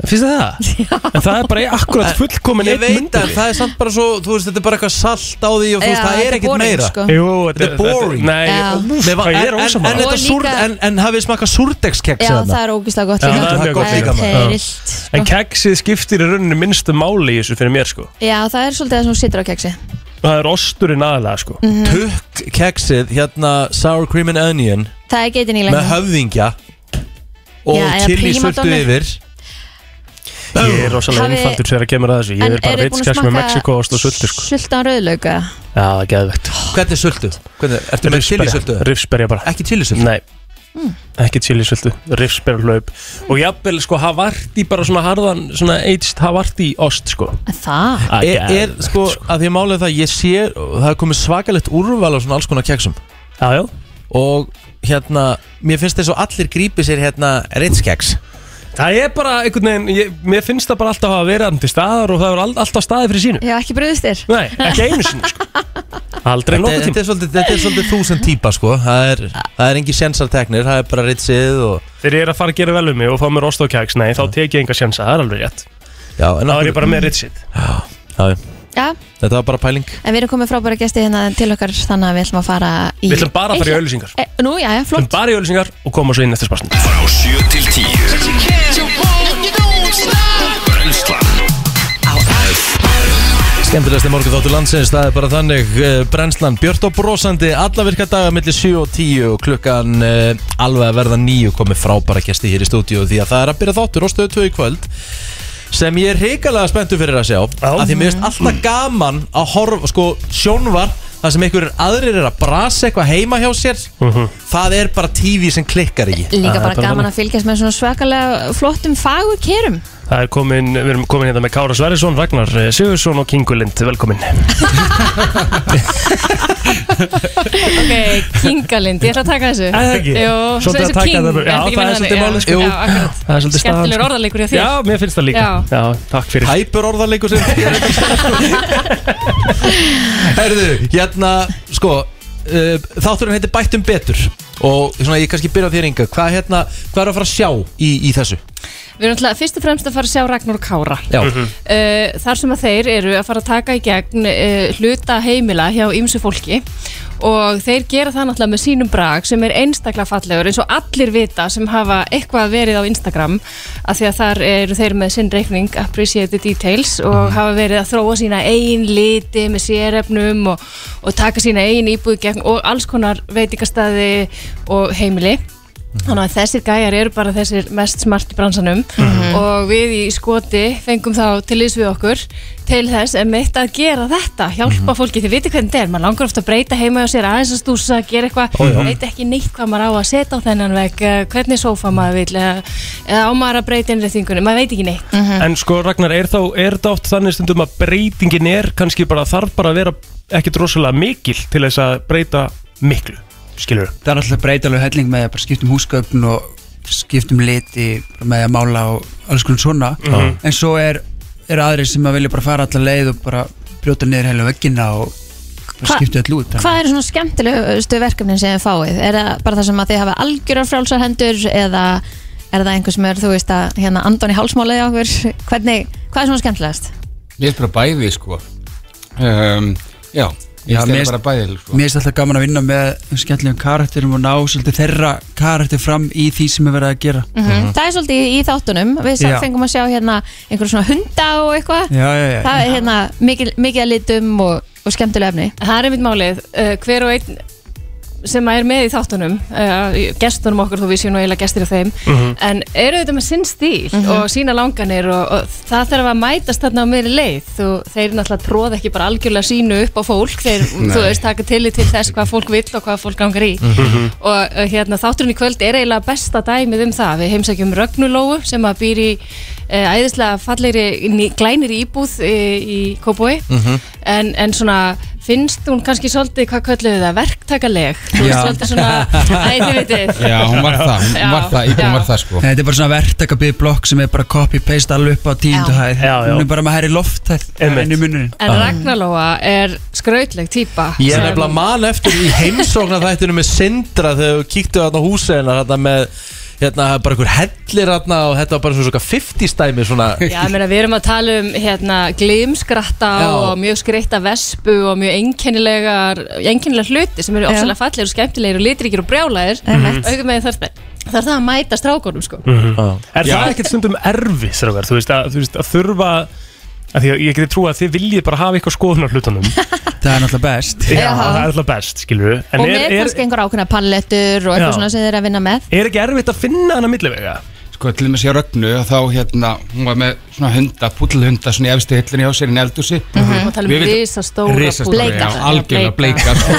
[SPEAKER 3] Finnst þið það? En það er bara akkurat fullkomin
[SPEAKER 1] Ég veit að það er samt bara svo, þú veist, þetta er bara eitthvað salt á því og þú veist,
[SPEAKER 2] Já,
[SPEAKER 1] það er
[SPEAKER 2] þetta er
[SPEAKER 1] ekkert
[SPEAKER 2] boring,
[SPEAKER 1] meira
[SPEAKER 2] sko.
[SPEAKER 3] Jú,
[SPEAKER 1] þetta er boring
[SPEAKER 3] þetta- nei, Já. úff,
[SPEAKER 1] Nei,
[SPEAKER 3] hvað ég er
[SPEAKER 1] en- en-
[SPEAKER 3] ósammála.
[SPEAKER 1] En þetta
[SPEAKER 2] Og
[SPEAKER 1] súrd,
[SPEAKER 2] líka-
[SPEAKER 1] en, en hafið smakað súrdegskeks
[SPEAKER 2] Já, það er ógislega gott
[SPEAKER 3] Já,
[SPEAKER 2] líka.
[SPEAKER 3] hérna. það er mjög gott líka. Já.
[SPEAKER 2] Það er sko. rillt
[SPEAKER 3] En keksið skiptir í rauninni minnstu máli í þessu fyrir mér sko
[SPEAKER 2] Já, það er svolítið það sem þú situr á keksi
[SPEAKER 3] Það er osturinn aðalega sko
[SPEAKER 2] Mhm.
[SPEAKER 1] Tukk keksið, hérna sour cream and onion
[SPEAKER 2] Það er geitin í lengi
[SPEAKER 1] með höfðingja og
[SPEAKER 2] Já, eða
[SPEAKER 1] chili surtu
[SPEAKER 2] prímadonnur.
[SPEAKER 1] yfir
[SPEAKER 3] Ég er rosalega
[SPEAKER 2] Hafið-
[SPEAKER 3] einfaldur þegar að kemur að þessu Ég
[SPEAKER 2] En
[SPEAKER 3] er bara
[SPEAKER 2] eruð þið búin að
[SPEAKER 3] ritskeks með
[SPEAKER 2] smakka
[SPEAKER 3] Mexiko ost og sultu sko
[SPEAKER 2] Sultan rauðlauka
[SPEAKER 3] Já, það er geðvegt
[SPEAKER 1] Hvernig sultu? Hvernig, ertu með chili sultu?
[SPEAKER 3] Rifsberja bara
[SPEAKER 1] Ekki chili sultu?
[SPEAKER 3] Nei Ekki chili sultu, rifsberja hlaup Og jafnvel sko havarti bara svona harðan Svona aged havarti ost sko
[SPEAKER 2] Það?
[SPEAKER 1] er, er sko, að því að málið er það ég sé, það er komið svakalegt úrval á svona alls konar keksum
[SPEAKER 3] já, já.
[SPEAKER 1] og hérna, mér finnst þess að allir grípi sér hérna ritskeks
[SPEAKER 3] Það er bara einhvern veginn ég, Mér finnst það bara alltaf að vera hann til staðar Og það er all- alltaf staði fyrir sínu
[SPEAKER 2] Já, ekki bröðust þér
[SPEAKER 3] Nei, ekki einu sinni sko Aldrei
[SPEAKER 1] þetta,
[SPEAKER 3] nokkuð tíma
[SPEAKER 1] þetta er svolítið, þetta er svolítið þúsund típa sko það er, það er engin sensarteknir, það er bara ritsið og
[SPEAKER 3] Þegar ég er að fara að gera vel um mig og fá mér ost og keks Nei, þá tek ég enga sjansa, það er alveg rétt
[SPEAKER 1] já, en
[SPEAKER 3] Þá er
[SPEAKER 1] okkur-
[SPEAKER 3] ég bara með ritsit
[SPEAKER 1] já, já.
[SPEAKER 2] Já,
[SPEAKER 1] þetta var bara pæling
[SPEAKER 2] en við erum komið frábæra gesti hérna til okkar Þannig að við ætlum að fara í
[SPEAKER 3] Við ætlum bara að fara í
[SPEAKER 2] Eitt-
[SPEAKER 3] auðlýsingar.
[SPEAKER 2] E, Nú, já, já, flott
[SPEAKER 3] Flott Um Bara í ölsingar og koma svo inn eftir sparsnum
[SPEAKER 4] Frá 7 til 10 Brenslan
[SPEAKER 1] Skemmtilegasti morgun þáttu landsins, það er bara þannig eh, Brennslan Björn og Brósandi alla virka daga millir 7 og 10 og klukkan eh, alveg að verða 9 komið frábæra gesti hér í stúdíu því að það er að byrja þáttur og stöðu 2 í kvöld sem ég er hrikalega spenntu fyrir að sjá af því mér finnst alltaf gaman að horfa sko sjónvar það sem einhverjir aðrir er að brasa eitthvað heima hjá sér það er bara TV sem klikkar ekki
[SPEAKER 2] Líka bara gaman að fylgjast með svona svakalega flottum fagurkerum
[SPEAKER 3] Það er komin, við erum komin hérna með Kára Sverrisson, Ragnar eh, Sigursson og Kingulind, velkomin
[SPEAKER 2] Ok, kingalind, ég ætla að taka þessu
[SPEAKER 3] það ekki?
[SPEAKER 2] Jú,
[SPEAKER 3] Svolítið að
[SPEAKER 2] þessu
[SPEAKER 3] taka
[SPEAKER 2] king,
[SPEAKER 3] það bara-
[SPEAKER 2] ertu
[SPEAKER 3] Já,
[SPEAKER 2] ekki
[SPEAKER 3] það
[SPEAKER 2] með
[SPEAKER 3] er
[SPEAKER 2] þannig?
[SPEAKER 3] svolítið
[SPEAKER 2] Já,
[SPEAKER 3] málið, sko.
[SPEAKER 2] Já,
[SPEAKER 3] Það
[SPEAKER 2] akkurat
[SPEAKER 3] er svolítið staðan,
[SPEAKER 2] Skemmtilegur
[SPEAKER 3] sko.
[SPEAKER 2] orðalegur hjá þér
[SPEAKER 3] Já, mér finnst það líka
[SPEAKER 2] Já.
[SPEAKER 3] Já, takk fyrir
[SPEAKER 1] Hæpur orðarleikur sem Herðu, hérna, sko uh, Þátturinn heitir Bættum betur Og svona, ég kannski byrja á þér Inga Hvað hérna, hvað er að fara að sjá í, í þessu?
[SPEAKER 19] Við erum alltaf fyrst og fremst að fara að sjá Ragnar og Kára
[SPEAKER 1] Já
[SPEAKER 19] uh, Þar sem að þeir eru að fara að taka í gegn uh, hluta heimila hjá ýmsu fólki og þeir gera það náttúrulega með sínum brag sem er einstaklega fallegur eins og allir vita sem hafa eitthvað verið á Instagram af því að þar eru þeir með sinn reikning Appreciated Details
[SPEAKER 3] Mhm.
[SPEAKER 19] og hafa verið að þróa sína eigin liti með sérefnum og, og taka sína eigin íbúð í gegn og alls konar veitingastæði og heimili Þannig að þessir gæjar eru bara þessir mest smart í bransanum
[SPEAKER 16] Mhm.
[SPEAKER 19] og við í skoti fengum þá til ís við okkur til þess emitt að gera þetta,
[SPEAKER 16] Mhm.
[SPEAKER 19] hjálpa fólki, þið viti hvernig þetta er, maður langar ofta að breyta heima á sér aðeins að stúsa, gera eitthvað,
[SPEAKER 16] Ó, já.
[SPEAKER 19] veit ekki neitt hvað maður á að setja á þennan veg, eh, hvernig sófa maður vil, eða eða á maður að breyta innréttingunni, maður veit ekki neitt.
[SPEAKER 3] En sko Ragnar, er þá, er þá oft þannig stundum að breytingin er kannski bara þarf bara að vera ekkit rosalega mikil til þess að breyta miklu, skilur
[SPEAKER 20] það er alltaf breytalega helling með að bara skiptum húsgögn og skiptum liti bara með að mála og alls konar svona
[SPEAKER 3] Mhm.
[SPEAKER 20] en svo er, er aðri sem að vilja bara fara allar leið og bara brjóta niður heila veggina og bara
[SPEAKER 2] Hva-
[SPEAKER 20] skipta allu út þannig.
[SPEAKER 2] Hvað eru svona skemmtilegustu verkefnin sem þið fáið? Er það bara það sem að þið hafa algjörar frjálsarhendur eða er það einhver sem er, þú veist, að hérna andan í hálsmálið á okkur? Hvernig, hvað er svona skemmtilegast?
[SPEAKER 5] Mér er bara bæði sko um, Já,
[SPEAKER 20] Já, mér
[SPEAKER 5] ég stæði
[SPEAKER 20] finnst-
[SPEAKER 5] bara bæði sko.
[SPEAKER 20] Mér finnst alltaf gaman að vinna með skemmtilegum karakterum og ná svolítið þeirra karakter fram í því sem er verið að gera
[SPEAKER 3] Mhm.
[SPEAKER 2] Mm Það er svolítið í þáttunum, við
[SPEAKER 20] Mhm. Já.
[SPEAKER 2] já. fengum að sjá hérna einhverjum svona hunda og eitthvað
[SPEAKER 20] Já, já, já.
[SPEAKER 2] Það er hérna mikil, mikið að litum og, og skemmtileg efni
[SPEAKER 19] Það er einmitt málið, uh, hver og einn sem er með í þáttunum uh, gestunum okkar, þú vísið nú eiginlega gestir af þeim
[SPEAKER 2] Mhm.
[SPEAKER 19] en eru þetta með sinn stíl
[SPEAKER 2] Mhm.
[SPEAKER 19] og sína langanir og, og það þarf að mætast þarna á meiri leið þú, þeir náttúrulega tróða ekki bara algjörlega sínu upp á fólk þeir,
[SPEAKER 14] Nei.
[SPEAKER 19] þú veist, taka tillit til þess hvað fólk vill og hvað fólk gangar í
[SPEAKER 14] Mhm.
[SPEAKER 19] og uh, hérna, þátturinn í kvöld er eiginlega besta dæmið um það. Við heimsækjum Rögnulóu sem að býr í uh, æðislega fallegri ný- glænir íbúð uh, í Kópói
[SPEAKER 16] Mhm.
[SPEAKER 19] en, en svona finnst hún kannski svolítið, hvað kölluðu það, verktakaleg? Þú veist
[SPEAKER 20] Já.
[SPEAKER 19] svolítið svona, æ, þið vitið.
[SPEAKER 5] Já, hún var það, hún
[SPEAKER 19] Já,
[SPEAKER 5] var það,
[SPEAKER 19] já.
[SPEAKER 5] íbúin var það sko
[SPEAKER 20] Þetta er bara svona verktakabið blokk sem er bara copy-paste alveg upp á tíundu
[SPEAKER 5] Já.
[SPEAKER 20] hæð
[SPEAKER 5] Já, já.
[SPEAKER 20] Hún er bara með hær í loft hæð inn í munurinn
[SPEAKER 19] En Ragnarlóa er skrautleg típa
[SPEAKER 1] Ah. Ég er
[SPEAKER 19] sem-
[SPEAKER 1] nefnilega man eftir í heimsóknar þættinu með Sindra þegar þú kíktu hérna á húsið hennar hérna með hérna bara einhver hellir hérna og þetta var bara svona svona 50 stæmi svona
[SPEAKER 19] Já, ég meina, við erum að tala um hérna, glimskratta
[SPEAKER 1] Já.
[SPEAKER 19] og mjög skreitta vespu og mjög einkennilegar, einkennilegar hluti sem eru
[SPEAKER 14] Já.
[SPEAKER 19] ofsalega fallegir og skemmtilegir og litríkir og brjálæðir
[SPEAKER 3] Einmitt.
[SPEAKER 19] auðvitað með þarf þarf það að mæta strákunum sko.
[SPEAKER 3] Mhm. Er
[SPEAKER 19] Já.
[SPEAKER 3] það ekkert stundum erfið, strákar? Þú veist að, þú veist, að þurfa að því að ég geti trú að þið viljið bara hafa eitthvað skoðun á hlutunum Það
[SPEAKER 20] er náttúrulega best
[SPEAKER 3] Já,
[SPEAKER 2] Já.
[SPEAKER 3] það er náttúrulega best, skilur En
[SPEAKER 2] og
[SPEAKER 3] er,
[SPEAKER 2] með
[SPEAKER 3] er,
[SPEAKER 2] kannski einhver ákveðna pallettur og eitthvað
[SPEAKER 5] Já.
[SPEAKER 2] svona sem þið er að vinna með
[SPEAKER 3] er ekki erfitt að finna hana millivega?
[SPEAKER 5] Sko, til dæmis hjá Rögnu, þá hérna, hún var með svona hunda, púllhunda, svona í efstu hillinni hjá sér í neldúsi
[SPEAKER 1] Mhm.
[SPEAKER 19] Og tala um risastóra
[SPEAKER 5] Risastóra,
[SPEAKER 19] púlla.
[SPEAKER 5] já, algjörlega bleika sko.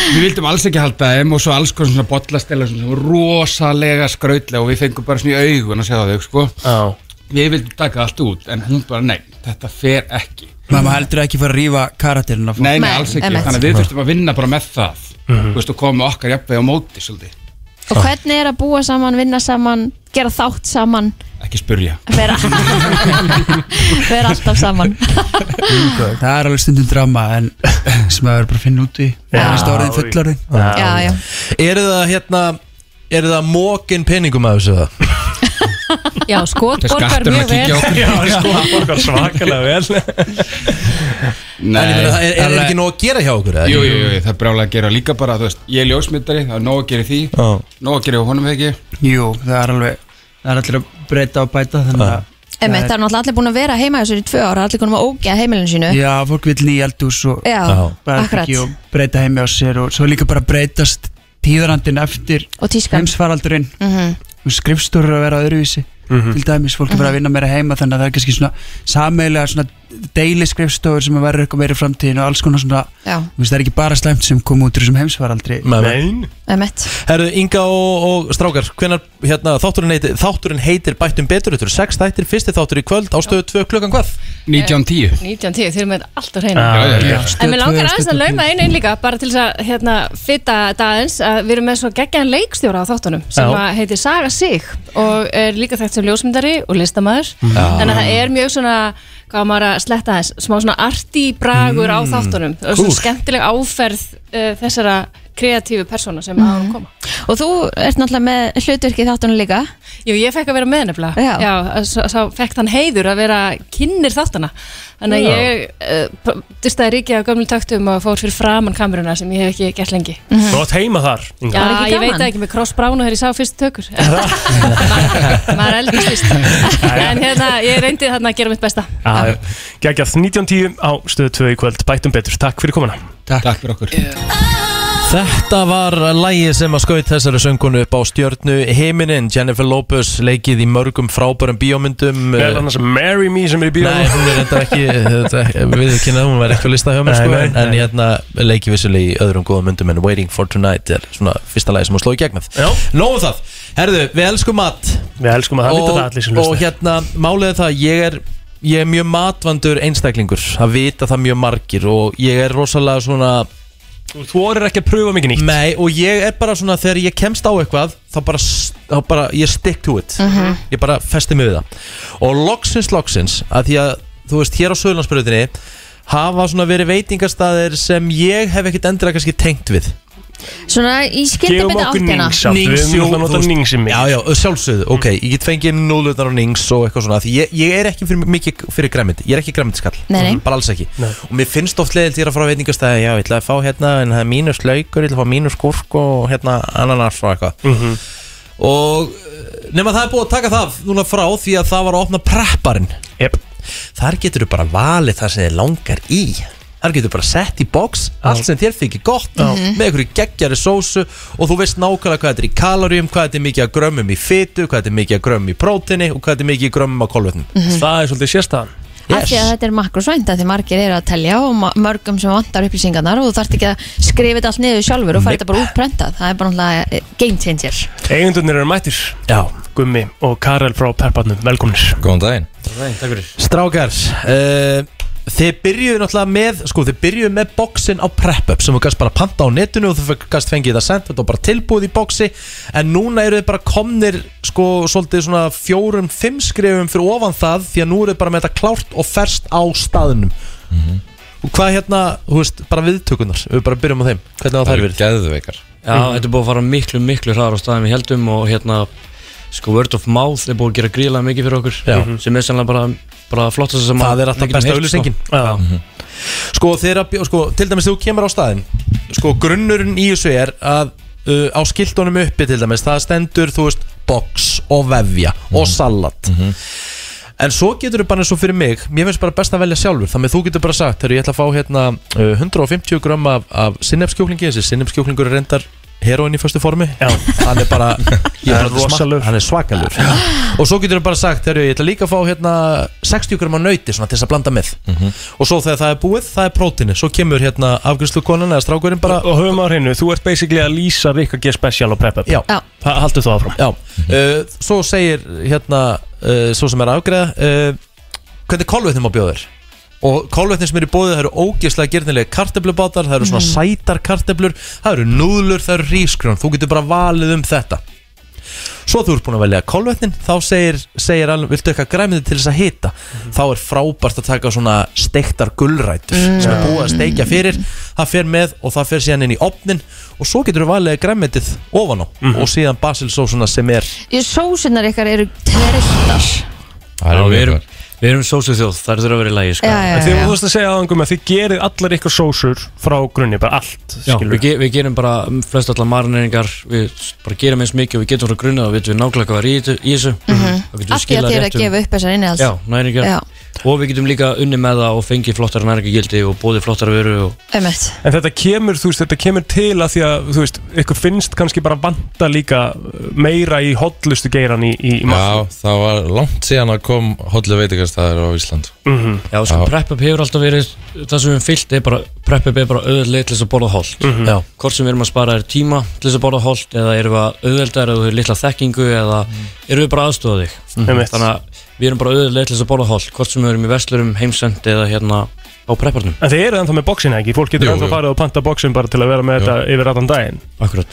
[SPEAKER 5] Við vildum alls ekki halda þeim og svo alls konar svona bollastela svona sem voru rosalega skrautlega og við fengum bara svona í augun að segja þau, sko
[SPEAKER 3] Já.
[SPEAKER 5] Við vildum taka allt út, en hún bara, nei, þetta fer ekki
[SPEAKER 20] Mamma heldur ekki að fara að rífa karakterinn af fólk
[SPEAKER 5] Nei, nei, alls ekki, þannig að við þurftum að vinna bara með það Þú veist, og koma með okkar jafnveg á móti svolítið,
[SPEAKER 2] Og hvernig er að búa saman, vinna saman, gera þátt saman
[SPEAKER 5] ekki spurja
[SPEAKER 2] vera, vera alltaf saman
[SPEAKER 20] sko, Það er alveg stundum drama en sem maður verður bara að finna út í Næsta orðin fullarðin
[SPEAKER 2] Já, já.
[SPEAKER 1] Eru það hérna eru það mókin peningum af þessu það?
[SPEAKER 19] Já, skot
[SPEAKER 1] Það
[SPEAKER 19] borgar
[SPEAKER 1] er skatturinn
[SPEAKER 19] mjög
[SPEAKER 1] að kíkja á okkur.
[SPEAKER 19] vel
[SPEAKER 1] Já, skot
[SPEAKER 3] borgar sko, svakalega vel
[SPEAKER 1] En ég meina, það er- er- er ekki nóg að gera hjá okkur, eða?
[SPEAKER 5] Jú, jú, jú, það er brálega að gera líka bara, þú veist, ég er ljósmyndari, það er nóg að gera í því Nóg að gera hjá honum eða ekki
[SPEAKER 20] Jú, það er alveg, það er allir að breyta og bæta þannig að
[SPEAKER 2] Emmett, það er náttúrulega allir búin að vera heima þessu í tvö ára, allir konum að ógja heimilinu sínu
[SPEAKER 20] Já, fólk vil nýja eldús og
[SPEAKER 2] Já,
[SPEAKER 20] bara
[SPEAKER 2] akkurat.
[SPEAKER 20] ekki og breyta heimi á sér og svo líka bara breytast tíðarandin eftir heimsfaraldurinn
[SPEAKER 2] Mhm.
[SPEAKER 20] og skrifstúrur að vera öðruvísi
[SPEAKER 3] Mhm.
[SPEAKER 20] til dæmis, fólk er bara að vinna meira heima þannig að það er kannski svona sameilega svona deili skrifstofur sem að vera eitthvað meira í framtíðin og alls konar svona,
[SPEAKER 2] Já.
[SPEAKER 20] þú veist, það er ekki bara slæmt sem kom út úr þessum heimsfaraldri
[SPEAKER 1] Nei.
[SPEAKER 2] Emmett
[SPEAKER 1] Herðu, Inga og, og strákar, hvenar, hérna, þátturinn heitir, þátturinn heitir Bættum betur, þetta eru sex þættir, fyrsti þáttur í kvöld á stöðu 2 klukkan hvað?
[SPEAKER 19] Eh,
[SPEAKER 5] 19.10
[SPEAKER 19] 1910, þeir eru með alltaf hreina
[SPEAKER 1] Já, já, já.
[SPEAKER 19] En mér langar
[SPEAKER 1] Stöð tvö,
[SPEAKER 19] aðeins
[SPEAKER 1] stöð
[SPEAKER 19] að
[SPEAKER 1] tvö.
[SPEAKER 19] lauma einu inn líka bara til þess að hérna, fitta þetta aðeins að við erum með svo geggjaðan leikstjóra á þáttunum sem
[SPEAKER 14] Já.
[SPEAKER 19] að heitir Saga Sig og er líka þekkt sem ljósmyndari og listamæður
[SPEAKER 14] Já.
[SPEAKER 19] þannig að það er mjög svona hvað á maður að sletta aðeins, smá svona arti bragur á
[SPEAKER 2] Mm,
[SPEAKER 19] þáttunum og svona
[SPEAKER 2] cool.
[SPEAKER 19] skemmtileg áferð uh, þessara kreatífu persóna sem að hann koma
[SPEAKER 2] Og þú ert náttúrulega með hlutverki í þáttunum líka
[SPEAKER 19] Jú, ég fekk að vera með nefnilega
[SPEAKER 2] Já.
[SPEAKER 19] Já, sá, sá fekk þann heiður að vera kynir þáttana Þannig
[SPEAKER 2] Já.
[SPEAKER 19] að ég uh, dystaði ríkið á gömlu taktum og fór fyrir framann kameruna sem ég hef ekki gert lengi
[SPEAKER 3] Þú átt heima þar
[SPEAKER 2] Mm.
[SPEAKER 3] Inga.
[SPEAKER 19] Mhm. Já, ég veit það ekki með crossbránu þegar ég sá fyrstu tökur Maður eldast fyrst En hérna, ég reyndi þarna að gera mitt besta
[SPEAKER 3] Gægjað 19.10 á stöðu 2 í kvöld Bætum betur, takk fyrir komuna
[SPEAKER 20] Takk,
[SPEAKER 5] takk fyrir okkur
[SPEAKER 1] Þetta var lægið sem að skaut þessari söngunu upp á stjörnu heiminin Jennifer Lopez leikið í mörgum frábærum bíómyndum
[SPEAKER 3] Meðal annars Marry Me sem er í bíó
[SPEAKER 1] Nei, hún er þetta ekki, þetta er ekki við kynnaði, hún var ekki á lista hjá mér
[SPEAKER 3] Nei,
[SPEAKER 1] sko,
[SPEAKER 3] nei,
[SPEAKER 1] en, en
[SPEAKER 3] nei.
[SPEAKER 1] hérna leikið vissulega í öðrum góðum myndum en Waiting for Tonight er svona fyrsta lægi sem hún sló í gegnum Nóðum um það, herðu, við elskum mat
[SPEAKER 3] Við elskum að það vita það allir sem
[SPEAKER 1] og
[SPEAKER 3] hlusta
[SPEAKER 1] hérna, málið er það að ég er ég er mjög matvandur einstaklingur það vita það mjög margir og ég er rosalega svona
[SPEAKER 3] Þú vorir ekki að pröfa mikið nýtt
[SPEAKER 1] Nei, og ég er bara svona þegar ég kemst á eitthvað þá bara, þá bara ég stick to it
[SPEAKER 3] Mhm.
[SPEAKER 1] ég bara festi mig við það og loksins loksins að því að þú veist, hér á Söðlandsbyrjutinni hafa svona verið veitingastæðir sem ég hef ekkert endilega kannski tengt við
[SPEAKER 2] Svona í skildi betið áttina
[SPEAKER 1] Nings,
[SPEAKER 3] Við erum alltaf að nota
[SPEAKER 1] Nings í mig Já, já, sjálfsögðu, ok,
[SPEAKER 2] Mm.
[SPEAKER 1] ég get fengið núlutnar á Nings og eitthvað svona Því ég, ég er ekki fyrir, mikið fyrir græmynd, ég er ekki græmyndskall
[SPEAKER 2] Nei, nei.
[SPEAKER 1] Bara alls ekki Og mér finnst oft leiðilt ég er að fara á veitingastæði Já, ég ætla að fá hérna, en það er mínus laukur, ég ætla að fá mínus gúrk og hérna ananas og eitthvað Og eh, nema það er búið að taka það núna frá því að það var að opna prepparinn yep. Þar getur þú bara valið það sem þið langar í Þar getur þú bara sett í box allt sem þér þykir gott
[SPEAKER 2] Mhm.
[SPEAKER 1] með einhverju geggjari sósu og þú veist nákvæmlega hvað þetta er í kaloríum, hvað þetta er mikið að grömmum í fitu, hvað þetta er mikið að grömmum í prótini og hvað þetta er mikið að grömmum á kolvetnum
[SPEAKER 2] Mhm.
[SPEAKER 1] Það er svolítið sérstæðan
[SPEAKER 2] Af því að þetta er makrosvænt að því margir eru að telja og ma- mörgum sem vantar upplýsingarnar og þú þarft ekki að skrifa þetta allt niður sjálfur og fara þetta bara útprentað. Það er bara náttúrulega eh, game changer.
[SPEAKER 3] Eigundunir eru mættir
[SPEAKER 1] Já
[SPEAKER 3] Gummi og Karel frá Perpartnum, velkomnir
[SPEAKER 1] Góðan daginn
[SPEAKER 5] Takk fyrir
[SPEAKER 1] Strákar, uh, þið byrjuðu náttúrulega með, sko þið byrjuðu með boxin á prep-up sem þú gæst bara panta á netinu og þú gæst fengið það sent, þetta var bara tilbúið í boxi en núna eru þið bara komnir sko svolítið svona fjórum, fimm skrifum fyrir ofan það því að nú eru þið bara með þetta klárt og ferst á staðnum og hvað hérna, þú veist, bara viðtökunar, við bara byrjum á þeim, hvernig hafa þær verið?
[SPEAKER 16] Geðveikar Já,
[SPEAKER 1] Mhm.
[SPEAKER 16] þetta er búið að fara miklu, miklu hraðar á staðum við heldum og hérna, sko, word of mouth er búið að gera gríðlega mikið fyrir okkur
[SPEAKER 1] Já.
[SPEAKER 16] Mhm. sem er sannlega bara, bara flottast sem
[SPEAKER 1] það er
[SPEAKER 16] við
[SPEAKER 1] alltaf
[SPEAKER 16] getum
[SPEAKER 1] besta
[SPEAKER 16] heyrt, sko.
[SPEAKER 1] auðlýsingin sko þeirra, sko, til dæmis þegar þú kemur á staðin sko grunnurinn í þessu er að uh, á skiltunum uppi til dæmis það stendur, þú veist, box og vefja og salat en svo getur þú bara eins og fyrir mig mér finnst bara best að velja sjálfur, þannig að þú getur bara sagt þegar ég ætla að fá hérna uh, 150 gram af, af sinnefskjúklingi, þessi sinnefskjúklingur er reyndar heroin í föstu formi Já. hann er bara, ég er
[SPEAKER 3] Hann er
[SPEAKER 1] bara
[SPEAKER 3] rosalegur.
[SPEAKER 1] smak- hann er svakalur og svo getur þú bara sagt, þegar ég ætla líka að fá hérna 60 gram af nöyti svona til þess að blanda með
[SPEAKER 3] Mhm.
[SPEAKER 1] og svo þegar það er búið, það er prótini svo kemur hérna afgjörslukonan eða strákurinn bara
[SPEAKER 3] Og höfum á hreinu, þú ert basically að lýsa Rikka G Special og Prep Up
[SPEAKER 1] Já.
[SPEAKER 2] Já.
[SPEAKER 3] Haldu þú áfram
[SPEAKER 1] Já, uh, svo segir hérna, uh, svo sem er að afgreða uh, hvernig kolvetnum á bjóður og kolvetnum sem eru í bóðið það eru ógeðslega gerðnilega karteblubátar, það eru svona
[SPEAKER 3] Mhm.
[SPEAKER 1] sætar karteblur, það eru núðlur, það eru rískrón, þú getur bara valið um þetta Svo þú ert búin að velja kolvetnin þá segir, segir alveg, viltu eitthvað græmiði til þess að hita
[SPEAKER 3] Mhm.
[SPEAKER 1] þá er frábært að taka svona steiktar gullrætur
[SPEAKER 3] Mm.
[SPEAKER 1] sem er búið að steikja fyrir það fer með og það fer síðan inn í opnin og svo getur þú valið græmiðið ofan á
[SPEAKER 3] Mhm.
[SPEAKER 1] og síðan basilsósuna sem er
[SPEAKER 2] Jú, Sósunar ykkar eru trilltar.
[SPEAKER 16] Já, við erum, við erum sósu þjóð, það er þurfa að vera í lagi sko.
[SPEAKER 2] Já, Eh, já,
[SPEAKER 3] En Þið voru að segja aðan Gummi að þið gerið allar ykkur sósur frá grunni, bara allt
[SPEAKER 16] Já,
[SPEAKER 3] skilurðu.
[SPEAKER 16] við, ge við gerum bara flest allar marineringar við bara gerum eins mikið og við getum frá grunna og vitum við nákvæmlega hvað er í, þetta- í þessu mm -hmm.
[SPEAKER 2] Mhm. Af því að þið eru að gefa upp þessar innihalds.
[SPEAKER 16] Já, næringar
[SPEAKER 2] Já.
[SPEAKER 16] og við getum líka unni með það og fengið flottara næringagildi og bóði flottara vöru og
[SPEAKER 2] Einmitt.
[SPEAKER 3] En þetta kemur, þú veist, þetta kemur til að því að, þú veist, ykkur finnst kannski bara vanta líka meira í hotlustu geiran í, í, í
[SPEAKER 21] Já, það var langt síðan að kom hóllu veitingastæðir á Ísland
[SPEAKER 3] Mhm.
[SPEAKER 16] Já, sko, prep-up hefur alltaf verið það sem við höfum fyllt er bara, prep-up er bara auðveldlega til þess að borða holt
[SPEAKER 3] Mhm. Já.
[SPEAKER 16] hvort sem við erum að spara er tíma til þess að borða holt eða erum við að auðveldar eða við litla þekkingu eða erum við bara aðstofa þig
[SPEAKER 3] Mhm. Einmitt.
[SPEAKER 16] þannig að við erum bara auðveldlega til þess að borða holt hvort sem við erum í verslurum, heimsend eða hérna á prepparnum
[SPEAKER 3] En þið eru ennþá með bóksina ekki, fólk getur
[SPEAKER 16] Jú,
[SPEAKER 3] ennþá
[SPEAKER 16] jú.
[SPEAKER 3] farið og panta bóksin bara til að vera með
[SPEAKER 16] Jú.
[SPEAKER 3] þetta yfir allan daginn
[SPEAKER 16] Akkurat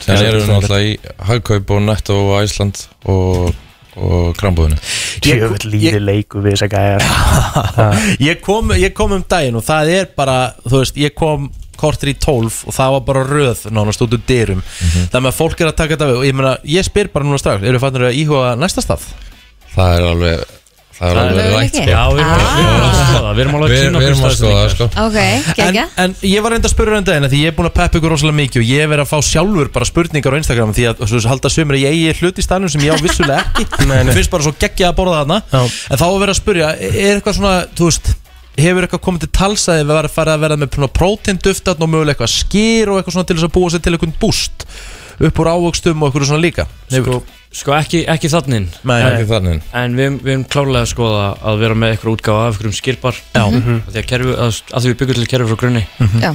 [SPEAKER 21] Þannig erum við náttúrulega í hagkaup og netto á Ísland og, og krambúðinu
[SPEAKER 3] Tjöfull lífi leiku við þess að
[SPEAKER 16] sko.
[SPEAKER 3] gæja
[SPEAKER 1] ég kom, ég kom um daginn og það er bara þú veist, ég kom kortir í 12 og það var bara röð nánast út úr dyrum
[SPEAKER 21] Mhm.
[SPEAKER 1] þannig að fólk er að taka þetta við og ég, meina, ég spyr bara núna strax, eru fannir að íhuga næsta stað?
[SPEAKER 21] Það er alveg Það er alveg rætt sko.
[SPEAKER 16] Já, við erum alveg- við erum alveg að skoða, við erum alveg að
[SPEAKER 21] Við-
[SPEAKER 16] kynna
[SPEAKER 21] Við erum að
[SPEAKER 16] okkur
[SPEAKER 21] skoða
[SPEAKER 16] staðsetningar.
[SPEAKER 21] sko.
[SPEAKER 2] Ah, Ok,
[SPEAKER 1] en,
[SPEAKER 2] geggja.
[SPEAKER 1] en ég var reynda að spyrja um daginn af Því ég er búin að peppa ykkur rosalega mikið Og ég er verið að fá sjálfur bara spurningar á Instagram Því að svo, halda sömur að ég eigi hlut í stanum Sem ég á vissulega ekki
[SPEAKER 3] Nei,
[SPEAKER 1] Mér
[SPEAKER 3] nei.
[SPEAKER 1] finnst bara svo geggjað að borða þarna En þá er verið að spyrja, er eitthvað svona, þú veist hefur eitthvað komið til talsaði við varum að fara að vera með prótinduft og mögulega eitthvað skýr og eitthvað svona til þess að búa sér til eitthvað búst upp úr ávöxtum og eitthvað svona líka
[SPEAKER 16] Sko, sko ekki, ekki þannin
[SPEAKER 1] Nei,
[SPEAKER 16] en,
[SPEAKER 1] ekki þannin.
[SPEAKER 16] En við, við erum klárlega að skoða að vera með eitthvað útgáfa af einhverjum skirpar
[SPEAKER 1] Já.
[SPEAKER 16] Mhm. Af Því að, kerfi, að, að því við byggjum til kerfi frá grunni
[SPEAKER 2] Já.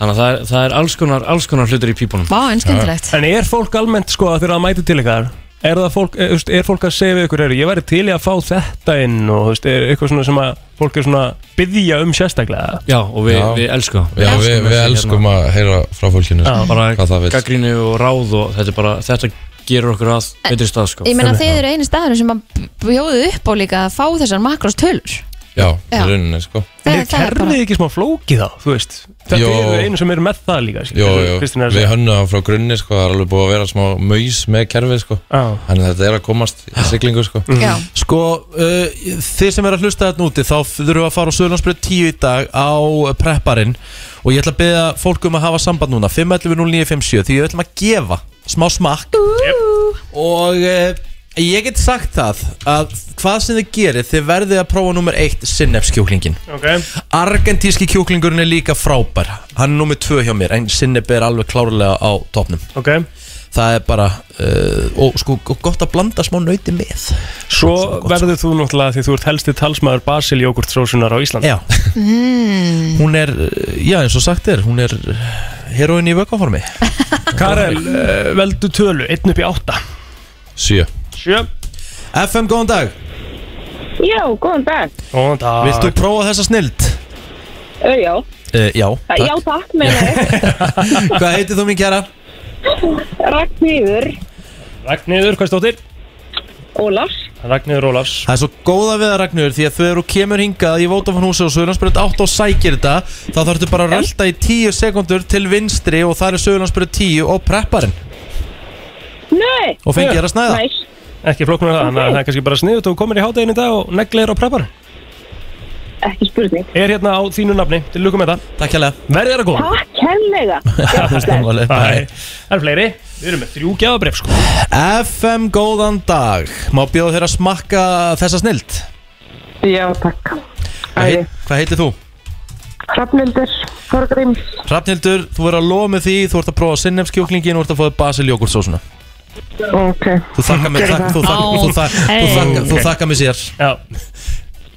[SPEAKER 16] Þannig að það er, það er alls, konar, alls konar hlutur í pípunum
[SPEAKER 2] Vá, en skemmtilegt.
[SPEAKER 3] En er fólk almennt sko að þeirra að mæta til ykkar? Er, það fólk, er, þú veist, er fólk að segja við ykkur, er, ég væri til í að fá þetta inn og þú veist, er eitthvað svona sem að fólk er svona að byggja um sérstaklega?
[SPEAKER 16] Já, og við, við elskum hérna- það.
[SPEAKER 21] Já, við, við elskum að heyra frá fólkinu
[SPEAKER 16] Já,
[SPEAKER 21] sko,
[SPEAKER 16] bara
[SPEAKER 21] hvað það vil
[SPEAKER 16] gaggríni og ráð og þetta, er bara, þetta gerur okkur að betri stað sko.
[SPEAKER 2] Ég meina þeir eru eini staður sem að bjóðu upp á líka að fá þessar makrostölur
[SPEAKER 21] Já, í
[SPEAKER 2] Já.
[SPEAKER 21] rauninni sko
[SPEAKER 3] Er
[SPEAKER 2] Það- það er bara-
[SPEAKER 3] kerfið ekki smá flókið þá, þú veist? Þetta
[SPEAKER 21] Jó.
[SPEAKER 3] eru einu sem eru með það líka,
[SPEAKER 21] Jó,
[SPEAKER 3] skilur,
[SPEAKER 21] jó,
[SPEAKER 3] Kristín er
[SPEAKER 21] við
[SPEAKER 3] að segja.
[SPEAKER 21] hönnum það frá grunni sko, það er alveg búið að vera smá maus með kerfið sko
[SPEAKER 3] Já.
[SPEAKER 21] Þannig að þetta er að komast í siglingu sko
[SPEAKER 2] Já.
[SPEAKER 1] Sko, uh, þið sem er að hlusta þetta úti þá þurfum við að fara á Söðlandsbröð 10 í dag á uh, prepparinn og ég ætla að beða fólk um að hafa samband núna 511-0957 því við ætlum að gefa smá smakk og uh, ég get sagt það að hvað sem þið gerir þið verðið að prófa nummer 1 sinnefskjúklingin
[SPEAKER 3] okay.
[SPEAKER 1] Argentíski kjúklingurinn er líka frábær hann er nummer 2 hjá mér en sinnef er alveg klárlega á topnum
[SPEAKER 3] okay.
[SPEAKER 1] það er bara uh, og sko og gott að blanda smá nöyti með
[SPEAKER 3] Svo verður þú náttúrulega því þú ert helsti talsmaður basiljógurtrósunar á Íslandi.
[SPEAKER 1] Já.
[SPEAKER 2] Mm.
[SPEAKER 1] hún er, uh, já eins og sagt er hún er heroin í vökkaformi
[SPEAKER 3] Karel, uh, veldu tölu, 1 upp í 8.
[SPEAKER 21] Sjö
[SPEAKER 3] 7.
[SPEAKER 1] FM, góðan dag
[SPEAKER 17] Já, góðan dag.
[SPEAKER 3] Góðan dag
[SPEAKER 1] Vilt þú prófa þessa snild?
[SPEAKER 17] Ö, Eh, já.
[SPEAKER 1] Uh, já,
[SPEAKER 17] Takk. Já, takk með þér.
[SPEAKER 1] Hvað heitir þú mín kæra?
[SPEAKER 17] Ragnhýður
[SPEAKER 3] Ragnhildur, hvað stóttir?
[SPEAKER 17] Ólafs.
[SPEAKER 3] Ragnhildur Ólafs
[SPEAKER 1] Það er svo góða við það Ragnhildur því að þegar þú kemur hingað í Vótafón húsi og Söðurlandsbyrjut 8 og sækir þetta þá þarftu bara að rölda í 10 sekundur til vinstri og það er Söðurlandsbyrjut 10 og prepparinn
[SPEAKER 17] Nei.
[SPEAKER 1] Og fengið þér að snæða.
[SPEAKER 17] Næs.
[SPEAKER 3] Ekki flóknar það, þannig að það er kannski bara sniðut og þú komir í hátægin í dag og neglir á preppar
[SPEAKER 17] Ekki spurning
[SPEAKER 3] Er hérna á þínu nafni, til lukum með það
[SPEAKER 1] Takk hérlega
[SPEAKER 3] Verðið er að góða
[SPEAKER 17] Takk hennlega.
[SPEAKER 1] Það
[SPEAKER 3] er fleiri, við erum með þrjú gjafabref sko
[SPEAKER 1] FM, góðan dag Má bjóða þér að smakka þessa snild
[SPEAKER 17] Já, takk.
[SPEAKER 1] Hvað, heit, hvað heitir þú?
[SPEAKER 17] Hrafnildur, Þorgrim.
[SPEAKER 1] Hrafnildur, þú verður að lofa með því Þú ert að prófa sinnefskjóklingin og þú ert að fóða basiljogurtsósuna
[SPEAKER 17] Ok.
[SPEAKER 1] Þú þakka mig,
[SPEAKER 17] Gerðu
[SPEAKER 1] þak,
[SPEAKER 17] það.
[SPEAKER 1] þú þakka, þú þak, þú þakka, þú
[SPEAKER 3] Ok.
[SPEAKER 1] þakka mig sér
[SPEAKER 3] Já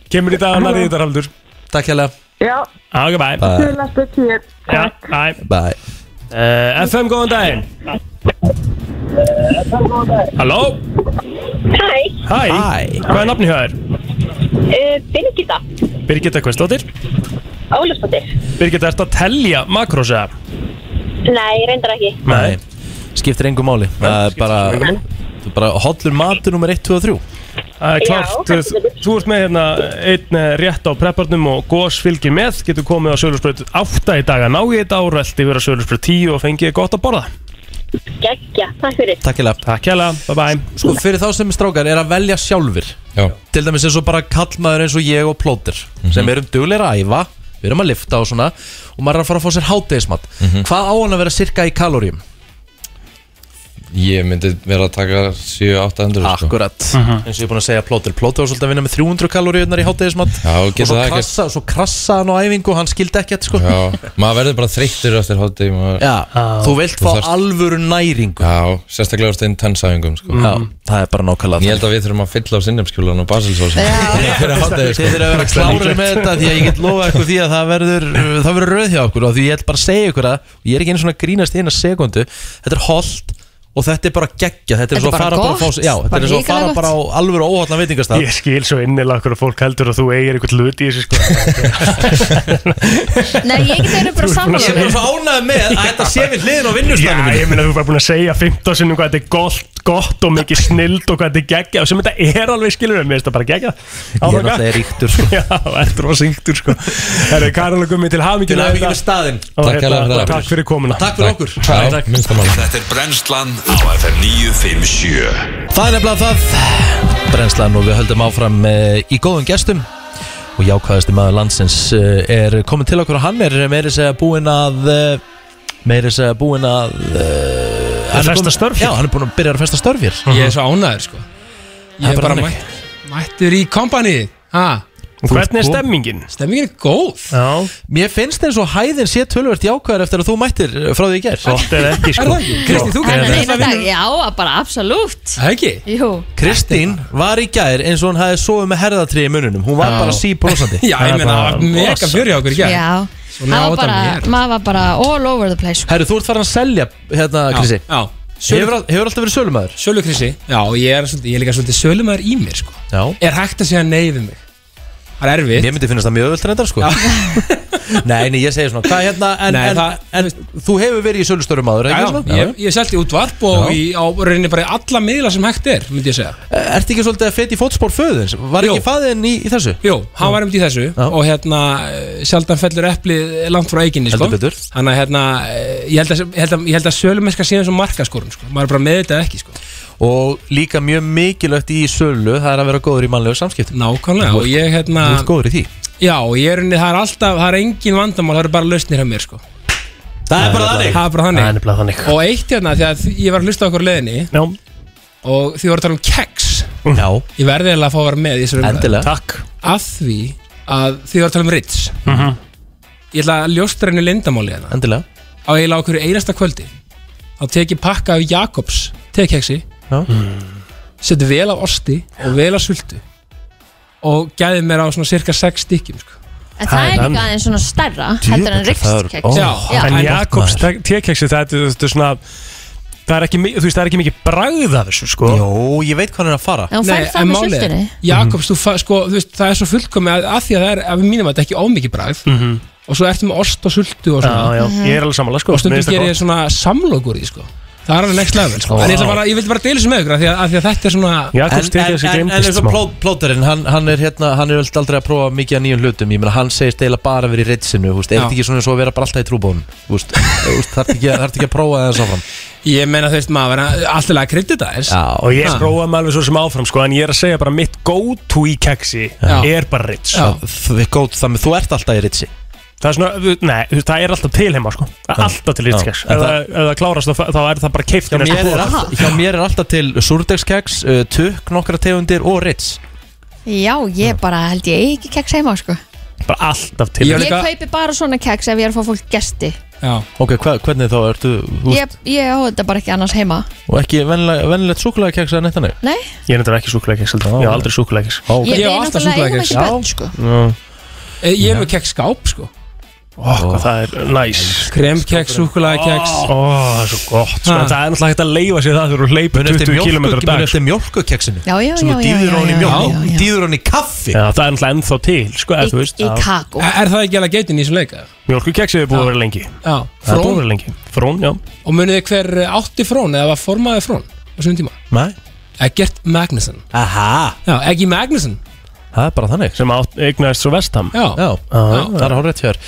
[SPEAKER 3] Kemur í dag annar í þetta Raldur
[SPEAKER 1] Takk hérlega
[SPEAKER 17] Já,
[SPEAKER 3] Ok, bæ
[SPEAKER 17] næstu tíu.
[SPEAKER 3] Já, bæ
[SPEAKER 1] Bæ
[SPEAKER 3] uh, FM, góðan daginn Halló
[SPEAKER 17] Hæ.
[SPEAKER 3] Hæ Hvað er nafni hjá þér?
[SPEAKER 17] Uh, Birgitta,
[SPEAKER 3] Birgitta Kvestóttir
[SPEAKER 17] Ólafsdóttir.
[SPEAKER 3] Birgitta, ertu að telja makrósa?
[SPEAKER 17] Nei, reyndar ekki.
[SPEAKER 1] Nei, skiptir engu máli Það er bara, það er bara hollur matur nummer 1, 2 og 3
[SPEAKER 3] Það er
[SPEAKER 1] Já,
[SPEAKER 3] klart, Eh, þú, þú ert með hérna einn eh, rétt á prepparnum og gos fylgir með, getur komið á Sölursbröð 8 í dag að ná í þetta og röldi vera Sölursbröð 10 og fengið gott að borða
[SPEAKER 17] Gekkja, takk fyrir.
[SPEAKER 1] Takk hérlega
[SPEAKER 3] Takk hérlega, bye bye
[SPEAKER 1] Sko fyrir þá sem er strákar er að velja sjálfur
[SPEAKER 21] Já. Mhm.
[SPEAKER 1] Til dæmis eins og bara kallmaður eins og ég og plóter Sem erum dugleira að æfa Við erum að lifta og svona Og maður er að fara að fá sér hátegismat
[SPEAKER 21] Mhm.
[SPEAKER 1] Hvað á hann að vera cirka í kaloríum?
[SPEAKER 21] Ég myndi vera að taka 7-8 endur sko.
[SPEAKER 1] Akkurat,
[SPEAKER 3] Mhm.
[SPEAKER 1] eins og ég er búin að segja plóter Plóter var svolítið að vinna með 300 kaloríunar í hátegismat
[SPEAKER 21] Já,
[SPEAKER 1] Og
[SPEAKER 21] getur
[SPEAKER 1] svo
[SPEAKER 21] það ekki
[SPEAKER 1] krassa, svo krassa hann á æfingu og Hann skildi ekkert sko
[SPEAKER 21] Já, maður verður bara þreyttur eftir hátí
[SPEAKER 1] Já, þú vilt fá alvöru næringu
[SPEAKER 21] Já, sérstaklega eftir intennsæfingum sko.
[SPEAKER 1] Já, það er bara nákvæmlega
[SPEAKER 21] Ég held að við þurfum að fylla á sinnefskjúlan og basilsósin
[SPEAKER 1] Þið þurfum að vera klárir með þetta Því að ég get lofa ykkur því að það verður Það verður rauð hjá okkur og því ég ætl bara að segja ykkur að og Ég er ekki einu svona að grínast í eina sekundu Þetta er holdt og þetta er bara geggja Þetta
[SPEAKER 3] Þetta
[SPEAKER 1] er svo
[SPEAKER 3] er
[SPEAKER 1] að
[SPEAKER 3] bara
[SPEAKER 1] fara bara,
[SPEAKER 3] gott.
[SPEAKER 1] bara, já, þetta
[SPEAKER 3] Bara
[SPEAKER 1] er svo að
[SPEAKER 3] hrikalega
[SPEAKER 1] fara
[SPEAKER 3] gott.
[SPEAKER 1] bara á alvöru óhaldna veitingastaf
[SPEAKER 3] Ég skil svo innilega okkur að fólk heldur að þú eigir einhvern hlut í þessu sko
[SPEAKER 2] Nei, ég get einu bara saman
[SPEAKER 1] Ég er bara svo ánægð með að þetta sé við hliðin á vinnustanum
[SPEAKER 3] Já, ég meina þú er bara búin að segja 15 sinnum hvað þetta er gott, gott og mikið snild og hvað þetta er geggja og sem þetta er alveg skilur mér finnst það bara geggja
[SPEAKER 1] Ég er náttúrulega ríktur sko
[SPEAKER 3] Já, ertur og syngtur sko Herru, Karol og Gummi til hamingjum
[SPEAKER 1] Til hamingju með staðinn. Takk
[SPEAKER 21] hérlega fyrir það.
[SPEAKER 3] hérna, Takk fyrir komuna
[SPEAKER 1] Takk fyrir okkur. Já,
[SPEAKER 21] Takk, minnstamáli
[SPEAKER 4] Þetta er brennslan á FM 957
[SPEAKER 1] Það er nefnilega það Brennslan og við höldum áfram eh, í góðum gestum og jákvæðasti maður landsins eh, er komin til okkur og hann er meiri segja búinn að eh, meiri segja búinn að eh, hann er
[SPEAKER 3] festa
[SPEAKER 1] kominn-
[SPEAKER 3] störf hér.
[SPEAKER 1] Já, hann er búinn að byrja að festa störf hér
[SPEAKER 5] Ég er svo ánæður sko
[SPEAKER 1] Það
[SPEAKER 5] Ég
[SPEAKER 1] er
[SPEAKER 5] er
[SPEAKER 1] bara
[SPEAKER 5] bara
[SPEAKER 1] þannig.
[SPEAKER 5] mætt, mættur í kompani Ha?
[SPEAKER 3] Og hvernig er stemmingin?
[SPEAKER 1] Stemmingin er góð
[SPEAKER 3] Já.
[SPEAKER 1] Mér finnst eins og hæðin sé tölvöld jákvæður eftir að þú mættir eh, frá því í gerð
[SPEAKER 3] Gott ef ekki, sko. Er það ekki? Kristín, þú
[SPEAKER 19] En eina dag, já, bara absolutt
[SPEAKER 1] Það ekki?
[SPEAKER 19] Jú
[SPEAKER 1] Kristín var í gær eins og hún hafði sofið með herðatri í mununum Hún var
[SPEAKER 19] Já.
[SPEAKER 1] bara síbrosandi
[SPEAKER 5] Já, ég meina, það var mega fjör hjá okkur í
[SPEAKER 2] Já, það var bara, maður var bara all over the place sko.
[SPEAKER 1] Herru, þú ert farin að selja hérna, Krissi
[SPEAKER 5] Já
[SPEAKER 1] Hefur al- hefur alltaf verið sölumæður?
[SPEAKER 5] Sölukrissi, já, ég er, svolítið, ég er líka svolítið sölumæður í mér sko. Er hægt að segja nei við mig? Það er erfitt
[SPEAKER 1] Ég myndi finnast það mjög öðvöld reyndar sko Nei, nei, ég segi svona Hvað hérna, en,
[SPEAKER 5] Nei,
[SPEAKER 1] en,
[SPEAKER 5] það-
[SPEAKER 1] en þú hefur verið í sölustörum áður,
[SPEAKER 5] Já,
[SPEAKER 1] ekki
[SPEAKER 5] já,
[SPEAKER 1] svona?
[SPEAKER 5] ég, ég seldi útvarp og
[SPEAKER 1] Já.
[SPEAKER 5] í, á rauninni bara í alla miðla sem hægt er, myndi ég segja
[SPEAKER 1] Ertu ekki svolítið að feti í fótspór föðins? Var ekki faðin í, í þessu?
[SPEAKER 5] Jú, hann var um til þessu og hérna eh, sjaldan fellur eplið langt frá eiginni sko.
[SPEAKER 1] Heldur betur.
[SPEAKER 5] Þannig að hérna, eh, ég held að, ég held að, ég held að sölumesska séum sem markaskorun sko. maður er bara með þetta ekki sko.
[SPEAKER 1] Og líka mjög mikilvægt í sölu Það er að vera góður í mannlegu samskiptum
[SPEAKER 5] Nákvæmlega, og ég hérna
[SPEAKER 1] Þú ert góður í því
[SPEAKER 5] Já, og ég er unni, það er alltaf, það er engin vandamál, það eru bara lausnir hjá mér sko.
[SPEAKER 1] Það er bara þannig.
[SPEAKER 5] Það er bara
[SPEAKER 3] Það er
[SPEAKER 5] þannig
[SPEAKER 3] nefnilega þannig
[SPEAKER 5] Og eitt hérna, því að ég var að hlusta á okkur á leiðinni
[SPEAKER 3] Já.
[SPEAKER 5] Og því voru að tala um keks
[SPEAKER 1] Já
[SPEAKER 5] Ég verði eiginlega að fá að vera með í þessari umræðu.
[SPEAKER 1] Endilega.
[SPEAKER 3] Takk
[SPEAKER 5] Að því að því voru að tala um Ritz
[SPEAKER 3] Mhm.
[SPEAKER 5] Ég ætla að ljóstra henni lindamáli hérna
[SPEAKER 1] Endilega
[SPEAKER 5] Á eiginlega okkur einasta kvöldi Þá tek ég pakka af Jakobs tekeksi
[SPEAKER 1] Já
[SPEAKER 5] Mm. Seti vel af osti og vel af sultu Og gæði mér á svona cirka 6 stykkjum sko.
[SPEAKER 2] En það er líka aðeins svona stærra heldur en rikskeks
[SPEAKER 3] En Jakobs te- tekeksi, það er þetta er svona Það er ekki, mi- þú veist, það er ekki mikið bragð af þessu, sko
[SPEAKER 1] Jó, ég veit hvað hann er að fara
[SPEAKER 2] En hún fær það með sultunni.
[SPEAKER 5] Mhm. Jakobs, þú, fa- sko, þú veist, það er svo fullkomi að, að því að það er, að við mínum að þetta er ekki ómikið bragð
[SPEAKER 3] Mhm.
[SPEAKER 5] og svo ertu með ost og sultu og svona
[SPEAKER 3] Já, já,
[SPEAKER 2] Mhm.
[SPEAKER 3] ég er alveg sammála, sko.
[SPEAKER 5] og stundum
[SPEAKER 3] Mér finnst það
[SPEAKER 5] gerir
[SPEAKER 3] gott.
[SPEAKER 5] ég svona samlok úr því sko. það er alveg next level sko.
[SPEAKER 1] Vá.
[SPEAKER 5] en ég, ætla bara, ég vildi bara deila þessu með ykkur af því að, að, því að þetta er svona
[SPEAKER 1] en, en, en eins og pló- plóterinn, hann, hann er hérna, hann er alltaf aldrei að prófa mikið að nýjum hlutum Ég meina, hann segist eiginlega bara að vera í reitsinu, þú veist Er
[SPEAKER 5] Já.
[SPEAKER 1] þetta ekki svona eins og að vera bara alltaf í trúbóðum, þú veist Þú veist, Þarf ekki, að- þarftu ekki að prófa það áfram
[SPEAKER 5] ég meina þú veist maður verða alltaf að kredita þess
[SPEAKER 3] Og ég prófaði með alveg svo sem áfram, sko En ég er að segja bara mitt go-to í keksi
[SPEAKER 1] Já.
[SPEAKER 3] Er bara Ritz
[SPEAKER 1] Já. Þið góð, það með þú ert alltaf í ritsi
[SPEAKER 3] Það er svona, þú- nei, þú veist, það er alltaf til heima, sko Það er Alltaf til Ritz keks
[SPEAKER 1] Já. En
[SPEAKER 3] Ef það
[SPEAKER 1] það-
[SPEAKER 3] ef það klárast, þá- þá er það bara keift
[SPEAKER 1] hjá mér, er alltaf, hjá mér er alltaf til súrdegskeks, uh, tukk, nokkra tegundir og rits
[SPEAKER 2] Já, ég bara held ég eigi ekki keks heima sko.
[SPEAKER 3] Bara alltaf
[SPEAKER 1] til
[SPEAKER 2] Ég kaupi bara svona keks ef ég er að fá fólk gesti
[SPEAKER 1] Ok, hva, hvernig þá ertu þú,
[SPEAKER 2] Ég, ég á þetta bara ekki annars heima
[SPEAKER 1] Og ekki venlega- venilegt súkulega keks að netta neg
[SPEAKER 2] Nei,
[SPEAKER 3] Ég er þetta ekki súkulega keks, ég er aldrei súkulega keks
[SPEAKER 2] ég, við náttúrulega eigum ekki börn sko.
[SPEAKER 5] Eh, ég er með keksskáp sko.
[SPEAKER 3] Ó, hvað það er næs
[SPEAKER 5] Kremkeks, súkulækeks
[SPEAKER 3] Ó, það er svo gott sko.
[SPEAKER 5] Ha.
[SPEAKER 3] En Það er náttúrulega hægt að leifa sér það þegar þú hleypur
[SPEAKER 1] Muni eftir
[SPEAKER 3] 20 km
[SPEAKER 1] mjólku-
[SPEAKER 3] á dag
[SPEAKER 1] muni eftir mjólkukeksinu
[SPEAKER 2] Já, já,
[SPEAKER 1] Sem
[SPEAKER 2] já,
[SPEAKER 1] þú
[SPEAKER 2] já,
[SPEAKER 1] dýður
[SPEAKER 2] já,
[SPEAKER 1] honum í
[SPEAKER 2] já,
[SPEAKER 1] mjólk
[SPEAKER 2] já,
[SPEAKER 1] Þú dýður honum í kaffi
[SPEAKER 3] Já, það er náttúrulega ennþá til, sko, eða þú veist
[SPEAKER 2] í kakó
[SPEAKER 5] er, er það ekki alveg geitin í þessu leika?
[SPEAKER 3] Mjölkukeksi hefur búið að vera lengi
[SPEAKER 5] Já,
[SPEAKER 3] Það er búið að
[SPEAKER 5] frón.
[SPEAKER 3] vera lengi Frón, já
[SPEAKER 5] og munið þið hver átti frón eða var formaði frón á svona tíma
[SPEAKER 1] Nei
[SPEAKER 5] Egert Magnusson
[SPEAKER 1] Aha
[SPEAKER 5] Já, Eggi Magnusson
[SPEAKER 1] Það er bara þannig
[SPEAKER 3] Sem átt, eignaðist svo vestam
[SPEAKER 5] Já,
[SPEAKER 1] Já, það er horrið þér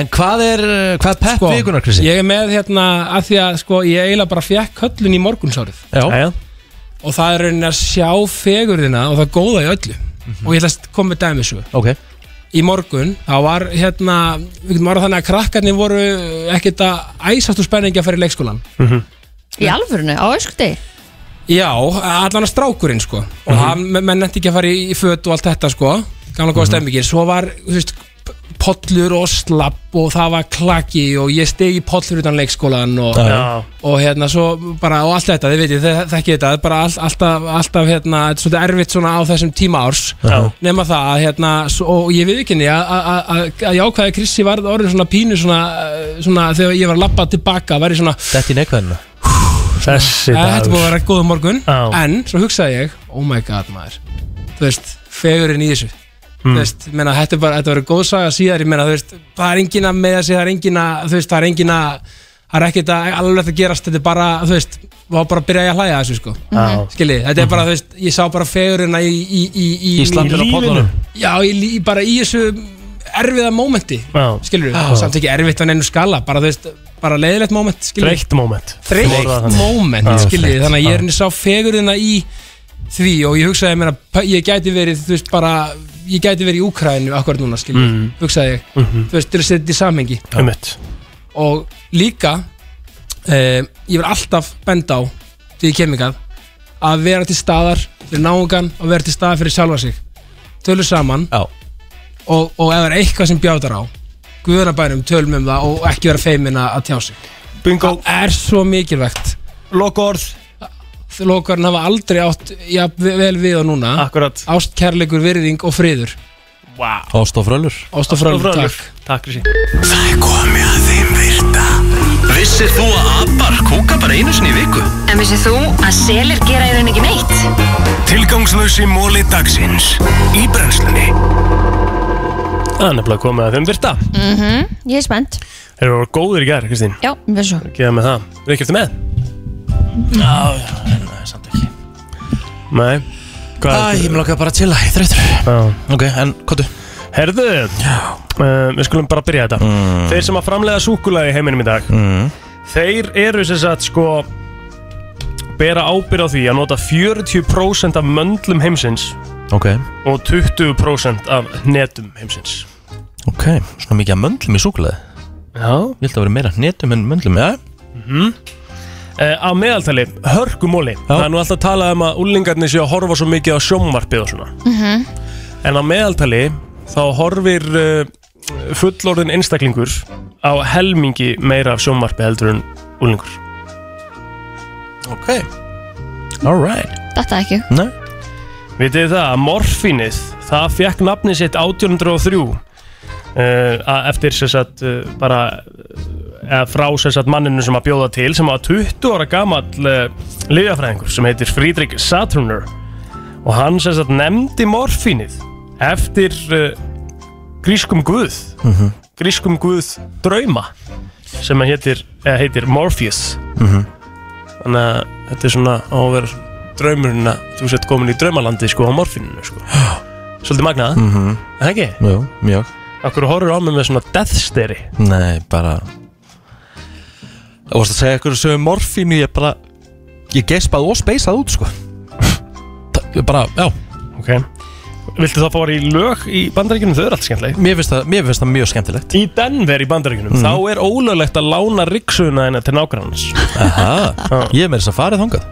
[SPEAKER 1] En hvað er, uh, hvað er pepp
[SPEAKER 5] sko,
[SPEAKER 1] vikunar, Krissi?
[SPEAKER 5] Ég er með hérna að því að sko, ég eiginlega bara fekk höllun í morgunsárið
[SPEAKER 1] Já.
[SPEAKER 3] Jæja.
[SPEAKER 5] Og það er raunin að sjá fegurðina og það góða í öllu Og ég ætla að koma með dæmi svo
[SPEAKER 1] Mhm. Ok
[SPEAKER 5] Í morgun, þá var hérna Við getum orðað þannig að krakkarnir voru ekkert að æsast úr spenningi að fara í leikskólan
[SPEAKER 2] Í alvörinu, á öskuti
[SPEAKER 5] Já, allan að strákurinn sko Og hann, menn- menn nætti ekki að fara í í föt og allt þetta sko Gamla góða stemmingin Svo var, þú veist, p- pollur og slapp Og það var klaki Og ég steg í pollur utan leikskólan og,
[SPEAKER 3] Já.
[SPEAKER 5] og hérna svo bara Og allt þetta, þið veitir, þið þekkið þetta Bara all, alltaf, alltaf hérna, þetta er svolítið erfitt svona á þessum tíma árs
[SPEAKER 3] Já.
[SPEAKER 5] Nefna það, að, hérna, svo, og ég viðkynni að, að, að- að, að jákvæði Krissi var orðin svona pínu svona, svona, þegar ég var að labba tilbaka, var ég svona
[SPEAKER 1] Þetta í neikvæðina
[SPEAKER 3] Þessi
[SPEAKER 5] Eh, Þetta
[SPEAKER 3] dagur
[SPEAKER 5] búið að vera góða morgun
[SPEAKER 3] Já.
[SPEAKER 5] En svo hugsaði ég, oh my god maður Þú veist, fegurinn í þessu
[SPEAKER 3] Hmm.
[SPEAKER 5] Þú veist, ég meina, þetta er bara, þetta verður góð saga síðar Ég meina, þú veist, það er engin að meða sig Það er engin að, þú veist, það er engin að Það er ekkert að alveg að það gerast Þetta er bara, þú veist, við var bara að byrja að hlæja að þessu sko.
[SPEAKER 3] Já. Mhm.
[SPEAKER 5] Skilji, þetta er bara, þú veist, ég sá bara fegurinn í, í, í, í,
[SPEAKER 1] Í slappinu á pollunum.
[SPEAKER 5] Já, í, lí- bara í þessu erfiða mómenti
[SPEAKER 3] Já.
[SPEAKER 5] Skilur
[SPEAKER 3] Já.
[SPEAKER 5] samt ekki erfitt á neinu skala Bara, þú veist, bara leiðilegt móment skilurðu.
[SPEAKER 3] Þreytt moment
[SPEAKER 5] Þreytt moment, skiljið, þið, þannig að ég er henni sá fegurðina í því og ég hugsaði mér að ég gæti verið, þú veist, bara ég gæti verið í Úkrænu akkurat núna, skiljið
[SPEAKER 3] Mhm.
[SPEAKER 5] hugsaði ég,
[SPEAKER 3] Mhm.
[SPEAKER 5] þú veist, til að setja þetta í samhengi
[SPEAKER 3] Um mitt
[SPEAKER 5] og líka eh, ég verð alltaf bend á því ég kem ykkar að vera til staðar fyrir náungan og vera til staðar fyrir sjálfa sig tölur saman
[SPEAKER 1] Já.
[SPEAKER 5] og, og ef það er eitthvað sem bjátar á guðanabænum tölum um það og ekki vera feimin að að tjá sig Bingo. það er svo mikilvægt lokorð lokorðin hafa aldrei átt ja, vel við og núna Akkurat. ást, kærleikur, virðing og friður
[SPEAKER 3] wow.
[SPEAKER 1] Ást og frölur
[SPEAKER 5] ást og frölur, takk
[SPEAKER 3] Takk fyrir
[SPEAKER 4] Það er komið að þeim virta Vissir þú að abar kúka bara einu sinni í viku?
[SPEAKER 22] En vissið þú að selir gera í rauninni ekki neitt?
[SPEAKER 4] Tilgangslösi móli dagsins Í brennslunni
[SPEAKER 3] Það er nefnilega komið að þeim virta
[SPEAKER 2] Mhm, Ég er spennt
[SPEAKER 3] Þeir eru góðir í gær, Kristín
[SPEAKER 2] Já, við svo
[SPEAKER 3] Geða með það Við erum ekki eftir með Já, já, en það er samt ekki Nei Hvað
[SPEAKER 1] Æ, ég
[SPEAKER 3] er
[SPEAKER 1] mér langaði bara að chilla, ég er þreytur
[SPEAKER 3] Ok, en hvað þú? Herðu uh, Við skulum bara byrja þetta
[SPEAKER 1] Mm.
[SPEAKER 3] Þeir sem að framleiða súkulaði í heiminum í dag Þeir eru sem sagt sko Bera ábyrð á því að nota 40% af möndlum heimsins
[SPEAKER 1] Ok,
[SPEAKER 3] Og 20% af netum heimsins
[SPEAKER 1] ok, svona mikið að möndlum í súkulega
[SPEAKER 3] Já
[SPEAKER 1] Ég held að vera meira hérna, hnetum en möndlum, já
[SPEAKER 3] Mhm. Eh, Á meðaltali, hörgumóli Það er nú alltaf talað um að úlingarnir séu að horfa svo mikið á sjómvarpið og svona
[SPEAKER 12] Mhm.
[SPEAKER 3] En á meðaltali þá horfir uh, fullorðin einstaklingur á helmingi meira af sjónvarpi heldur en úlingur.
[SPEAKER 1] Ok. Alright.
[SPEAKER 2] Þetta ekki
[SPEAKER 1] Nei.
[SPEAKER 3] Vitið þið það að morfínið, það fekk nafnið sitt 1803 uh, að- eh, eftir sér satt uh, bara eh, eða frá sér satt manninu sem að bjóða til sem var 20 ára gamall uh, liðafræðingur sem heitir Friedrich Saturner og hann sér satt nefndi morfínið eftir uh, grískum guð
[SPEAKER 1] Mhm.
[SPEAKER 3] grískum guð drauma sem að heitir, eða heitir Morpheus
[SPEAKER 1] Mhm.
[SPEAKER 3] þannig að þetta er svona á að vera draumurinn að þú sett komin í draumalandi sko á morfininu sko svolítið magnað, mm
[SPEAKER 1] Mhm.
[SPEAKER 3] það ekki?
[SPEAKER 1] Jú, mjög
[SPEAKER 3] Akkur horfur á mig með svona death steri
[SPEAKER 1] Nei, bara Það varst að segja ykkur sögum morfínu Ég bara Ég gespað og speysað út, sko Það- Ég bara, já
[SPEAKER 3] Ok Viltu þá fara í lög í bandaríkjunum? Þau eru allt skemmtileg
[SPEAKER 1] Mér finnst það, mér finnst það mjög skemmtilegt
[SPEAKER 3] Í Denver í bandaríkjunum
[SPEAKER 1] Mhm.
[SPEAKER 3] þá er ólöglegt að lána ryggsuguna hennar til nágrannans
[SPEAKER 1] Aha, ég er með þess að farið þangað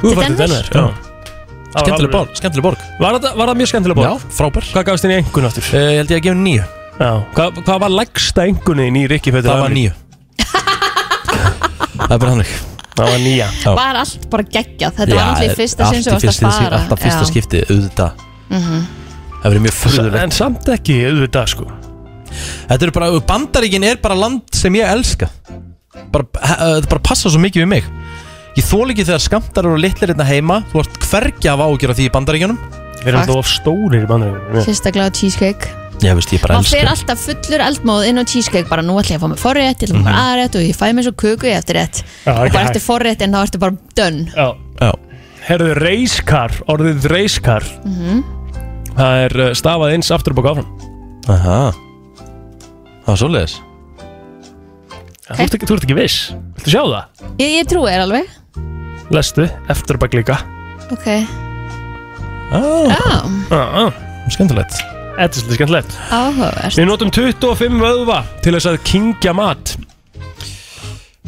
[SPEAKER 3] Þú er fættið Denver? Já Það var
[SPEAKER 1] Skemmtileg
[SPEAKER 3] alveg-
[SPEAKER 1] borg, skemmtileg borg
[SPEAKER 3] Var það, var það mjög skemmtileg borg?
[SPEAKER 1] Já, frábær
[SPEAKER 3] Hvað gafst þín í engun aftur?
[SPEAKER 1] Eh, Ég held ég að gefa nýju
[SPEAKER 3] Já, hvað, hvað var lægsta engunin í Rikki Fettur?
[SPEAKER 1] Það var níu. Það er bara þannig
[SPEAKER 3] Það var nýja
[SPEAKER 2] Var allt bara geggjað Þetta var náttúrulega í fyrsta sinn sem þú varst að fara
[SPEAKER 1] Alltaf fyrsta
[SPEAKER 2] Já.
[SPEAKER 1] skipti, auðvitað
[SPEAKER 2] Mhm.
[SPEAKER 1] Það verið mjög fyrðulegt
[SPEAKER 3] En samt ekki auðvitað sko
[SPEAKER 1] Þetta eru bara, bandaríkin er bara land sem ég elska bara, he- uh, Þetta bara passa svo mikið við mig Ég þól ekki þegar skamtar eru litlir hérna heima Þú ert hvergi af ágjur af því í bandaríkjunum
[SPEAKER 3] Við
[SPEAKER 2] erum Fakt. þó
[SPEAKER 3] of stórir í bandaríkjunum
[SPEAKER 2] Sérstaklega á cheesecake
[SPEAKER 1] Ég veist, ég bara
[SPEAKER 2] Maður fer
[SPEAKER 1] elska
[SPEAKER 2] alltaf fullur eldmóð inn á cheesecake bara nú ætla ég að fá mér forrétt, ég ætla að fá mér
[SPEAKER 1] Mhm.
[SPEAKER 2] aðrétt og ég fæ mér svo köku ég eftir rétt
[SPEAKER 3] Já,
[SPEAKER 2] og
[SPEAKER 3] ekki
[SPEAKER 2] bara
[SPEAKER 3] hægt.
[SPEAKER 2] eftir forrétt en þá ertu bara done
[SPEAKER 3] Já,
[SPEAKER 1] Já.
[SPEAKER 3] Herðu reiskar, orðið reiskar
[SPEAKER 2] Mhm.
[SPEAKER 3] Það er uh, stafað eins aftur og baka áfram
[SPEAKER 1] Aha Það var svoleiðis
[SPEAKER 3] þú, ert ekki, þú ert ekki viss Viltu sjá það?
[SPEAKER 2] Ég, ég trúi þér alveg
[SPEAKER 3] Lestu, eftir og baka líka
[SPEAKER 2] Ok
[SPEAKER 1] Já
[SPEAKER 3] ah, ah.
[SPEAKER 1] Skemmtilegt
[SPEAKER 3] Þetta er svolítið skemmtilegt
[SPEAKER 2] Áhugavert
[SPEAKER 3] Við notum 25 vöðva til þess að kingja mat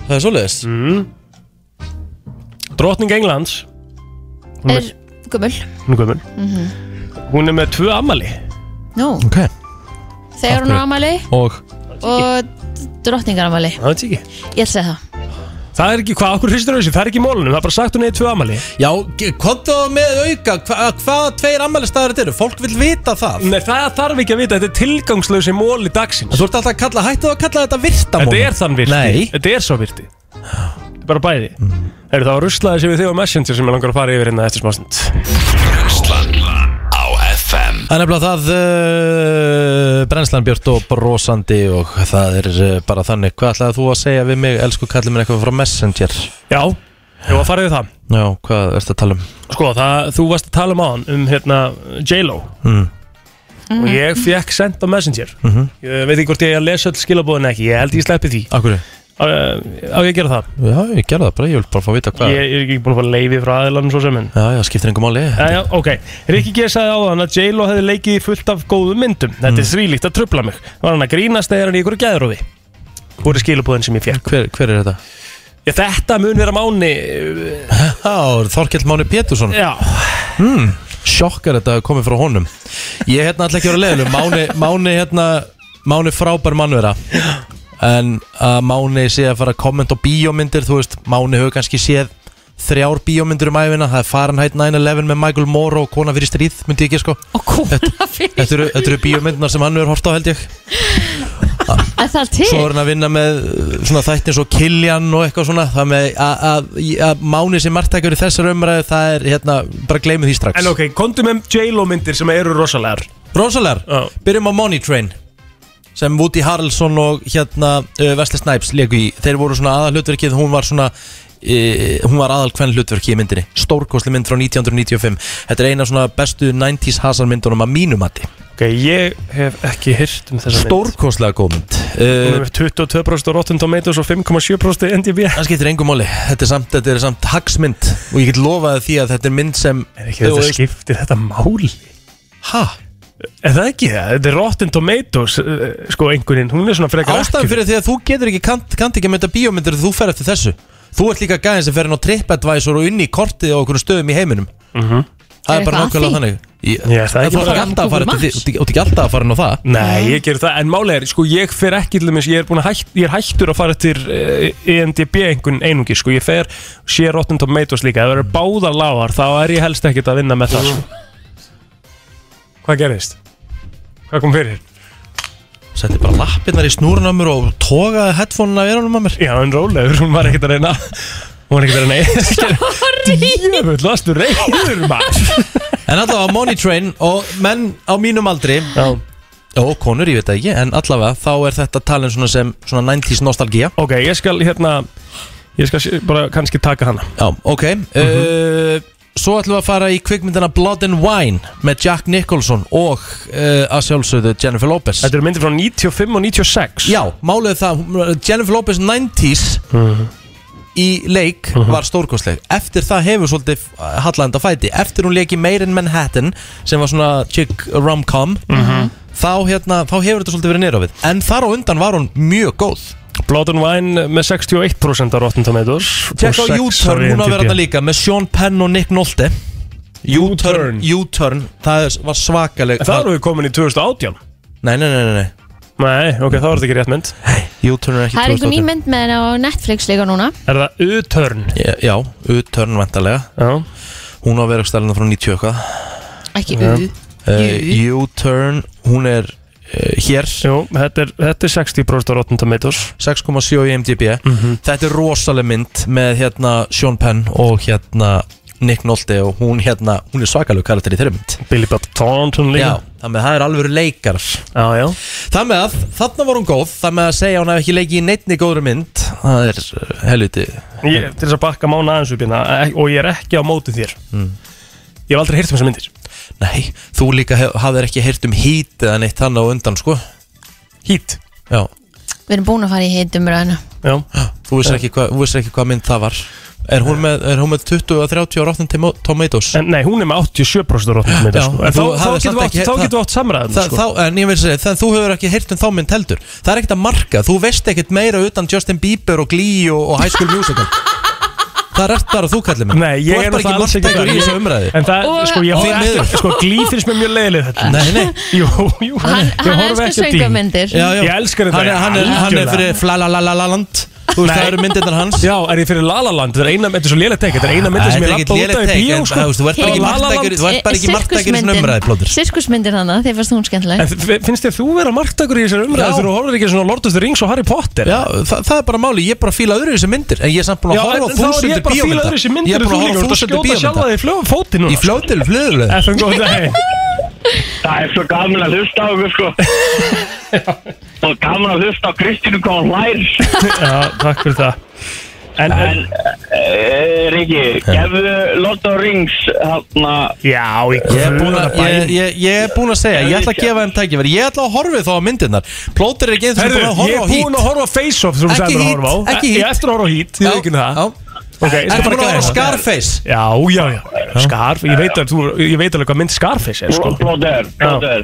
[SPEAKER 1] Það er svoleiðis
[SPEAKER 3] mm. Drottning Englands Hún
[SPEAKER 2] Er gummul
[SPEAKER 3] Hún er gömul
[SPEAKER 2] Mhm.
[SPEAKER 3] Hún er með tvö amali
[SPEAKER 2] Nú,
[SPEAKER 1] Ok
[SPEAKER 2] þegar hún
[SPEAKER 3] Af
[SPEAKER 2] á amali
[SPEAKER 1] Og
[SPEAKER 2] og drottningar amali
[SPEAKER 3] Það veit ég ekki
[SPEAKER 2] Ég ætla að segja það
[SPEAKER 3] Það er ekki, hvað okkur hristur þessu, það er ekki í mólunum, það er bara sagt hún eða tvö amali
[SPEAKER 1] Já, hvað þá með auka, hva- hvað tveir ammælistæður þetta eru? Fólk vil vita það
[SPEAKER 3] Nei, það þarf ekki að vita, þetta er tilgangslösi móli dagsins
[SPEAKER 1] Þú ert alltaf að kalla, hættu að kalla þetta virta
[SPEAKER 3] Þetta
[SPEAKER 1] moment.
[SPEAKER 3] er þann virti,
[SPEAKER 1] Nei.
[SPEAKER 3] þetta er svo virti Þetta er bara bæði mm. Eru það á ruslaði sem við þig á Messenger sem ég langar að fara yfir hérna eftir smástund
[SPEAKER 4] Brenslan á FM
[SPEAKER 1] Það er nefnilega það uh, brennslan björt og brosandi og það er uh, bara þannig Hvað ætlaði þú að segja við mig, elsku kallið mér eitthvað frá Messenger?
[SPEAKER 3] Já, ég var að fara yfir það
[SPEAKER 1] Já, hvað ertu að tala um?
[SPEAKER 3] Sko, það, þú varst að tala um án um hérna J-Lo
[SPEAKER 1] Mm.
[SPEAKER 3] og ég fekk sendt á Messenger
[SPEAKER 1] Mhm.
[SPEAKER 3] Ég veit ekki hvort ég er að lesa öll skilabóðin ekki, ég held ég sleppi því
[SPEAKER 1] Akkur er?
[SPEAKER 3] Á eh, á ég að gera það?
[SPEAKER 1] Já, ég gerði það bara, ég vil bara fá að vita hvað
[SPEAKER 3] Ég er ekki búin að fá leifi frá aðilann svo sem en
[SPEAKER 1] Já, já, skiptir engum máli
[SPEAKER 3] Já, já, ok. Rikki G. sagði áðan að J-Lo hefði leikið í fullt af góðum myndum. Þetta
[SPEAKER 1] Mm.
[SPEAKER 3] er þvílíkt að trubla mig. Var hann að grínast eða er hann í ykkur gæðrófi? Hvor er skilabúðin sem ég fekk?
[SPEAKER 1] Hver, hver er þetta?
[SPEAKER 3] Já, þetta mun vera máni...
[SPEAKER 1] Já, Þorkell Máni Pétursson
[SPEAKER 3] Já.
[SPEAKER 1] mm. sjokkar þetta að komið frá honum ég hérna ætla ekki að vera leiðinu Máni, Máni hérna Máni frábær mannvera en að Máni sé að fara að kommenta á bíómyndir þú veist, Máni hefur kannski séð þrjár bíómyndir um æfina það er Fahrenheit 9-11 með Michael Moore og Kona fyrir stríð, myndi ég ekki sko og Kona fyrir stríð Þetta eru, þetta eru bíómyndirna sem hann hefur hort á held ég
[SPEAKER 2] Er það til?
[SPEAKER 1] Svo er hann að vinna með uh, svona þættin svo Kiljan og eitthvað svona Það með að- að að Máni sem margtækjur í þessar umræðu það er hérna, bara gleymu því strax
[SPEAKER 3] En ok, komdu með J-Lo myndir sem eru rosalegar
[SPEAKER 1] Rosalegar? Byrjum á Money Train sem Woody Harrelson og hérna uh, Wesley Snipes leku í þeir voru svona aðal hlutverkið hún var svona Uh, hún var aðal hvern hlutverki í myndinni stórkosli mynd frá 1995 þetta er eina svona bestu 90s hasar myndunum að mínu mati
[SPEAKER 3] Ok, ég hef ekki hirt um þessa mynd.
[SPEAKER 1] stórkoslega góð mynd
[SPEAKER 3] Hún
[SPEAKER 1] uh,
[SPEAKER 3] er með 22% á Rotten Tomatoes og 5,7% NDB
[SPEAKER 1] Það skiptir engum máli, þetta er samt, þetta er samt hagsmynd og ég get lofaði því að þetta er mynd sem Er
[SPEAKER 3] Ekki þetta skiptir þetta máli
[SPEAKER 1] Ha?
[SPEAKER 3] Er það ekki það? Þetta er Rotten Tomatoes eh, sko einhverjinn, hún er svona frekar
[SPEAKER 1] Ástæðan fyrir því að þú getur ekki kant, kant ekki að mynda bíómyndir þegar þú fer eftir þessu Þú ert líka gæðin sem fer inn á TripAdvisor og inn í kortið á okkur stöðum í heiminum
[SPEAKER 3] Mhm.
[SPEAKER 1] Það
[SPEAKER 3] Er
[SPEAKER 1] er bara
[SPEAKER 3] eitthvað að
[SPEAKER 1] nákvæmlega
[SPEAKER 3] því?
[SPEAKER 1] þannig Ég-
[SPEAKER 3] Já, það er ekki
[SPEAKER 1] Þú ert
[SPEAKER 3] bara-
[SPEAKER 1] ekki alltaf að fara eftir því- þú ert ekki- þú ert ekki alltaf að fara inn á það
[SPEAKER 3] Nei, ég gerur það, en máli er, sko, ég fer ekki til þess, ég er, búinn að hætt, ég er hættur að fara til uh, EMDB einhvern einungi, sko, ég fer, sé Rotten Tomatoes líka, ef það eru báðar lágar, þá er ég helst ekkert að vinna með það, sko. Hvað gerðist? Hvað kom fyrir?
[SPEAKER 1] Setti bara lappirnar í snúrun á mér og togaði headphone-una af erunum á mér
[SPEAKER 3] Já, en rólegur, hún var ekkert að reyna, hún var ekkert að reyna, Jöfull, varstu reyður maður
[SPEAKER 1] En allavega Money Train og menn á mínum aldri
[SPEAKER 3] Já
[SPEAKER 1] Og konur, ég veit það ekki, en allavega þá er þetta talin svona sem svona 90s nostalgía
[SPEAKER 3] Ok, ég skal hérna, ég skal sé- bara kannski taka hana. Mhm.
[SPEAKER 1] Já, ok uh, Svo ætlum við að fara í kvikmyndina Blood and Wine með Jack Nicholson og uh, að sjálfsögðu Jennifer Lopez
[SPEAKER 3] Þetta eru myndir frá 95 og 96
[SPEAKER 1] Já, málið er það, hún- Jennifer Lopez 90s
[SPEAKER 3] Mhm.
[SPEAKER 1] í leik var stórkostleg Eftir það hefur svolítið hallanda fæti Eftir hún leiki Meir in Manhattan sem var svona chick rom-com
[SPEAKER 3] Mhm.
[SPEAKER 1] þá, hérna, þá hefur þetta svolítið verið nýra við En þar á undan var hún mjög góð
[SPEAKER 3] Blood and Wine með 61% á Rotten Tomatoes
[SPEAKER 1] Tjekk á
[SPEAKER 3] og 6
[SPEAKER 1] U-Turn, hún að vera
[SPEAKER 3] IMDb.
[SPEAKER 1] þarna líka með Sean Penn og Nick Nolte U-Turn U-Turn, það er- var svakaleg
[SPEAKER 3] En það eru við komin í 2018
[SPEAKER 1] Nei, nei, nei, nei
[SPEAKER 3] Nei, ok, þá er þetta ekki rétt mynd
[SPEAKER 1] U-Turn er
[SPEAKER 2] Það er einhver ný mynd með henni á Netflix líka núna
[SPEAKER 3] Er það U-turn?
[SPEAKER 1] Já, U-turn vantarlega
[SPEAKER 3] Já
[SPEAKER 1] Hún á að vera stælina frá 90 eitthvað
[SPEAKER 2] Ekki U.
[SPEAKER 1] Eh, U-turn, hún er uh, hér
[SPEAKER 3] Jú, þetta er, þetta er 60% á Rotten Tomatoes
[SPEAKER 1] 6,7 í MDB
[SPEAKER 3] Mhm.
[SPEAKER 1] Þetta er rosaleg mynd með hérna Sean Penn og hérna Nick Nolte og hún hérna, hún er svakaleg karakter í þeirri mynd
[SPEAKER 3] Billy Bob Thornton líka.
[SPEAKER 1] Já, það með það er alveg leikar
[SPEAKER 3] Já, já
[SPEAKER 1] Það með að, þarna var hún góð Það með að segja að hún hef ekki leikið í neittni góðri mynd Það er eh, helviti
[SPEAKER 3] ég, Til þess að bakka mánu aðeins upp hérna eh, Og ég er ekki á móti þér
[SPEAKER 1] Mm.
[SPEAKER 3] Ég hef aldrei heyrt um þessar myndir
[SPEAKER 1] Nei, þú líka hef- hafðir ekki heyrt um hít eða neitt þannig á undan, sko
[SPEAKER 3] Hít?
[SPEAKER 1] Já,
[SPEAKER 2] Við erum búin að fara í heitum ræðina
[SPEAKER 3] já Eh.
[SPEAKER 1] þú vissir ekki, hva, vissir ekki hvað mynd það var Er hún með, er hún með 20 og 30 og Rotten Tomo- Tomatoes?
[SPEAKER 3] En nei, hún er með 87% á Rotten Tomatoes sko. En
[SPEAKER 1] þú
[SPEAKER 3] þá, þá
[SPEAKER 1] hafðir
[SPEAKER 3] getum
[SPEAKER 1] samt
[SPEAKER 3] við
[SPEAKER 1] ekki-
[SPEAKER 3] átt- þá
[SPEAKER 1] það-
[SPEAKER 3] getum við átt sko. samræðum
[SPEAKER 1] það- þá- En ég vil segja, það, þú hefur ekki heyrt um þá mynd heldur Það er ekkert að marka, þú veist ekkert meira utan Justin Bieber og Glee og, og High School Musical Það er rétt bara þú kallir mig
[SPEAKER 3] Nei, ég
[SPEAKER 1] Þú
[SPEAKER 3] er
[SPEAKER 1] ert bara
[SPEAKER 3] náttúrulega alls
[SPEAKER 1] ekki margtækur
[SPEAKER 3] ekki
[SPEAKER 1] í
[SPEAKER 3] þar.
[SPEAKER 1] þessu
[SPEAKER 3] Ég-
[SPEAKER 1] umræði
[SPEAKER 3] En það, sko, ég
[SPEAKER 1] Því
[SPEAKER 3] horf
[SPEAKER 1] miður.
[SPEAKER 3] ekki Sko, Glee finnst mér mjög leiðileg þetta
[SPEAKER 1] Nei, nei.
[SPEAKER 3] Jú, jú
[SPEAKER 2] Hann-
[SPEAKER 3] Ég
[SPEAKER 2] hann
[SPEAKER 3] horfi ekki
[SPEAKER 2] elskar
[SPEAKER 3] á Glee.
[SPEAKER 2] söngvamyndir. Já, já.
[SPEAKER 3] Ég elskar þetta
[SPEAKER 1] Hann er- hann er- hann er fyrir flalalaland Þú veist, það eru myndirnar hans
[SPEAKER 3] Já, er ég fyrir lalaland Þetta er eina, þetta er svo lélega tek Þetta er eina myndi sem ég lappa út af í bíó sko. La La Land.
[SPEAKER 2] eh, Sirkusmyndir þannig, þeir fannst hún skemmtileg
[SPEAKER 3] En f- finnst þér þú vera marktækur í þessari umræðu
[SPEAKER 1] Já.
[SPEAKER 3] þegar þú horfir ekki á svona Lord of the Rings og Harry Potter?
[SPEAKER 1] Já, það, það er bara máli, ég er bara að fíla öðru þessi myndir En ég er samt búin
[SPEAKER 3] Já,
[SPEAKER 1] að horfa á
[SPEAKER 3] en þá er
[SPEAKER 1] þúsundir
[SPEAKER 3] ég bara að fíla
[SPEAKER 1] bíómynda
[SPEAKER 3] öðruvísi myndir en
[SPEAKER 1] búin
[SPEAKER 3] þú
[SPEAKER 1] að horfa á
[SPEAKER 3] líka, þú ert að
[SPEAKER 1] þúsundir
[SPEAKER 3] skjóta sjálfa þig í fljóð fóti núna,
[SPEAKER 1] Í fljótil, fljótil
[SPEAKER 3] FM, góðan daginn
[SPEAKER 15] Það er svo gaman að hlusta á okkur sko Og gaman að hlusta á Kristínu hvað hún hlær
[SPEAKER 3] Já, takk fyrir það En, en
[SPEAKER 15] Eh, Riki, gefðu Lord of the Rings hérna
[SPEAKER 3] Já, ég
[SPEAKER 1] Ég er búin að, ég, ég, ég er búin að segja, ég ætla að gefa þeim tækifæri Ég ætla að horfa þá á myndirnar Plóter er ekki eins og
[SPEAKER 3] Herðu,
[SPEAKER 1] búin að
[SPEAKER 3] ég
[SPEAKER 1] horfa á
[SPEAKER 3] er búinn að
[SPEAKER 1] hít
[SPEAKER 3] horfa á Face Off sem þú
[SPEAKER 1] Ekki
[SPEAKER 3] sagðir mér að
[SPEAKER 1] Heat,
[SPEAKER 3] horfa á
[SPEAKER 1] ekki
[SPEAKER 3] Ég
[SPEAKER 1] Heat.
[SPEAKER 3] er eftir að horfa á Heat, ég
[SPEAKER 1] Já,
[SPEAKER 3] veit ekki það Okay, ég skal
[SPEAKER 1] Ertu
[SPEAKER 3] bara
[SPEAKER 1] búin að horfa á
[SPEAKER 3] gera það.
[SPEAKER 1] Scarface?
[SPEAKER 3] Já, já, já, Scarface, ég veit, að, þú, ég veit alveg hvað mynd Scarface er sko.
[SPEAKER 15] Blóður, blóður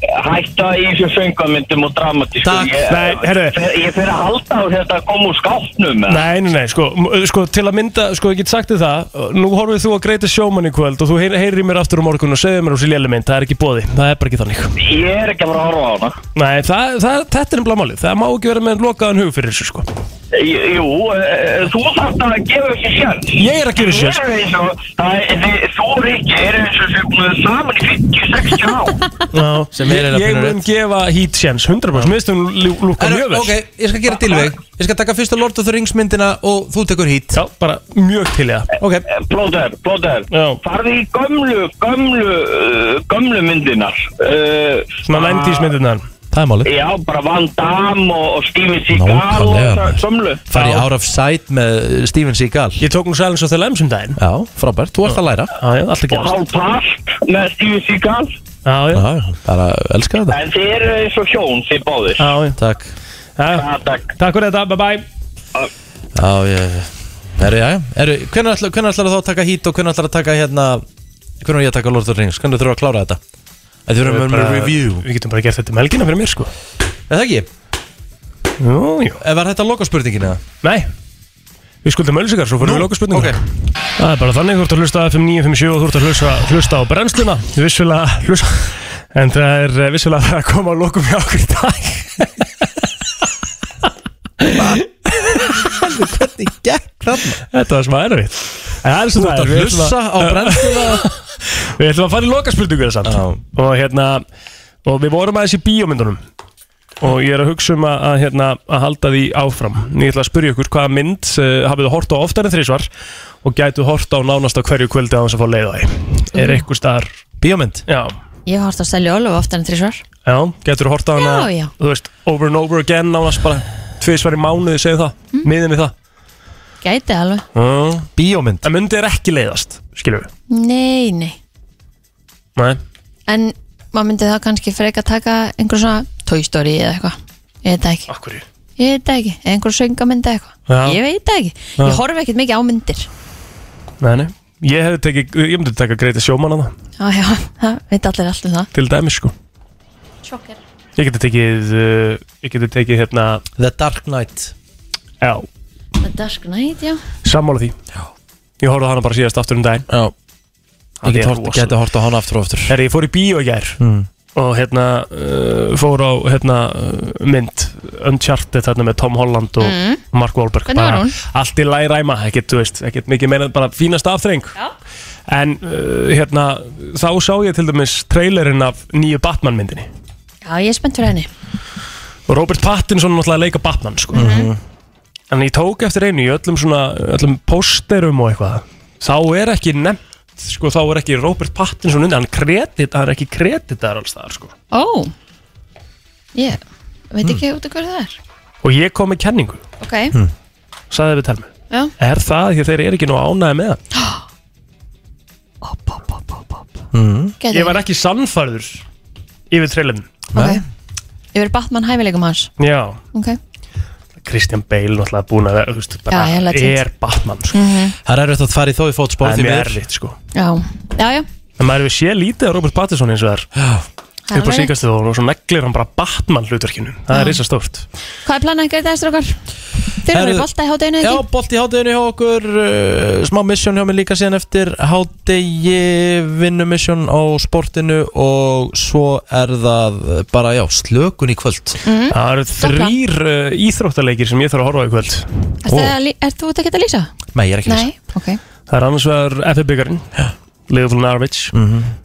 [SPEAKER 15] Hætta í þessu fengamyndum og dramatísku
[SPEAKER 3] Takk.
[SPEAKER 15] Ég-
[SPEAKER 3] Nei, heyrðu.
[SPEAKER 15] Fer- Ég fyrir að halda á þetta að koma úr skápnum eða?
[SPEAKER 3] Nei, nei, nei, sko, m- sko til að mynda, sko, ég get sagt þið það Nú horfið þú að greita sjóman í kvöld og þú heyr, heyrir í mér aftur á morgun og segir mér úr sér léli mynd Það er ekki bóði, það er bara ekki þannig
[SPEAKER 15] Ég er ekki að fara að horfa á hana
[SPEAKER 3] Nei, það, það, þetta er nefnilega málið, það má ekki vera með lokaðan hug fyrir þessu, sko
[SPEAKER 15] J- Jú, eh, þú þarft að gefa þessu sjans
[SPEAKER 3] Ég er að gefa þessu séns.
[SPEAKER 15] Þú er eins og, það er- þið- þú og Rikki eru eins og sem búin saman í 50-60 ár
[SPEAKER 3] Já,
[SPEAKER 15] Sem er
[SPEAKER 3] ég,
[SPEAKER 15] eiginlega
[SPEAKER 3] ég
[SPEAKER 15] pínu
[SPEAKER 3] mun gefa hít sjens 100% Mér finnst hún lú- lúka
[SPEAKER 1] Herru,
[SPEAKER 3] mjög vel
[SPEAKER 1] ok, ég skal gera tilveg Ég skal taka fyrsta Lord of the Rings myndina og þú tekur hít
[SPEAKER 3] Já, bara Ah, mjög til ég
[SPEAKER 1] okay.
[SPEAKER 15] Plóter, plóter Farði í gömlu, gömlu, uh, gömlu myndinar uh,
[SPEAKER 3] Svona 90s myndirnar Það er málið
[SPEAKER 15] Eh, Já, bara Van Damme og, og Steven Seagal og það
[SPEAKER 1] Nákvæmlega, maður.
[SPEAKER 15] gömlu
[SPEAKER 1] Fari out of sight með Steven Seagal
[SPEAKER 3] Ég tók hún Silence of the Lambs um daginn
[SPEAKER 1] Já, frábært, þú ert að læra
[SPEAKER 3] Já, já, alltaf
[SPEAKER 15] Og Hál Park með Steven Seagal
[SPEAKER 3] Já, já
[SPEAKER 1] Bara elska þetta
[SPEAKER 15] En þið eru eins og hjón, þið báðir
[SPEAKER 3] Já, já
[SPEAKER 1] Takk
[SPEAKER 3] Já,
[SPEAKER 15] takk
[SPEAKER 3] Takk fyrir þetta, bye bye
[SPEAKER 1] Já, ég Herru, já, herru, hvernig ætlar, hvernig ætlar þá að taka hít og hvernig ætlar að taka hérna Hvernig er ég að taka Lord of the Rings, hvernig þurfum við að klára þetta Að Þið verðum með review
[SPEAKER 3] Við getum bara gert þetta um helgina fyrir mér, sko
[SPEAKER 1] Eða ekki? Eh,
[SPEAKER 3] Jú, jú
[SPEAKER 1] Var þetta loka spurningin eða?
[SPEAKER 3] Nei Við skuldum ölsingar, svo fyrir við loka spurningar okay. Það er bara þannig, þú ert að hlusta á FM 957 og þú ert að hlusta, hlusta á brennsluna Vissulega hlusta En það er eh, vissulega að fara að koma að lokum hjá okkur í dag
[SPEAKER 1] Hvernig gekk þarna?
[SPEAKER 3] Þetta var smá erfitt En það er
[SPEAKER 1] Þú
[SPEAKER 3] sem það
[SPEAKER 1] ert
[SPEAKER 3] er
[SPEAKER 1] að
[SPEAKER 3] við ætlum
[SPEAKER 1] hlussa á brennsluna
[SPEAKER 3] Við ætlum að fara í loka spurningar samt Og hérna Og við vorum aðeins í bíómyndunum Og ég er að hugsa um að, að, hérna, að halda því áfram Ég ætla að spyrja ykkur hvaða mynd uh, hafið þið hort á oftar en þrísvar og gætu hort á nánast á hverju kvöldi á þess að fá leið á því Er eitthvað staðar
[SPEAKER 1] Mhm. Bíómynd?
[SPEAKER 3] Já,
[SPEAKER 2] Ég horfst á Selju Ólöf oftar en þrísvar
[SPEAKER 3] já, gætur hort á hana
[SPEAKER 2] Já, já.
[SPEAKER 3] Þú veist, over and over again nánast bara Tvísvar í mánuði segir það,
[SPEAKER 2] Mhm.
[SPEAKER 3] mm. miðin við það
[SPEAKER 2] Gæti alveg
[SPEAKER 3] uh.
[SPEAKER 1] Bíómynd
[SPEAKER 3] En myndi er ekki leiðast, skilur við
[SPEAKER 2] Nei, nei
[SPEAKER 3] Nei
[SPEAKER 2] En maður myndi þá kannski freka taka einhver svona Toy Story eða eitthvað Ég veit það ekki
[SPEAKER 3] Akkurri
[SPEAKER 2] Ég veit það ekki, eða einhver söngamyndi eitthvað
[SPEAKER 3] Já.
[SPEAKER 2] Ég veit það ekki,
[SPEAKER 3] Já.
[SPEAKER 2] ég horfi ekkert mikið á myndir
[SPEAKER 3] Nei, nei Ég hefði tekið, ég myndi taka greita sjómanna það
[SPEAKER 2] Já, já, það veit allir allt um það
[SPEAKER 3] Til dæmis sko
[SPEAKER 2] Sjokker
[SPEAKER 3] Ég geti tekið, uh, ég geti tekið hérna
[SPEAKER 1] The Dark Knight
[SPEAKER 3] Já,
[SPEAKER 2] The Dark Knight, já
[SPEAKER 3] sammála því Já Ég horfði á hana bara síðast aftur um daginn
[SPEAKER 1] Já Ég get hort- gæti hort á hana aftur og aftur
[SPEAKER 3] Herri, ég fór í bíó í gær
[SPEAKER 1] Mm.
[SPEAKER 3] Og hérna, uh, fór á hérna uh, mynd Uncharted þarna með Tom Holland og
[SPEAKER 2] Mm.
[SPEAKER 3] Mark Wahlberg
[SPEAKER 2] Hvernig var
[SPEAKER 3] Bara
[SPEAKER 2] hún?
[SPEAKER 3] Allt í lagi ræma, ekkert, þú veist, ekkert mikið meina bara fínasta afþreng Já En uh, hérna, þá sá ég til dæmis trailerinn af nýju Batman myndinni
[SPEAKER 2] Já, ég er spennt fyrir henni
[SPEAKER 3] Og Robert Pattinson er náttúrulega að leika Batman sko. En ég tók eftir einu í öllum svona öllum pósterum og eitthvað þá er ekki nefnt sko, þá er ekki Robert Pattinson undir hann, kredit, hann er ekki kreditar alls þar sko.
[SPEAKER 2] Ó, ég veit ekki út af hverju það er
[SPEAKER 3] og ég kom með kenningu
[SPEAKER 2] Ok,
[SPEAKER 3] Hm. sagði við telmi
[SPEAKER 2] já
[SPEAKER 3] er það því að þeir eru ekki nú ánæði með það
[SPEAKER 1] mm.
[SPEAKER 2] Gæti
[SPEAKER 3] ég var ekki sannfærður yfir trailerinn
[SPEAKER 2] Ok, yfir Batman hæfileikum hans
[SPEAKER 3] já,
[SPEAKER 2] Ok,
[SPEAKER 3] Christian Bale náttúrulega búin að vera, þú veist, bara
[SPEAKER 2] Já, ég læt
[SPEAKER 3] er
[SPEAKER 2] sýnt.
[SPEAKER 3] Batman sko.
[SPEAKER 2] Mhm.
[SPEAKER 1] Það er erfitt að fara í þó í fótspóð
[SPEAKER 3] það er mjög erfitt sko.
[SPEAKER 2] já, já, já
[SPEAKER 3] En maður hefur séð lítið á Robert Pattinson eins og það
[SPEAKER 2] Það
[SPEAKER 3] er
[SPEAKER 2] er
[SPEAKER 3] upp á
[SPEAKER 2] alveg
[SPEAKER 3] síkastu þó og svo neglir hann bara Batman hlutverkinu það
[SPEAKER 2] Já.
[SPEAKER 3] er reysa stórt
[SPEAKER 2] Hvað er planað að gera þetta eftir okkar? Þeir eru
[SPEAKER 1] Herðu-
[SPEAKER 2] með bolta í hátæðinu
[SPEAKER 1] Já,
[SPEAKER 2] ekki?
[SPEAKER 1] bolti hátteginu hjá okkur uh, Smá misjón hjá mér líka síðan eftir Háttegi vinnumisjón á sportinu Og svo er það uh, bara, já, slökun í kvöld
[SPEAKER 2] Mhm.
[SPEAKER 3] Það eru þrýr uh, íþróttaleikir sem ég þarf að horfa á í kvöld
[SPEAKER 2] Ert það að lí- Ert þú út að geta að lýsa?
[SPEAKER 1] Nei, ég er ekki
[SPEAKER 2] Nei, ok
[SPEAKER 3] Það er annars vegar FF byggarinn Liverpool Norwich mm
[SPEAKER 1] Mhm.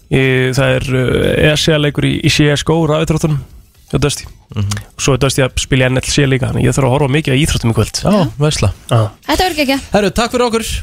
[SPEAKER 3] Það er uh, ESEA leikur í, í CSGO rafitróttunum hjá Dusty
[SPEAKER 1] Mhm.
[SPEAKER 3] og svo er Dusty að spila í NLC líka þannig að ég þarf að horfa mikið á íþróttum í kvöld
[SPEAKER 1] Já, veistla
[SPEAKER 3] Já.
[SPEAKER 2] Þetta verður ekki ekki
[SPEAKER 1] Herru, takk fyrir okkur